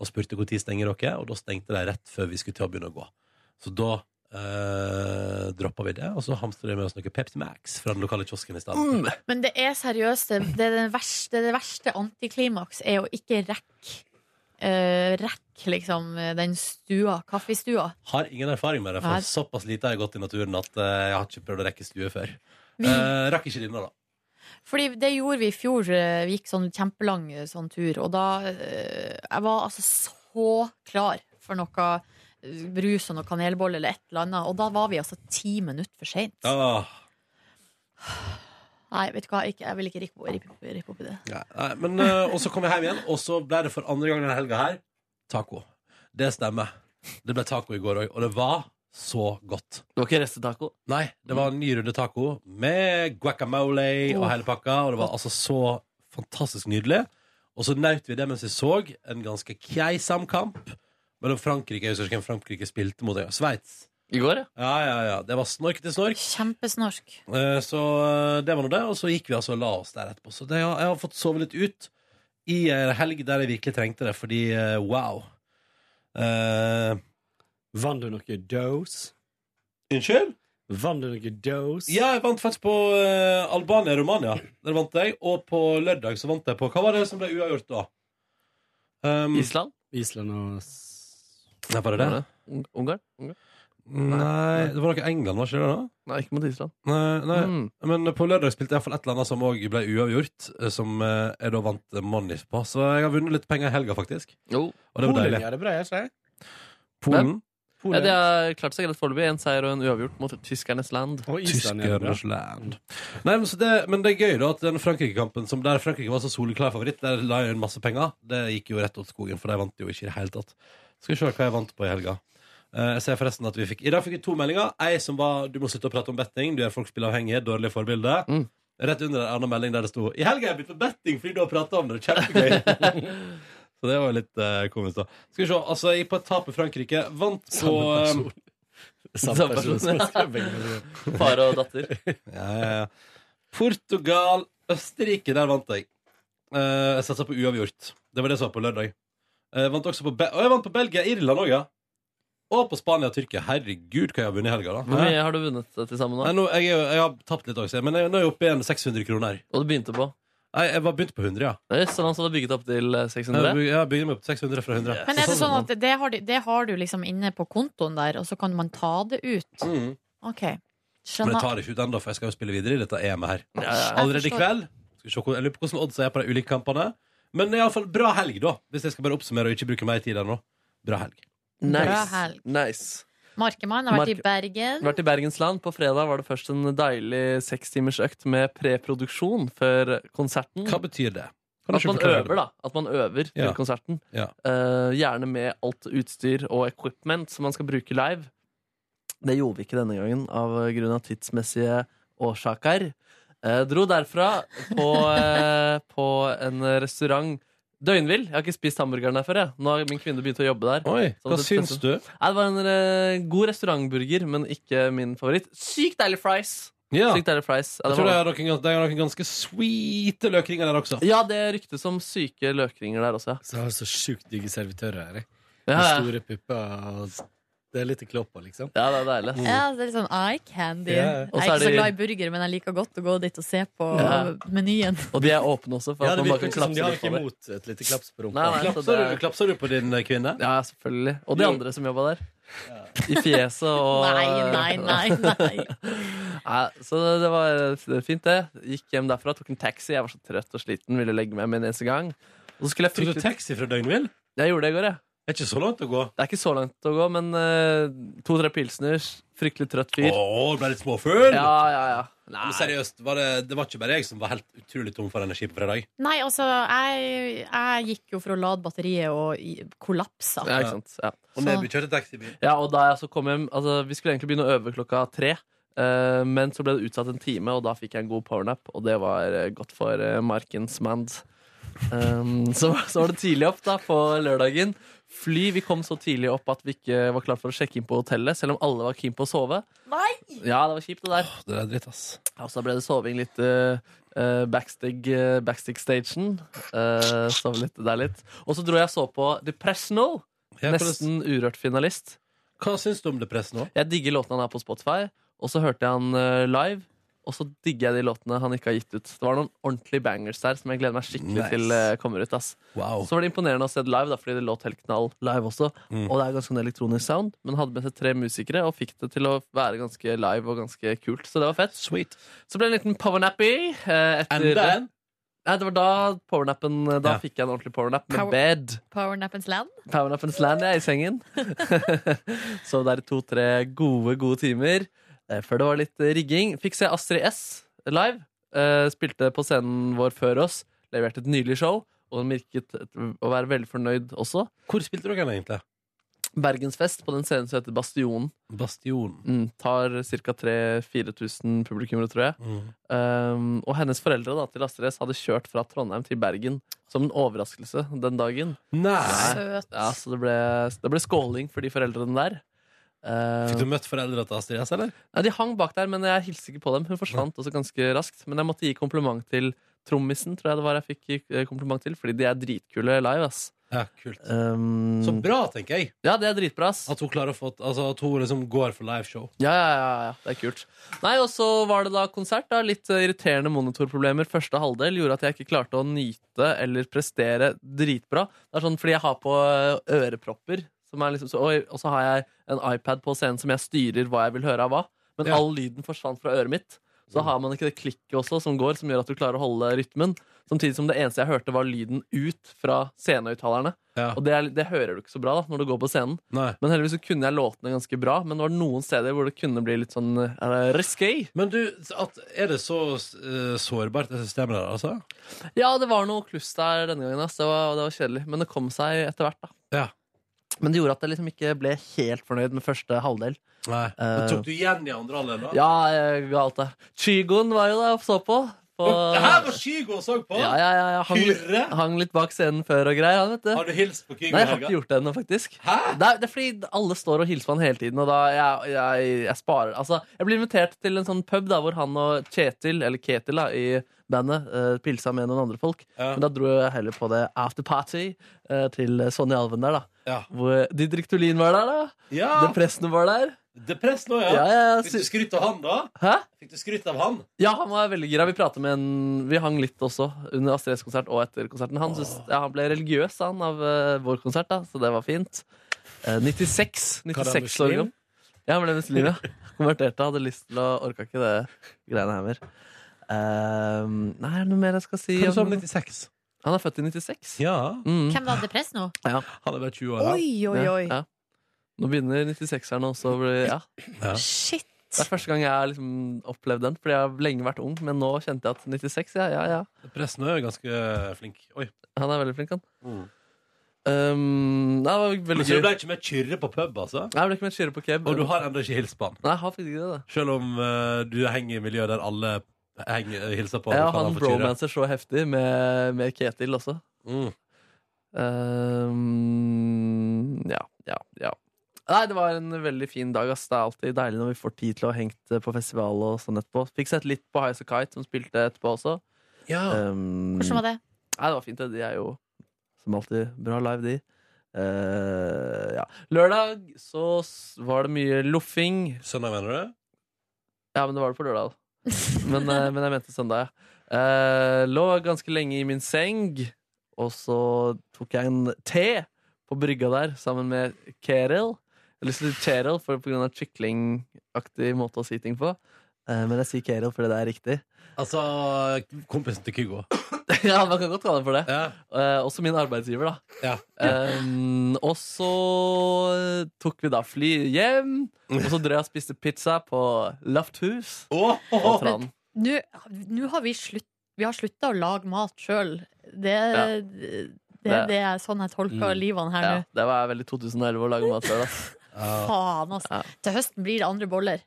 S2: og spurte når stenger dere, og da stengte de rett før vi skulle til å begynne å gå. Så da eh, droppa vi det, og så hamstra vi med oss noe Pepsi Max fra den lokale kiosken i stedet.
S3: Men det er seriøst. Det, det, er den verste, det verste antiklimaks er å ikke rekke eh, rekke liksom den stua, kaffestua.
S2: Har ingen erfaring med det,
S3: Nei.
S2: for såpass lite har jeg gått i naturen at eh, jeg har ikke prøvd å rekke stue før.
S3: Vi-
S2: Eh, rakk ikke denne, da.
S3: Fordi det gjorde vi i fjor. eh, Vi gikk sånn kjempelang eh, sånn tur. Og da eh, Jeg var altså så klar for noe eh, brus og noe kanelbolle eller et eller annet. Og da var vi altså ti minutter for seint.
S2: Ah,
S3: Nei, vet du hva, ikke, jeg vil ikke rippe ripp, ripp opp i det.
S2: nei, nei, men, eh, og så kom jeg hjem igjen, og så ble det for andre gang denne helga her taco. Det stemmer. Det ble taco i går òg, og det var så godt.
S4: Det var ikke restetaco.
S2: Nei, det var en ny runde taco med guacamole og hele pakka, og det var altså så fantastisk nydelig. Og så nøt vi det mens vi så en ganske keisam kamp mellom Frankrike Jeg husker ikke hvem Frankrike spilte mot, ja, Sveits.
S4: I går, ja.
S2: Ja, ja, ja. Det var snork til snork.
S3: Kjempesnork.
S2: Eh, Så eh, det var nå det, og så gikk vi altså og la oss der etterpå. Så det, jeg har fått sove litt ut i en helg der jeg virkelig trengte det, fordi eh, wow. Eh,
S12: Vant du noe dose?
S2: unnskyld?
S12: Vant du noen dose?
S2: Ja, jeg vant faktisk på eh, Albania-Romania. Der vant jeg. Og på lørdag så vant jeg på Hva var det som ble uavgjort da? Um,
S4: Island?
S12: Island og
S2: Nei, var det det?
S4: Ung- Ungarn? Ungarn?
S2: Nei, det var noe England, var ikke det da?
S4: Nei, ikke mot Island.
S2: Nei, nei.
S4: Mm.
S2: Men på lørdag spilte jeg iallfall et eller annet som òg ble uavgjort, eh, som eh, jeg da vant eh, money på. Så jeg har vunnet litt penger i helga, faktisk.
S4: Jo.
S2: Og det var deilig.
S12: gjør det bra, jeg ser.
S2: Polen,
S4: Ja, de har klart seg greit foreløpig. En seier og en uavgjort mot tyskernes land.
S12: Og Island gjør det bra.
S2: tyskernes land. Nei, men, så det, men det er gøy, da, at den Frankrike-kampen, som der Frankrike var så soleklar favoritt, der la jeg inn masse penger. Det gikk jo rett åt skogen, for de vant jo ikke i det hele tatt. Skal vi se hva jeg vant på i helga. Eh, Jeg ser forresten at vi fikk I dag fikk vi to meldinger. Ei som var 'Du må slutte å prate om betting. Du gjør folk spilleavhengige. Dårlig forbilde'.
S4: Mm.
S2: Rett under en annen melding der det sto 'I helga har jeg begynt med betting fordi du har prata om det'. Kjempegøy. Så det var jo litt eh, komisk, da. Skal vi se. Altså, jeg gikk på et tap i Frankrike. Vant på
S12: Samme
S2: eh,
S12: person. Samme
S4: Samme
S12: person som
S4: person.
S12: skrev begge melodier.
S4: Far og datter.
S2: ja, ja, ja. Portugal, Østerrike, der vant jeg. Eh, jeg satsa på uavgjort. Det var det som var på lørdag. Eh, Jeg vant også på, Be og jeg vant på Belgia, Irland òg, ja. Og på Spania og Tyrkia. Herregud, hva jeg har vunnet i helga, da.
S4: Hvor mye har du vunnet eh, til sammen
S2: Nei,
S4: nå?
S2: nå, jeg, er jo- jeg har tapt litt også, men jeg, nå er jeg oppe igjen 600 kroner.
S4: Og du begynte på?
S2: Nei, jeg var begynt på 100, ja.
S4: Nei, Så han hadde bygget opp til eh,
S2: Jeg,
S4: 600?
S2: byg- jeg bygde meg opp til 600 fra 100.
S3: Men er det sånn at det har, du, det har du liksom inne på kontoen der, og så kan man ta det ut?
S2: Mm.
S3: OK.
S2: Men jeg
S3: Skjønner.
S2: tar det ikke ut ennå, for jeg skal jo spille videre i dette EM-et her.
S4: Ja, ja.
S2: Allerede i
S3: forstår.
S2: kveld. Skal vi se, hvor- jeg lurer på hvordan odds er på de ulike kampene. Men iallfall bra helg, da. Hvis jeg skal bare oppsummere og ikke bruke mer tid ennå. Bra helg.
S3: Bra
S4: Nice.
S3: helg.
S4: nice.
S3: Markemann har vært i
S4: Mark-
S3: Bergen.
S4: Vært i Bergensland. På fredag var det først en deilig sekstimersøkt med preproduksjon før konserten.
S2: Hva betyr det? Kan du
S4: At
S2: ikke
S4: man
S2: forklare
S4: øver, da. At man øver til
S2: Ja.
S4: konserten.
S2: Ja.
S4: Eh, gjerne med alt utstyr og equipment som man skal bruke live. Det gjorde vi ikke denne gangen av grunn av tidsmessige årsaker. Eh, dro derfra på, eh, på en restaurant døgnvill. Jeg har ikke spist hamburgeren der før. Jeg. Nå har min kvinne begynt å jobbe der.
S2: det? Oi, hva
S4: Sånn at det
S2: syns du?
S4: Nei, det var en eh, god restaurantburger, men ikke min favoritt. Sykt deilig fries!
S2: Ja.
S4: Sykt deilig fries. Ja,
S2: Jeg
S4: det
S2: tror det
S4: var-
S2: er noen, det er noen ganske sweete løkringer der også.
S4: Ja, det ryktes om syke løkringer der også, ja.
S12: Så har du så sjukt digge servitører her. jeg. Med
S4: Ja, ja.
S12: store pupper og Det er litt i kloppa, liksom.
S4: ja det er deilig. ass.
S3: Ja, det er litt sånn eye candy.
S12: Ja, ja.
S3: Jeg
S4: Og så
S3: er
S4: er
S3: ikke så
S4: de-
S3: glad i burger, men jeg liker godt å gå dit og se på
S4: Ja.
S3: menyen.
S4: Og de er åpne også. For
S12: Ja,
S4: at
S12: det
S4: man bare kan
S12: virker ikke som de
S4: klapse
S12: har
S4: litt
S12: ikke
S4: på det.
S12: imot et lite klaps på rumpa.
S4: Nei, nei, så
S2: Klapser,
S4: det
S2: du,
S4: er...
S2: klapser du på din eh, kvinne?
S4: Ja, selvfølgelig. Og de andre som jobba der. I fjeset og
S3: Nei, nei, nei. nei.
S4: Nei, Så det var eh, fint, det. Gikk hjem derfra, tok en taxi. Jeg var så trøtt og sliten, ville legge meg med en eneste gang. Og så skulle jeg
S2: Tok du
S4: fryktelig
S2: taxi fra Døgnvill? Det
S4: Jeg gjorde det i går, jeg.
S2: er ikke så langt å gå.
S4: Det er ikke så langt å gå, men eh, to-tre pilsners, fryktelig trøtt fyr.
S2: Å, ble litt småfull?
S4: Ja, ja, ja.
S2: Men seriøst, var det, det var ikke bare jeg som var helt utrolig tom for energi på fredag.
S3: Nei, altså, jeg, jeg gikk jo for å lade batteriet og i- kollapsa.
S4: Ja, ikke sant? Ja.
S2: Og nedkjørte taxibil.
S4: Ja, og da jeg så kom hjem altså, Vi skulle egentlig begynne å øve klokka tre eh, Men så ble det utsatt en time Og da fikk jeg en god powernap Og det var eh, godt for eh, markens mand um, så, så var det tidlig opp da På lørdagen Fly, vi kom så tidlig opp at vi ikke var klar for å sjekke inn på hotellet Selv om alle var keen på å sove Ja, det var kjipt det der
S2: Det er dritt, ass.
S4: ja, Og så ble det soving litt eh, eh, backstig, eh, backstig-stagen. Eh, sov litt der litt. Og så dro jeg og så på The Presnal,
S2: Ja, hvordan-
S4: nesten urørt-finalist.
S2: Hva syns du om det presset nå?
S4: Jeg digger låtene han har på Spotify, og så hørte jeg han eh, live. Og så digger jeg de låtene han ikke har gitt ut. Det var noen ordentlige bangers der som jeg gleder meg skikkelig
S2: Nice. Oh.
S4: til eh, kommer ut. ass
S2: Wow.
S4: Så var det imponerende å se det live, da, fordi det låt helt knall live også.
S2: Mm.
S4: Og det er ganske en elektronisk sound, men hadde med seg tre musikere og fikk det til å være ganske live og ganske kult. Så det var fett.
S2: Sweet.
S4: Så ble det en liten powernappy. Eh, etter, Nei, det var da powernappen
S2: Ja.
S4: Da fikk jeg en ordentlig powernap med
S3: Power-
S4: bed.
S3: Powernappens land.
S4: Powernappens land, jeg, i sengen. Sov der i to-tre gode, gode timer. Eh, før det var litt eh, rigging. Fikk se Astrid S live. Eh, spilte på scenen vår før oss. Leverte et nydelig show. Og hun virket å være veldig fornøyd også.
S2: Hvor spilte dere den egentlig?
S4: Bergensfest på den scenen som heter Bastionen.
S2: Bastionen.
S4: Mm, tar ca. 3000-4000 publikummere, tror jeg.
S2: Mm.
S4: Um, og hennes foreldre da, til Astrid S hadde kjørt fra Trondheim til Bergen som en overraskelse den dagen.
S2: Nei!
S3: Søt.
S4: Ja, så det ble, det ble skåling for de foreldrene der. Uh,
S2: Fikk du møtt foreldra til Astrid S, eller?
S4: nei, de hang bak der, men jeg hilste ikke på dem. Hun forsvant også ganske raskt. Men jeg måtte gi kompliment til trommisen, tror jeg det var jeg fikk gi eh, kompliment til, fordi de er dritkule live. ass Ehm,
S2: Ja, kult. Mm. Så bra, tenker jeg.
S4: Ja, det er dritbra. ass.
S2: At hun klarer å få Altså at hun liksom går for liveshow.
S4: Ja, ja, ja, ja, det er kult. Nei, og så var det da konsert. da Litt eh, irriterende monitorproblemer første halvdel gjorde at jeg ikke klarte å nyte eller prestere dritbra. Det er sånn fordi jeg har på eh, ørepropper, som er liksom, så, og, og så har jeg en iPad på scenen som jeg styrer hva jeg vil høre av hva. Men
S2: Ja. Mm.
S4: all lyden forsvant fra øret mitt. Så har man ikke det klikket også som går, som gjør at du klarer å holde rytmen. Samtidig som det eneste jeg hørte, var lyden ut fra scenehøyttalerne.
S2: Ja.
S4: Og det, er, det hører du ikke så bra da når du går på scenen.
S2: Nei.
S4: Men heldigvis så kunne jeg låtene ganske bra, men det var noen steder hvor det kunne bli litt sånn eh, risky.
S2: Men du, at, er det så eh, sårbart, det systemet der, altså?
S4: Ja, det var noe kluss der denne gangen, ass. Det var, det var kjedelig. Men det kom seg etter hvert, da.
S2: Ja.
S4: Men det gjorde at jeg liksom ikke ble helt fornøyd med første halvdel.
S2: Nei.
S4: Eh,
S2: Men tok du igjen i andre halvdel, da?
S4: Ja, eh, galt det. Chygoen var jo der og så på. på
S2: Det her var Kygo og så på!
S4: ja, ja, ja, ja. Hang, litt-
S2: Kyrre?
S4: hang litt bak scenen før og greier, han, vet du.
S2: Har du hilst på Kygo i
S4: Nei, jeg har ikke
S2: helga?
S4: gjort det ennå, faktisk.
S2: Hæ?
S4: Det er, det er fordi alle står og hilser på han hele tiden, og da jeg, jeg, jeg sparer Altså, jeg blir invitert til en sånn pub da, hvor han og Kjetil, eller Ketil da, i bandet, eh, pilsa med noen andre folk.
S2: Ja.
S4: Men da dro jeg heller på det afterparty eh, til Sonja Alven der, da.
S2: Ja.
S4: Hvor Didrik Thulin var der, da.
S2: Ja!
S4: Depressen var der.
S2: Depress nå,
S4: Ja,
S2: ja.
S4: ja, ja.
S2: Fikk du
S4: sy-
S2: skryt av han, da?
S4: Hæ?
S2: Fikk du skryt av han?
S4: Ja, han var veldig gira. Vi pratet med en Vi hang litt også under Astrids konsert og etter konserten. Han, syntes- ja, han ble religiøs, han, av eh, vår konsert, da, så det var fint. Eh, 96,
S12: Hva, er han
S4: 96 år
S12: muslim?
S4: gammel. Ja, han ble muslim, ja. Konverterte, hadde lyst til å Orka ikke det greiene her mer. Eh, nei, er det noe mer jeg skal si?
S2: Hva sa
S4: om-
S2: du om 96?
S4: Han er født i 96.
S2: Ja.
S4: Mm.
S3: Hvem var depress nå?
S2: Han er bare 20 år, han.
S3: Oi, oi, oi.
S4: Ja. Nå begynner 96-erne også å bli ja.
S3: Shit.
S4: Det er første gang jeg har liksom opplevd den, fordi jeg har lenge vært ung. Men nå kjente jeg at 96, ja, ja, ja.
S2: Depress nå er jo ganske eh, flink. Oi.
S4: Han er veldig flink, han.
S2: Mm.
S4: Um, nei, det var veldig
S2: Men
S4: gøy.
S2: så du ble ikke med Kyrre på pub, altså?
S4: Nei, Jeg ble ikke med Chiro på keb.
S2: Og du har ennå ikke hilst på han?
S4: Nei, jeg har faktisk ikke det.
S2: Selv om eh, du henger i miljøet der alle henger, eh, hilser på
S4: da. Jeg
S2: og
S4: har
S2: kaller
S4: han
S2: for Kyrre.
S4: bromancer så heftig med, med Ketil også.
S2: Mm.
S4: Um, ja, ja, ja. Nei, det var en veldig fin dag. Ass. Det er alltid deilig når vi får tid til å ha hengt eh, på festival og sånn etterpå. Fikk sett litt på Highas Kite, som spilte etterpå også.
S2: Ja.
S4: Um,
S3: Hvordan var det?
S4: Nei, det var fint. det. De er jo som alltid bra live, de. Eh, ja. Lørdag så s- var det mye loffing.
S2: Søndag, mener du?
S4: Ja, men det var det på lørdag. da. Men, eh, men jeg mente søndag, ja. Eh, lå ganske lenge i min seng, og så tok jeg en te på brygga der sammen med Kerel. Jeg har lyst til å si Kerel for på grunn av kyklingaktig måte å si ting på. Eh, men jeg sier Kerel fordi det er riktig.
S2: Altså kompisen til Kygo.
S4: ja, man kan godt kalle det for det.
S2: Ja.
S4: Eh, også min arbeidsgiver, da.
S2: Ja.
S4: Ehm, og så tok vi da fly hjem, og så drøy jeg og spiste pizza på Lafthus. På Tran.
S3: Nå, nå har vi slutt Vi har slutta å lage mat sjøl. Det,
S4: Ja.
S3: det, det er sånn jeg tolker
S12: Mm.
S3: livene her
S4: Ja,
S3: nå.
S4: det var veldig 2011 å lage mat sjøl. ass.
S3: Faen,
S4: Ja.
S3: altså. Til høsten blir det andre boller.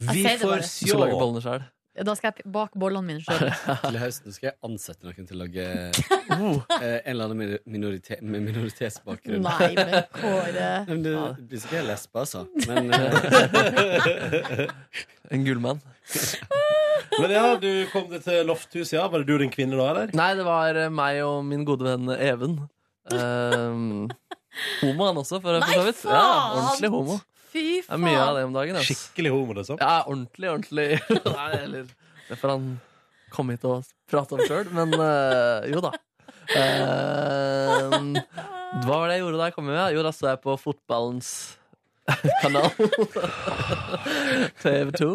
S2: Vi
S3: Jeg sier det
S2: får
S3: bare.
S4: Du skal lage
S2: sjå.
S4: bollene selv
S3: Da skal jeg bake bollene mine sjøl.
S12: Til høsten skal jeg ansette noen til å lage
S4: Oh.
S12: eh, en eller annen minori- minorite med minoritetsbakgrunn.
S3: Nei, men Kåre
S12: Nei, men Det
S4: Ja.
S12: det blir ikke lesbe, altså. Men eh,
S4: En gullmann.
S2: Men ja, du kom deg til Lofthuset, ja. Var det du og din kvinne da, eller?
S4: Nei, det var eh, meg og min gode venn eh, Even. Ehm, homo han også, for, for så vidt. Ja,
S3: faen!
S4: ordentlig homo.
S3: Fy
S4: Det er mye av
S3: faen!
S4: det om dagen. ass.
S2: Skikkelig homo, liksom.
S4: Ja, ordentlig, ordentlig. Nei, eller Det får han komme hit og prate om sjøl, men eh, jo da. Eh, hva var det jeg gjorde da jeg kom hjem? ja? Jo, da så jeg på fotballens kanal. TV2.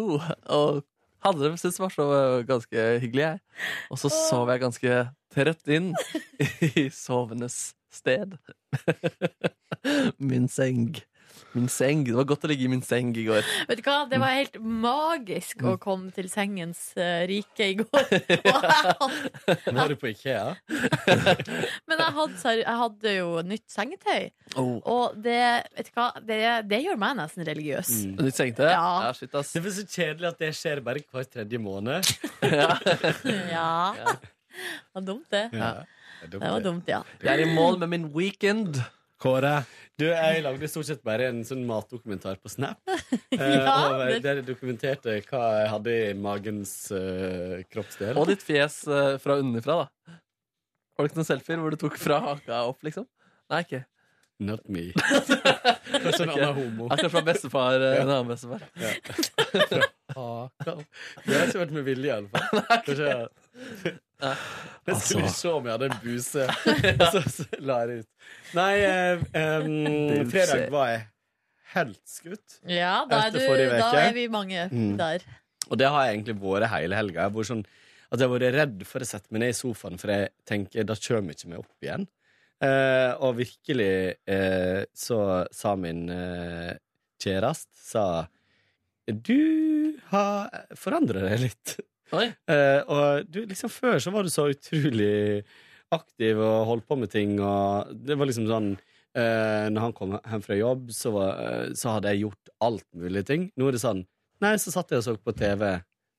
S4: Og hadde det syntes det var så eh, ganske hyggelig, jeg. Og så sov jeg ganske trøtt inn i sovendes sted. Min seng. Min seng. Det var godt å ligge i min seng i går.
S3: Vet du hva, det var helt magisk
S4: Mm.
S3: å komme til sengens eh, rike i går. Og jeg hadde,
S12: var du på Ikea?
S3: men jeg hadde, seri- jeg hadde jo nytt sengetøy.
S4: Oh.
S3: Og det, vet du hva, det, det gjør meg nesten religiøs.
S12: Mm.
S4: Nytt sengetøy?
S3: Ja.
S4: ja, shit, ass.
S12: Det er så kjedelig at det skjer bare hver tredje måned.
S4: Mm.
S3: Ja. Det var dumt, det.
S4: Ja.
S12: Det
S3: Det var dumt, ja.
S4: Jeg er i mål med min weekend.
S2: Kåre.
S12: Du, jeg lagde stort sett bare en sånn matdokumentar på Snap. Eh,
S3: Ja,
S12: over,
S3: det-
S12: Der jeg dokumenterte hva jeg hadde i magens eh, kroppsdel.
S4: Og ditt fjes eh, fra underfra, da. Har du ikke noen selfier hvor du tok fra haka opp, liksom? Nei, ikke.
S12: Not me.
S4: Kanskje
S12: en annen homo.
S4: Kanskje fra bestefar. eh, En annen bestefar.
S12: Hakan. Det har ikke vært med vilje, i alle fall. Kanskje jeg- Jeg skulle se om jeg hadde en buse, og så, så la jeg det ut. Nei, eh, em,
S4: Buse.
S12: fredag var jeg helt skutt.
S3: Ja, da er, du,
S12: Etter forrige
S3: da
S12: veke.
S3: er vi mange
S12: Mm.
S3: der.
S12: Og det har jeg egentlig vært hele helga. Jeg har vært sånn, at jeg har vært redd for å sette meg ned i sofaen, for jeg tenker da kommer jeg ikke meg opp igjen. Eh, og virkelig eh, så sa min eh, kjæreste sa Du har forandra deg litt.
S4: Oi.
S12: Eh, og du, liksom før så var du så utrolig aktiv og holdt på med ting, og det var liksom sånn eh, Når han kom hjem fra jobb, så, var, eh, så hadde jeg gjort alt mulig ting. Nå er det sånn Nei, så satt jeg og så på TV.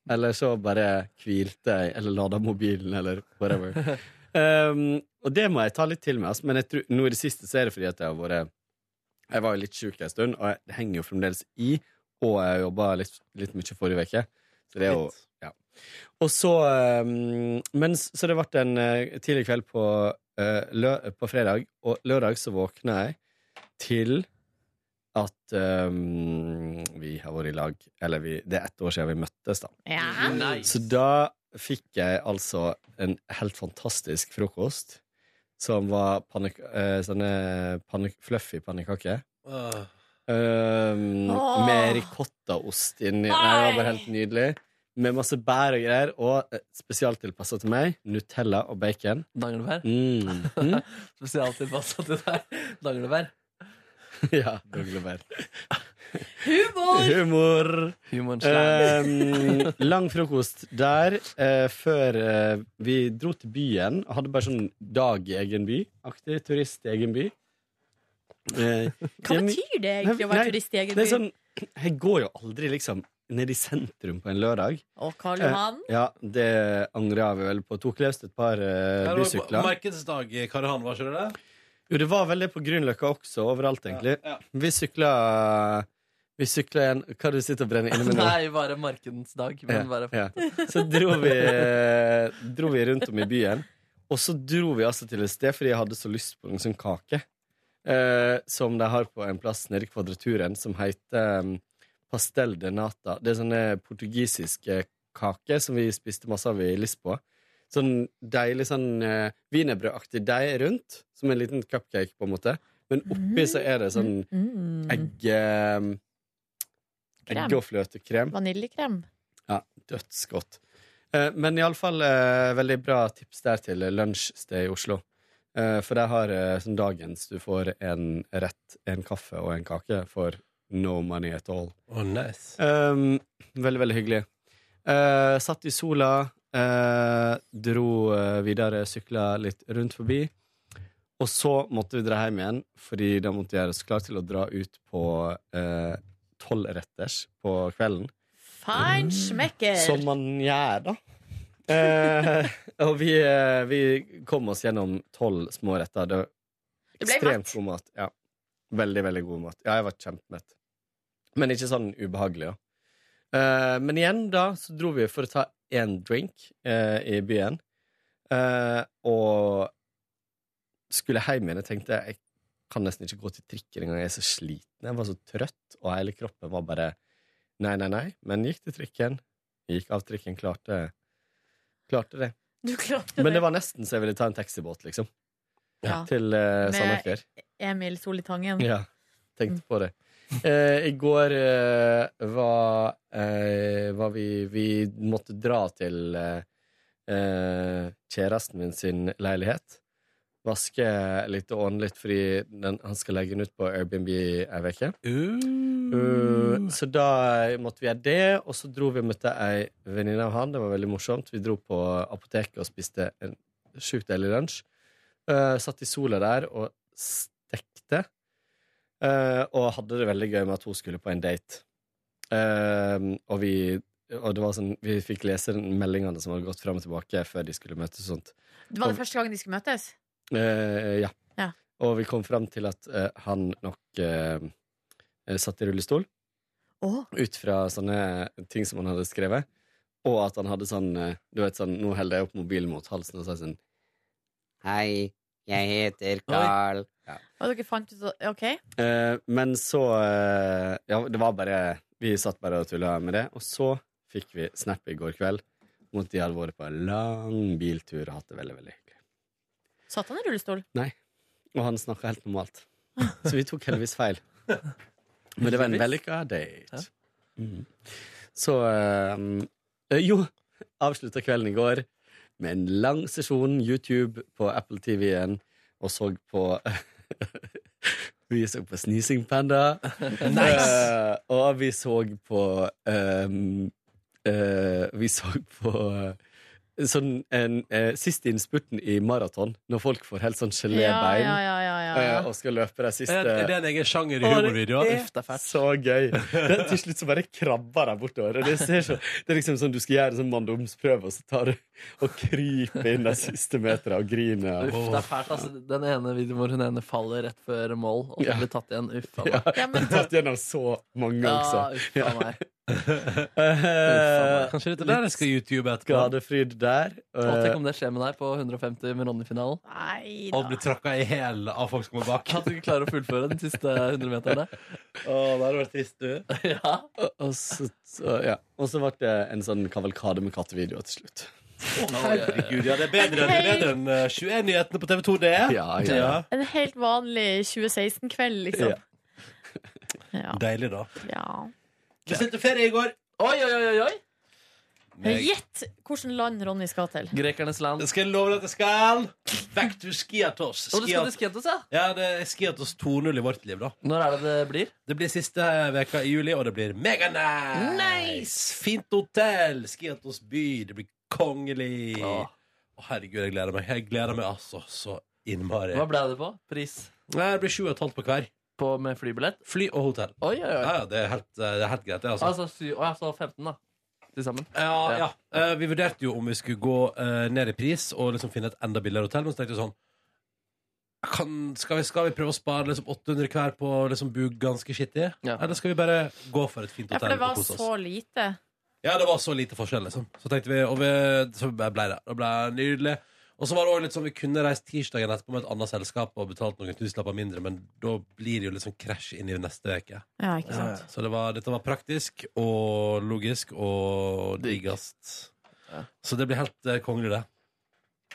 S12: Eller så bare hvilte jeg, eller lada mobilen, eller whatever. Um, og det må jeg ta litt til med, altså. men jeg tror, nå i det siste så er det fordi at jeg har vært Jeg var jo litt sjuk en stund, og jeg, det henger jo fremdeles i, og jeg jobba litt, litt mye forrige uke. Så det er jo ja. Og så um, men, s- Så det ble en eh, tidlig kveld på, eh, lø, på fredag, og lørdag så våkna jeg til at um, vi har vært i lag Eller vi, det er ett år siden vi møttes, da.
S3: Ja.
S12: Så da fikk jeg altså en helt fantastisk frokost, som var pannek eh, sånne pannek fluffy pannekaker.
S2: Ah.
S12: Um,
S3: Åh.
S12: Med ricottaost inni. Nei, det var bare helt nydelig. Med masse bær og greier, og eh, spesialtilpassa til meg, Nutella og bacon.
S4: Danglebær.
S12: Mm. Mm.
S4: Spesialtilpassa til deg. Danglebær.
S12: ja, Danglebær.
S3: Humor!
S12: Humor!
S4: Human slang.
S12: Um, lang frokost der eh, før eh, vi dro til byen. Hadde bare sånn dag i egen by. Aktig turist i egen by. Eh,
S3: Hva
S12: ja, men-
S3: betyr det egentlig å
S12: Nei,
S3: være turist i egen
S12: Det er
S3: by?
S12: sånn, jeg går jo aldri liksom ned i sentrum på en lørdag.
S3: Og Karl Johan?
S12: Ja, Det angrer jeg vel på. Tok løst et par eh, bysykler.
S10: Markedsdag i Karhan, var ikke det det?
S12: Jo, det var vel det på Grünerløkka også, overalt, egentlig.
S10: Ja, ja.
S12: Vi sykla Vi sykla igjen Hva er det du sitter og brenner inne med nå?
S4: Nei, bare markedens dag. Men bare
S12: Ja. Så dro vi, eh, dro vi rundt om i byen. Og så dro vi altså til et sted fordi jeg hadde så lyst på en sånn kake. Eh, som de har på en plass nede i Kvadraturen, som heter um, pastel de nata. Det er sånne portugisiske kaker som vi spiste masse av i Lisboa. Sånn deilig sånn uh, wienerbrødaktig deig rundt, som en liten cupcake, på en måte. Men oppi så er det sånn
S3: Mm.
S12: egg... eh,
S3: Krem.
S12: egg- og fløtekrem.
S3: Vaniljekrem.
S12: Ja, dødsgodt. Eh, Men iallfall eh, veldig bra tips der til lunsjsted i Oslo. Eh, for der har eh, sånn dagens du får en rett, en kaffe og en kake for no money at all.
S10: Oh, nice.
S12: Um, veldig, veldig hyggelig. Eh, satt i sola, eh, dro eh, videre, sykla litt rundt forbi. Og så måtte vi dra hjem igjen, fordi da måtte vi gjøre oss klar til å dra ut på tolvretters på kvelden. Mm.
S3: Fine smekker!
S12: Som man gjør, da. Eh, og vi, eh, vi kom oss gjennom tolv små retter. Det var
S3: Det ble
S12: ekstremt god mat. Ja. Veldig, veldig god mat. Ja, jeg var kjempemett. Men ikke sånn ubehagelig, da. Eh, men igjen, da, så dro vi for å ta én drink eh, i byen. Eh, og skulle hjem igjen. Jeg tenkte jeg kan nesten ikke gå til trikken engang. Jeg er så sliten. Jeg var så trøtt, og hele kroppen var bare nei, nei, nei. Men gikk til trikken. Gikk av trikken. Klarte, klarte det.
S3: Du klarte
S12: Men det
S3: det.
S12: var nesten så jeg ville ta en taxibåt, liksom.
S3: Ja.
S12: Til uh,
S3: Med-
S12: Sandaker.
S3: Emil Solitangen.
S12: Ja, tenkte på det. Eh, I går eh, var, eh, var vi Vi måtte dra til eh, eh, kjæresten min sin leilighet. Vaske litt og ordne litt, fordi den, han skal legge den ut på Airbnb ei uke. Uh, så da måtte vi gjøre det, og så dro vi og møtte ei venninne av han. Det var veldig morsomt. Vi dro på apoteket og spiste en sjukt deilig lunsj. Eh, satt i sola der og stekte. Eh, og hadde det veldig gøy med at hun skulle på en date. Eh, og vi og det var sånn, vi fikk lese den meldingene som hadde gått fram og tilbake før de skulle møtes. og sånt.
S3: Det var det første gangen de skulle møtes.
S12: Eh, ja.
S3: Ja.
S12: Og vi kom fram til at eh, han nok eh, satt i rullestol
S3: Åh,
S12: ut fra sånne ting som han hadde skrevet. Og at han hadde sånn eh, Du vet sånn, nå holder jeg opp mobilen mot halsen og sier sånn Hei,
S13: Jeg heter Carl. Ja.
S3: Og dere fant ut at- OK?
S12: Eh, men så eh, Ja, det var bare Vi satt bare og tulla med det. Og så fikk vi snap i går kveld om at de hadde vært på en lang biltur og hatt det veldig, veldig hyggelig.
S3: Satt han i rullestol?
S12: Nei. Og han snakka helt normalt. Så vi tok heldigvis feil. Men det var en vellykka date. Mhm. Så eh, Jo, avslutta kvelden i går med en lang sesjon YouTube på Apple TV-en og så på Vi så på Sneezing Panda.
S2: Nice.
S12: Eh, og vi så på ehm, eh, Vi så på eh, sånn en, eh, Siste innspurten i maraton, når folk får helt sånn gelébein
S3: Ja, ja, ja, ja, ja, ja.
S12: eh, og skal løpe de siste
S2: Er det- er det en egen sjanger i
S12: Å, det
S2: humorvideoer?
S12: er
S2: Uff, det er fælt.
S12: Så gøy. Det, til slutt så bare krabber de bortover. Og det, ser så, det er liksom sånn du skal gjøre en sånn manndomsprøve, og så tar du og kryper inn de siste meterne og griner.
S4: Uff, det er fælt, altså. Den ene videoen hvor hun ene faller rett før mål, og så
S12: Ja.
S4: blir tatt igjen. Uff, faen.
S12: Ja, Tatt gjennom så mange
S4: Ja,
S12: også.
S4: uff, faen meg.
S12: Eh,
S4: Kanskje dette
S12: litt
S4: der jeg skal
S2: YouTube etterpå.
S12: Skadefryd der.
S4: Og
S12: eh,
S4: tenk om det skjer med deg på 150 med Ronny-finalen.
S3: Nei
S2: Og blir tråkka i hæl av folk som kommer bak.
S4: At du ikke klarer å fullføre den siste 100 meterne.
S2: Å, det hadde vært trist, du.
S4: Ja.
S12: og- eh, Og så, så, ja. og så ble det en sånn kavalkade med kattevideoer til slutt.
S2: Herregud, ja, det er bedre, det er bedre enn eh, 21-nyhetene på TV2, det.
S12: Ja, ja.
S3: En helt vanlig 2016-kveld, liksom.
S2: Deilig, da.
S3: Ja.
S2: Bestilte ferie i går.
S4: Oi, oi, oi, oi!
S3: Gjett hvilket land Ronny skal til.
S4: Grekernes land.
S2: Det skal jeg love deg at jeg skal. Back to Skiatos.
S4: Og du skal
S2: Skiat-
S4: til Skiatos, ja?
S2: Ja, det er Skiatos 2.0 i vårt liv, da.
S4: Når er det det blir?
S2: Det blir siste eh, veka i juli, og det blir meganice!
S4: Nice!
S2: Fint hotell! Skiatos by. Det blir kongelig. Å,
S4: Åh.
S2: herregud, jeg gleder meg. Jeg gleder meg altså så innmari.
S4: Hva ble det på? Pris?
S2: Nei, det blir sju og et halvt på hver.
S4: På med flybillett?
S2: Fly og hotell.
S4: Oi, oi, oi.
S2: Ja, ja, det er helt, det er helt greit, det, altså.
S4: Altså, syv, å, ja, så 15, da. Til sammen.
S2: Ja, ja.
S4: Ja.
S2: Eh, vi vurderte jo om vi skulle gå eh, ned i pris og liksom finne et enda billigere hotell, men så tenkte vi sånn kan, skal, vi, skal vi prøve å spare liksom 800 hver på å liksom bo ganske skittig?
S4: Ja.
S2: Eller skal vi bare gå for et fint
S3: Ja, for
S2: hotell
S3: det var
S2: og kose oss?
S3: så lite.
S2: Ja, det var så lite forskjell, liksom. Så tenkte vi, og vi, så ble det. Det ble nydelig. Og så var det også litt sånn, vi kunne reist tirsdagen etterpå med et annet selskap og betalt noen tusenlapper mindre, men da blir det jo liksom krasj inn i neste uke.
S3: Ja, ikke
S2: Ja,
S3: sant?
S2: ja. Eh, Så det var, dette var praktisk og logisk og
S4: Digg.
S2: diggast.
S4: Ja.
S2: Så det blir helt eh, kongelig, det.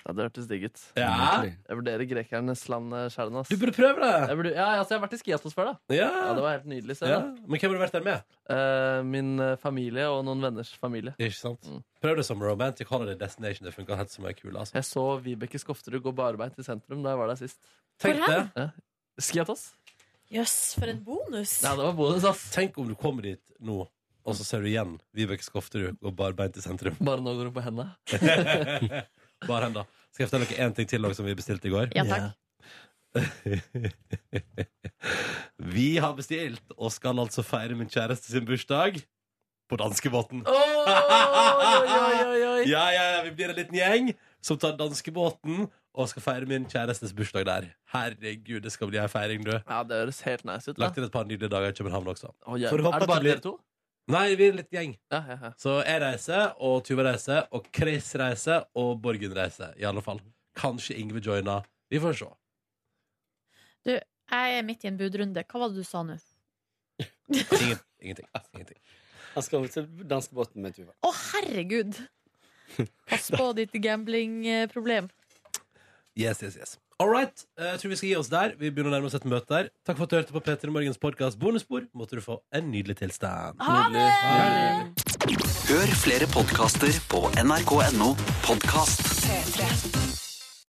S4: Ja, det hørtes digg ut.
S12: Nydelig.
S4: Jeg vurderer Grekernes land eh, sjælen, ass.
S2: Du burde prøve det!
S4: Jeg burde, ja, altså, jeg har vært i Skiatos før, da.
S2: Ja.
S4: Ja, Det var helt nydelig. Så,
S2: ja. Men hvem har du vært der med?
S4: Eh, min eh, familie og noen venners familie.
S2: Ikke sant?
S4: Mm.
S2: Prøv det som romantic holiday destination. Det funka helt som ei kule. Altså.
S4: Jeg så Vibeke Skofterud gå barbeint i sentrum da jeg var der sist.
S2: Tenk,
S3: Hvor
S2: det.
S3: hen?
S4: Skiatos?
S3: Jøss, for en bonus!
S4: Ja, det var bonus, ass.
S2: Tenk om du kommer dit nå, og så ser du igjen Vibeke Skofterud og barbeint i sentrum.
S4: Bare nå går hun på hendene.
S2: Bare hen, da. Skal jeg fortelle dere én ting til også, som vi bestilte i går?
S3: Ja, takk.
S2: Vi har bestilt, og skal altså feire min kjæreste sin bursdag på danskebåten.
S4: Oi, oi, oi, oi.
S2: Ja, ja, ja, vi blir en liten gjeng som tar danskebåten og skal feire min kjærestes bursdag der. Herregud, det skal bli ei feiring, du.
S4: Ja, det høres helt nice ut. Da.
S2: Lagt inn et par nydelige dager i København også.
S4: Å, jævlig.
S2: Får håpe
S4: er
S2: at det
S4: det bare
S2: blir-
S4: dere to?
S2: Nei, vi er en liten gjeng.
S4: Ja, ja, ja.
S2: Så jeg reiser, og Tuva reiser, og Chris reiser, og Borgen reiser. I alle fall. Kanskje Ingve joiner. Vi får se.
S3: Jeg er midt i en budrunde. Hva var det du sa nå?
S2: Ingen, ingenting. ingenting.
S12: Han Altså, skal til danskebåten med Tuva.
S3: Å, herregud! Pass på ditt eh, gamblingproblem.
S2: Yes, yes, yes. All right. eh, Jeg tror vi skal gi oss der. Vi begynner å nærme oss et møte der. Takk for at du hørte på P3 Morgens podkast Bonusbord. Måtte du få en nydelig tilstand.
S3: Ha det!
S13: Hør flere podkaster på nrk.no podkast.
S14: P3.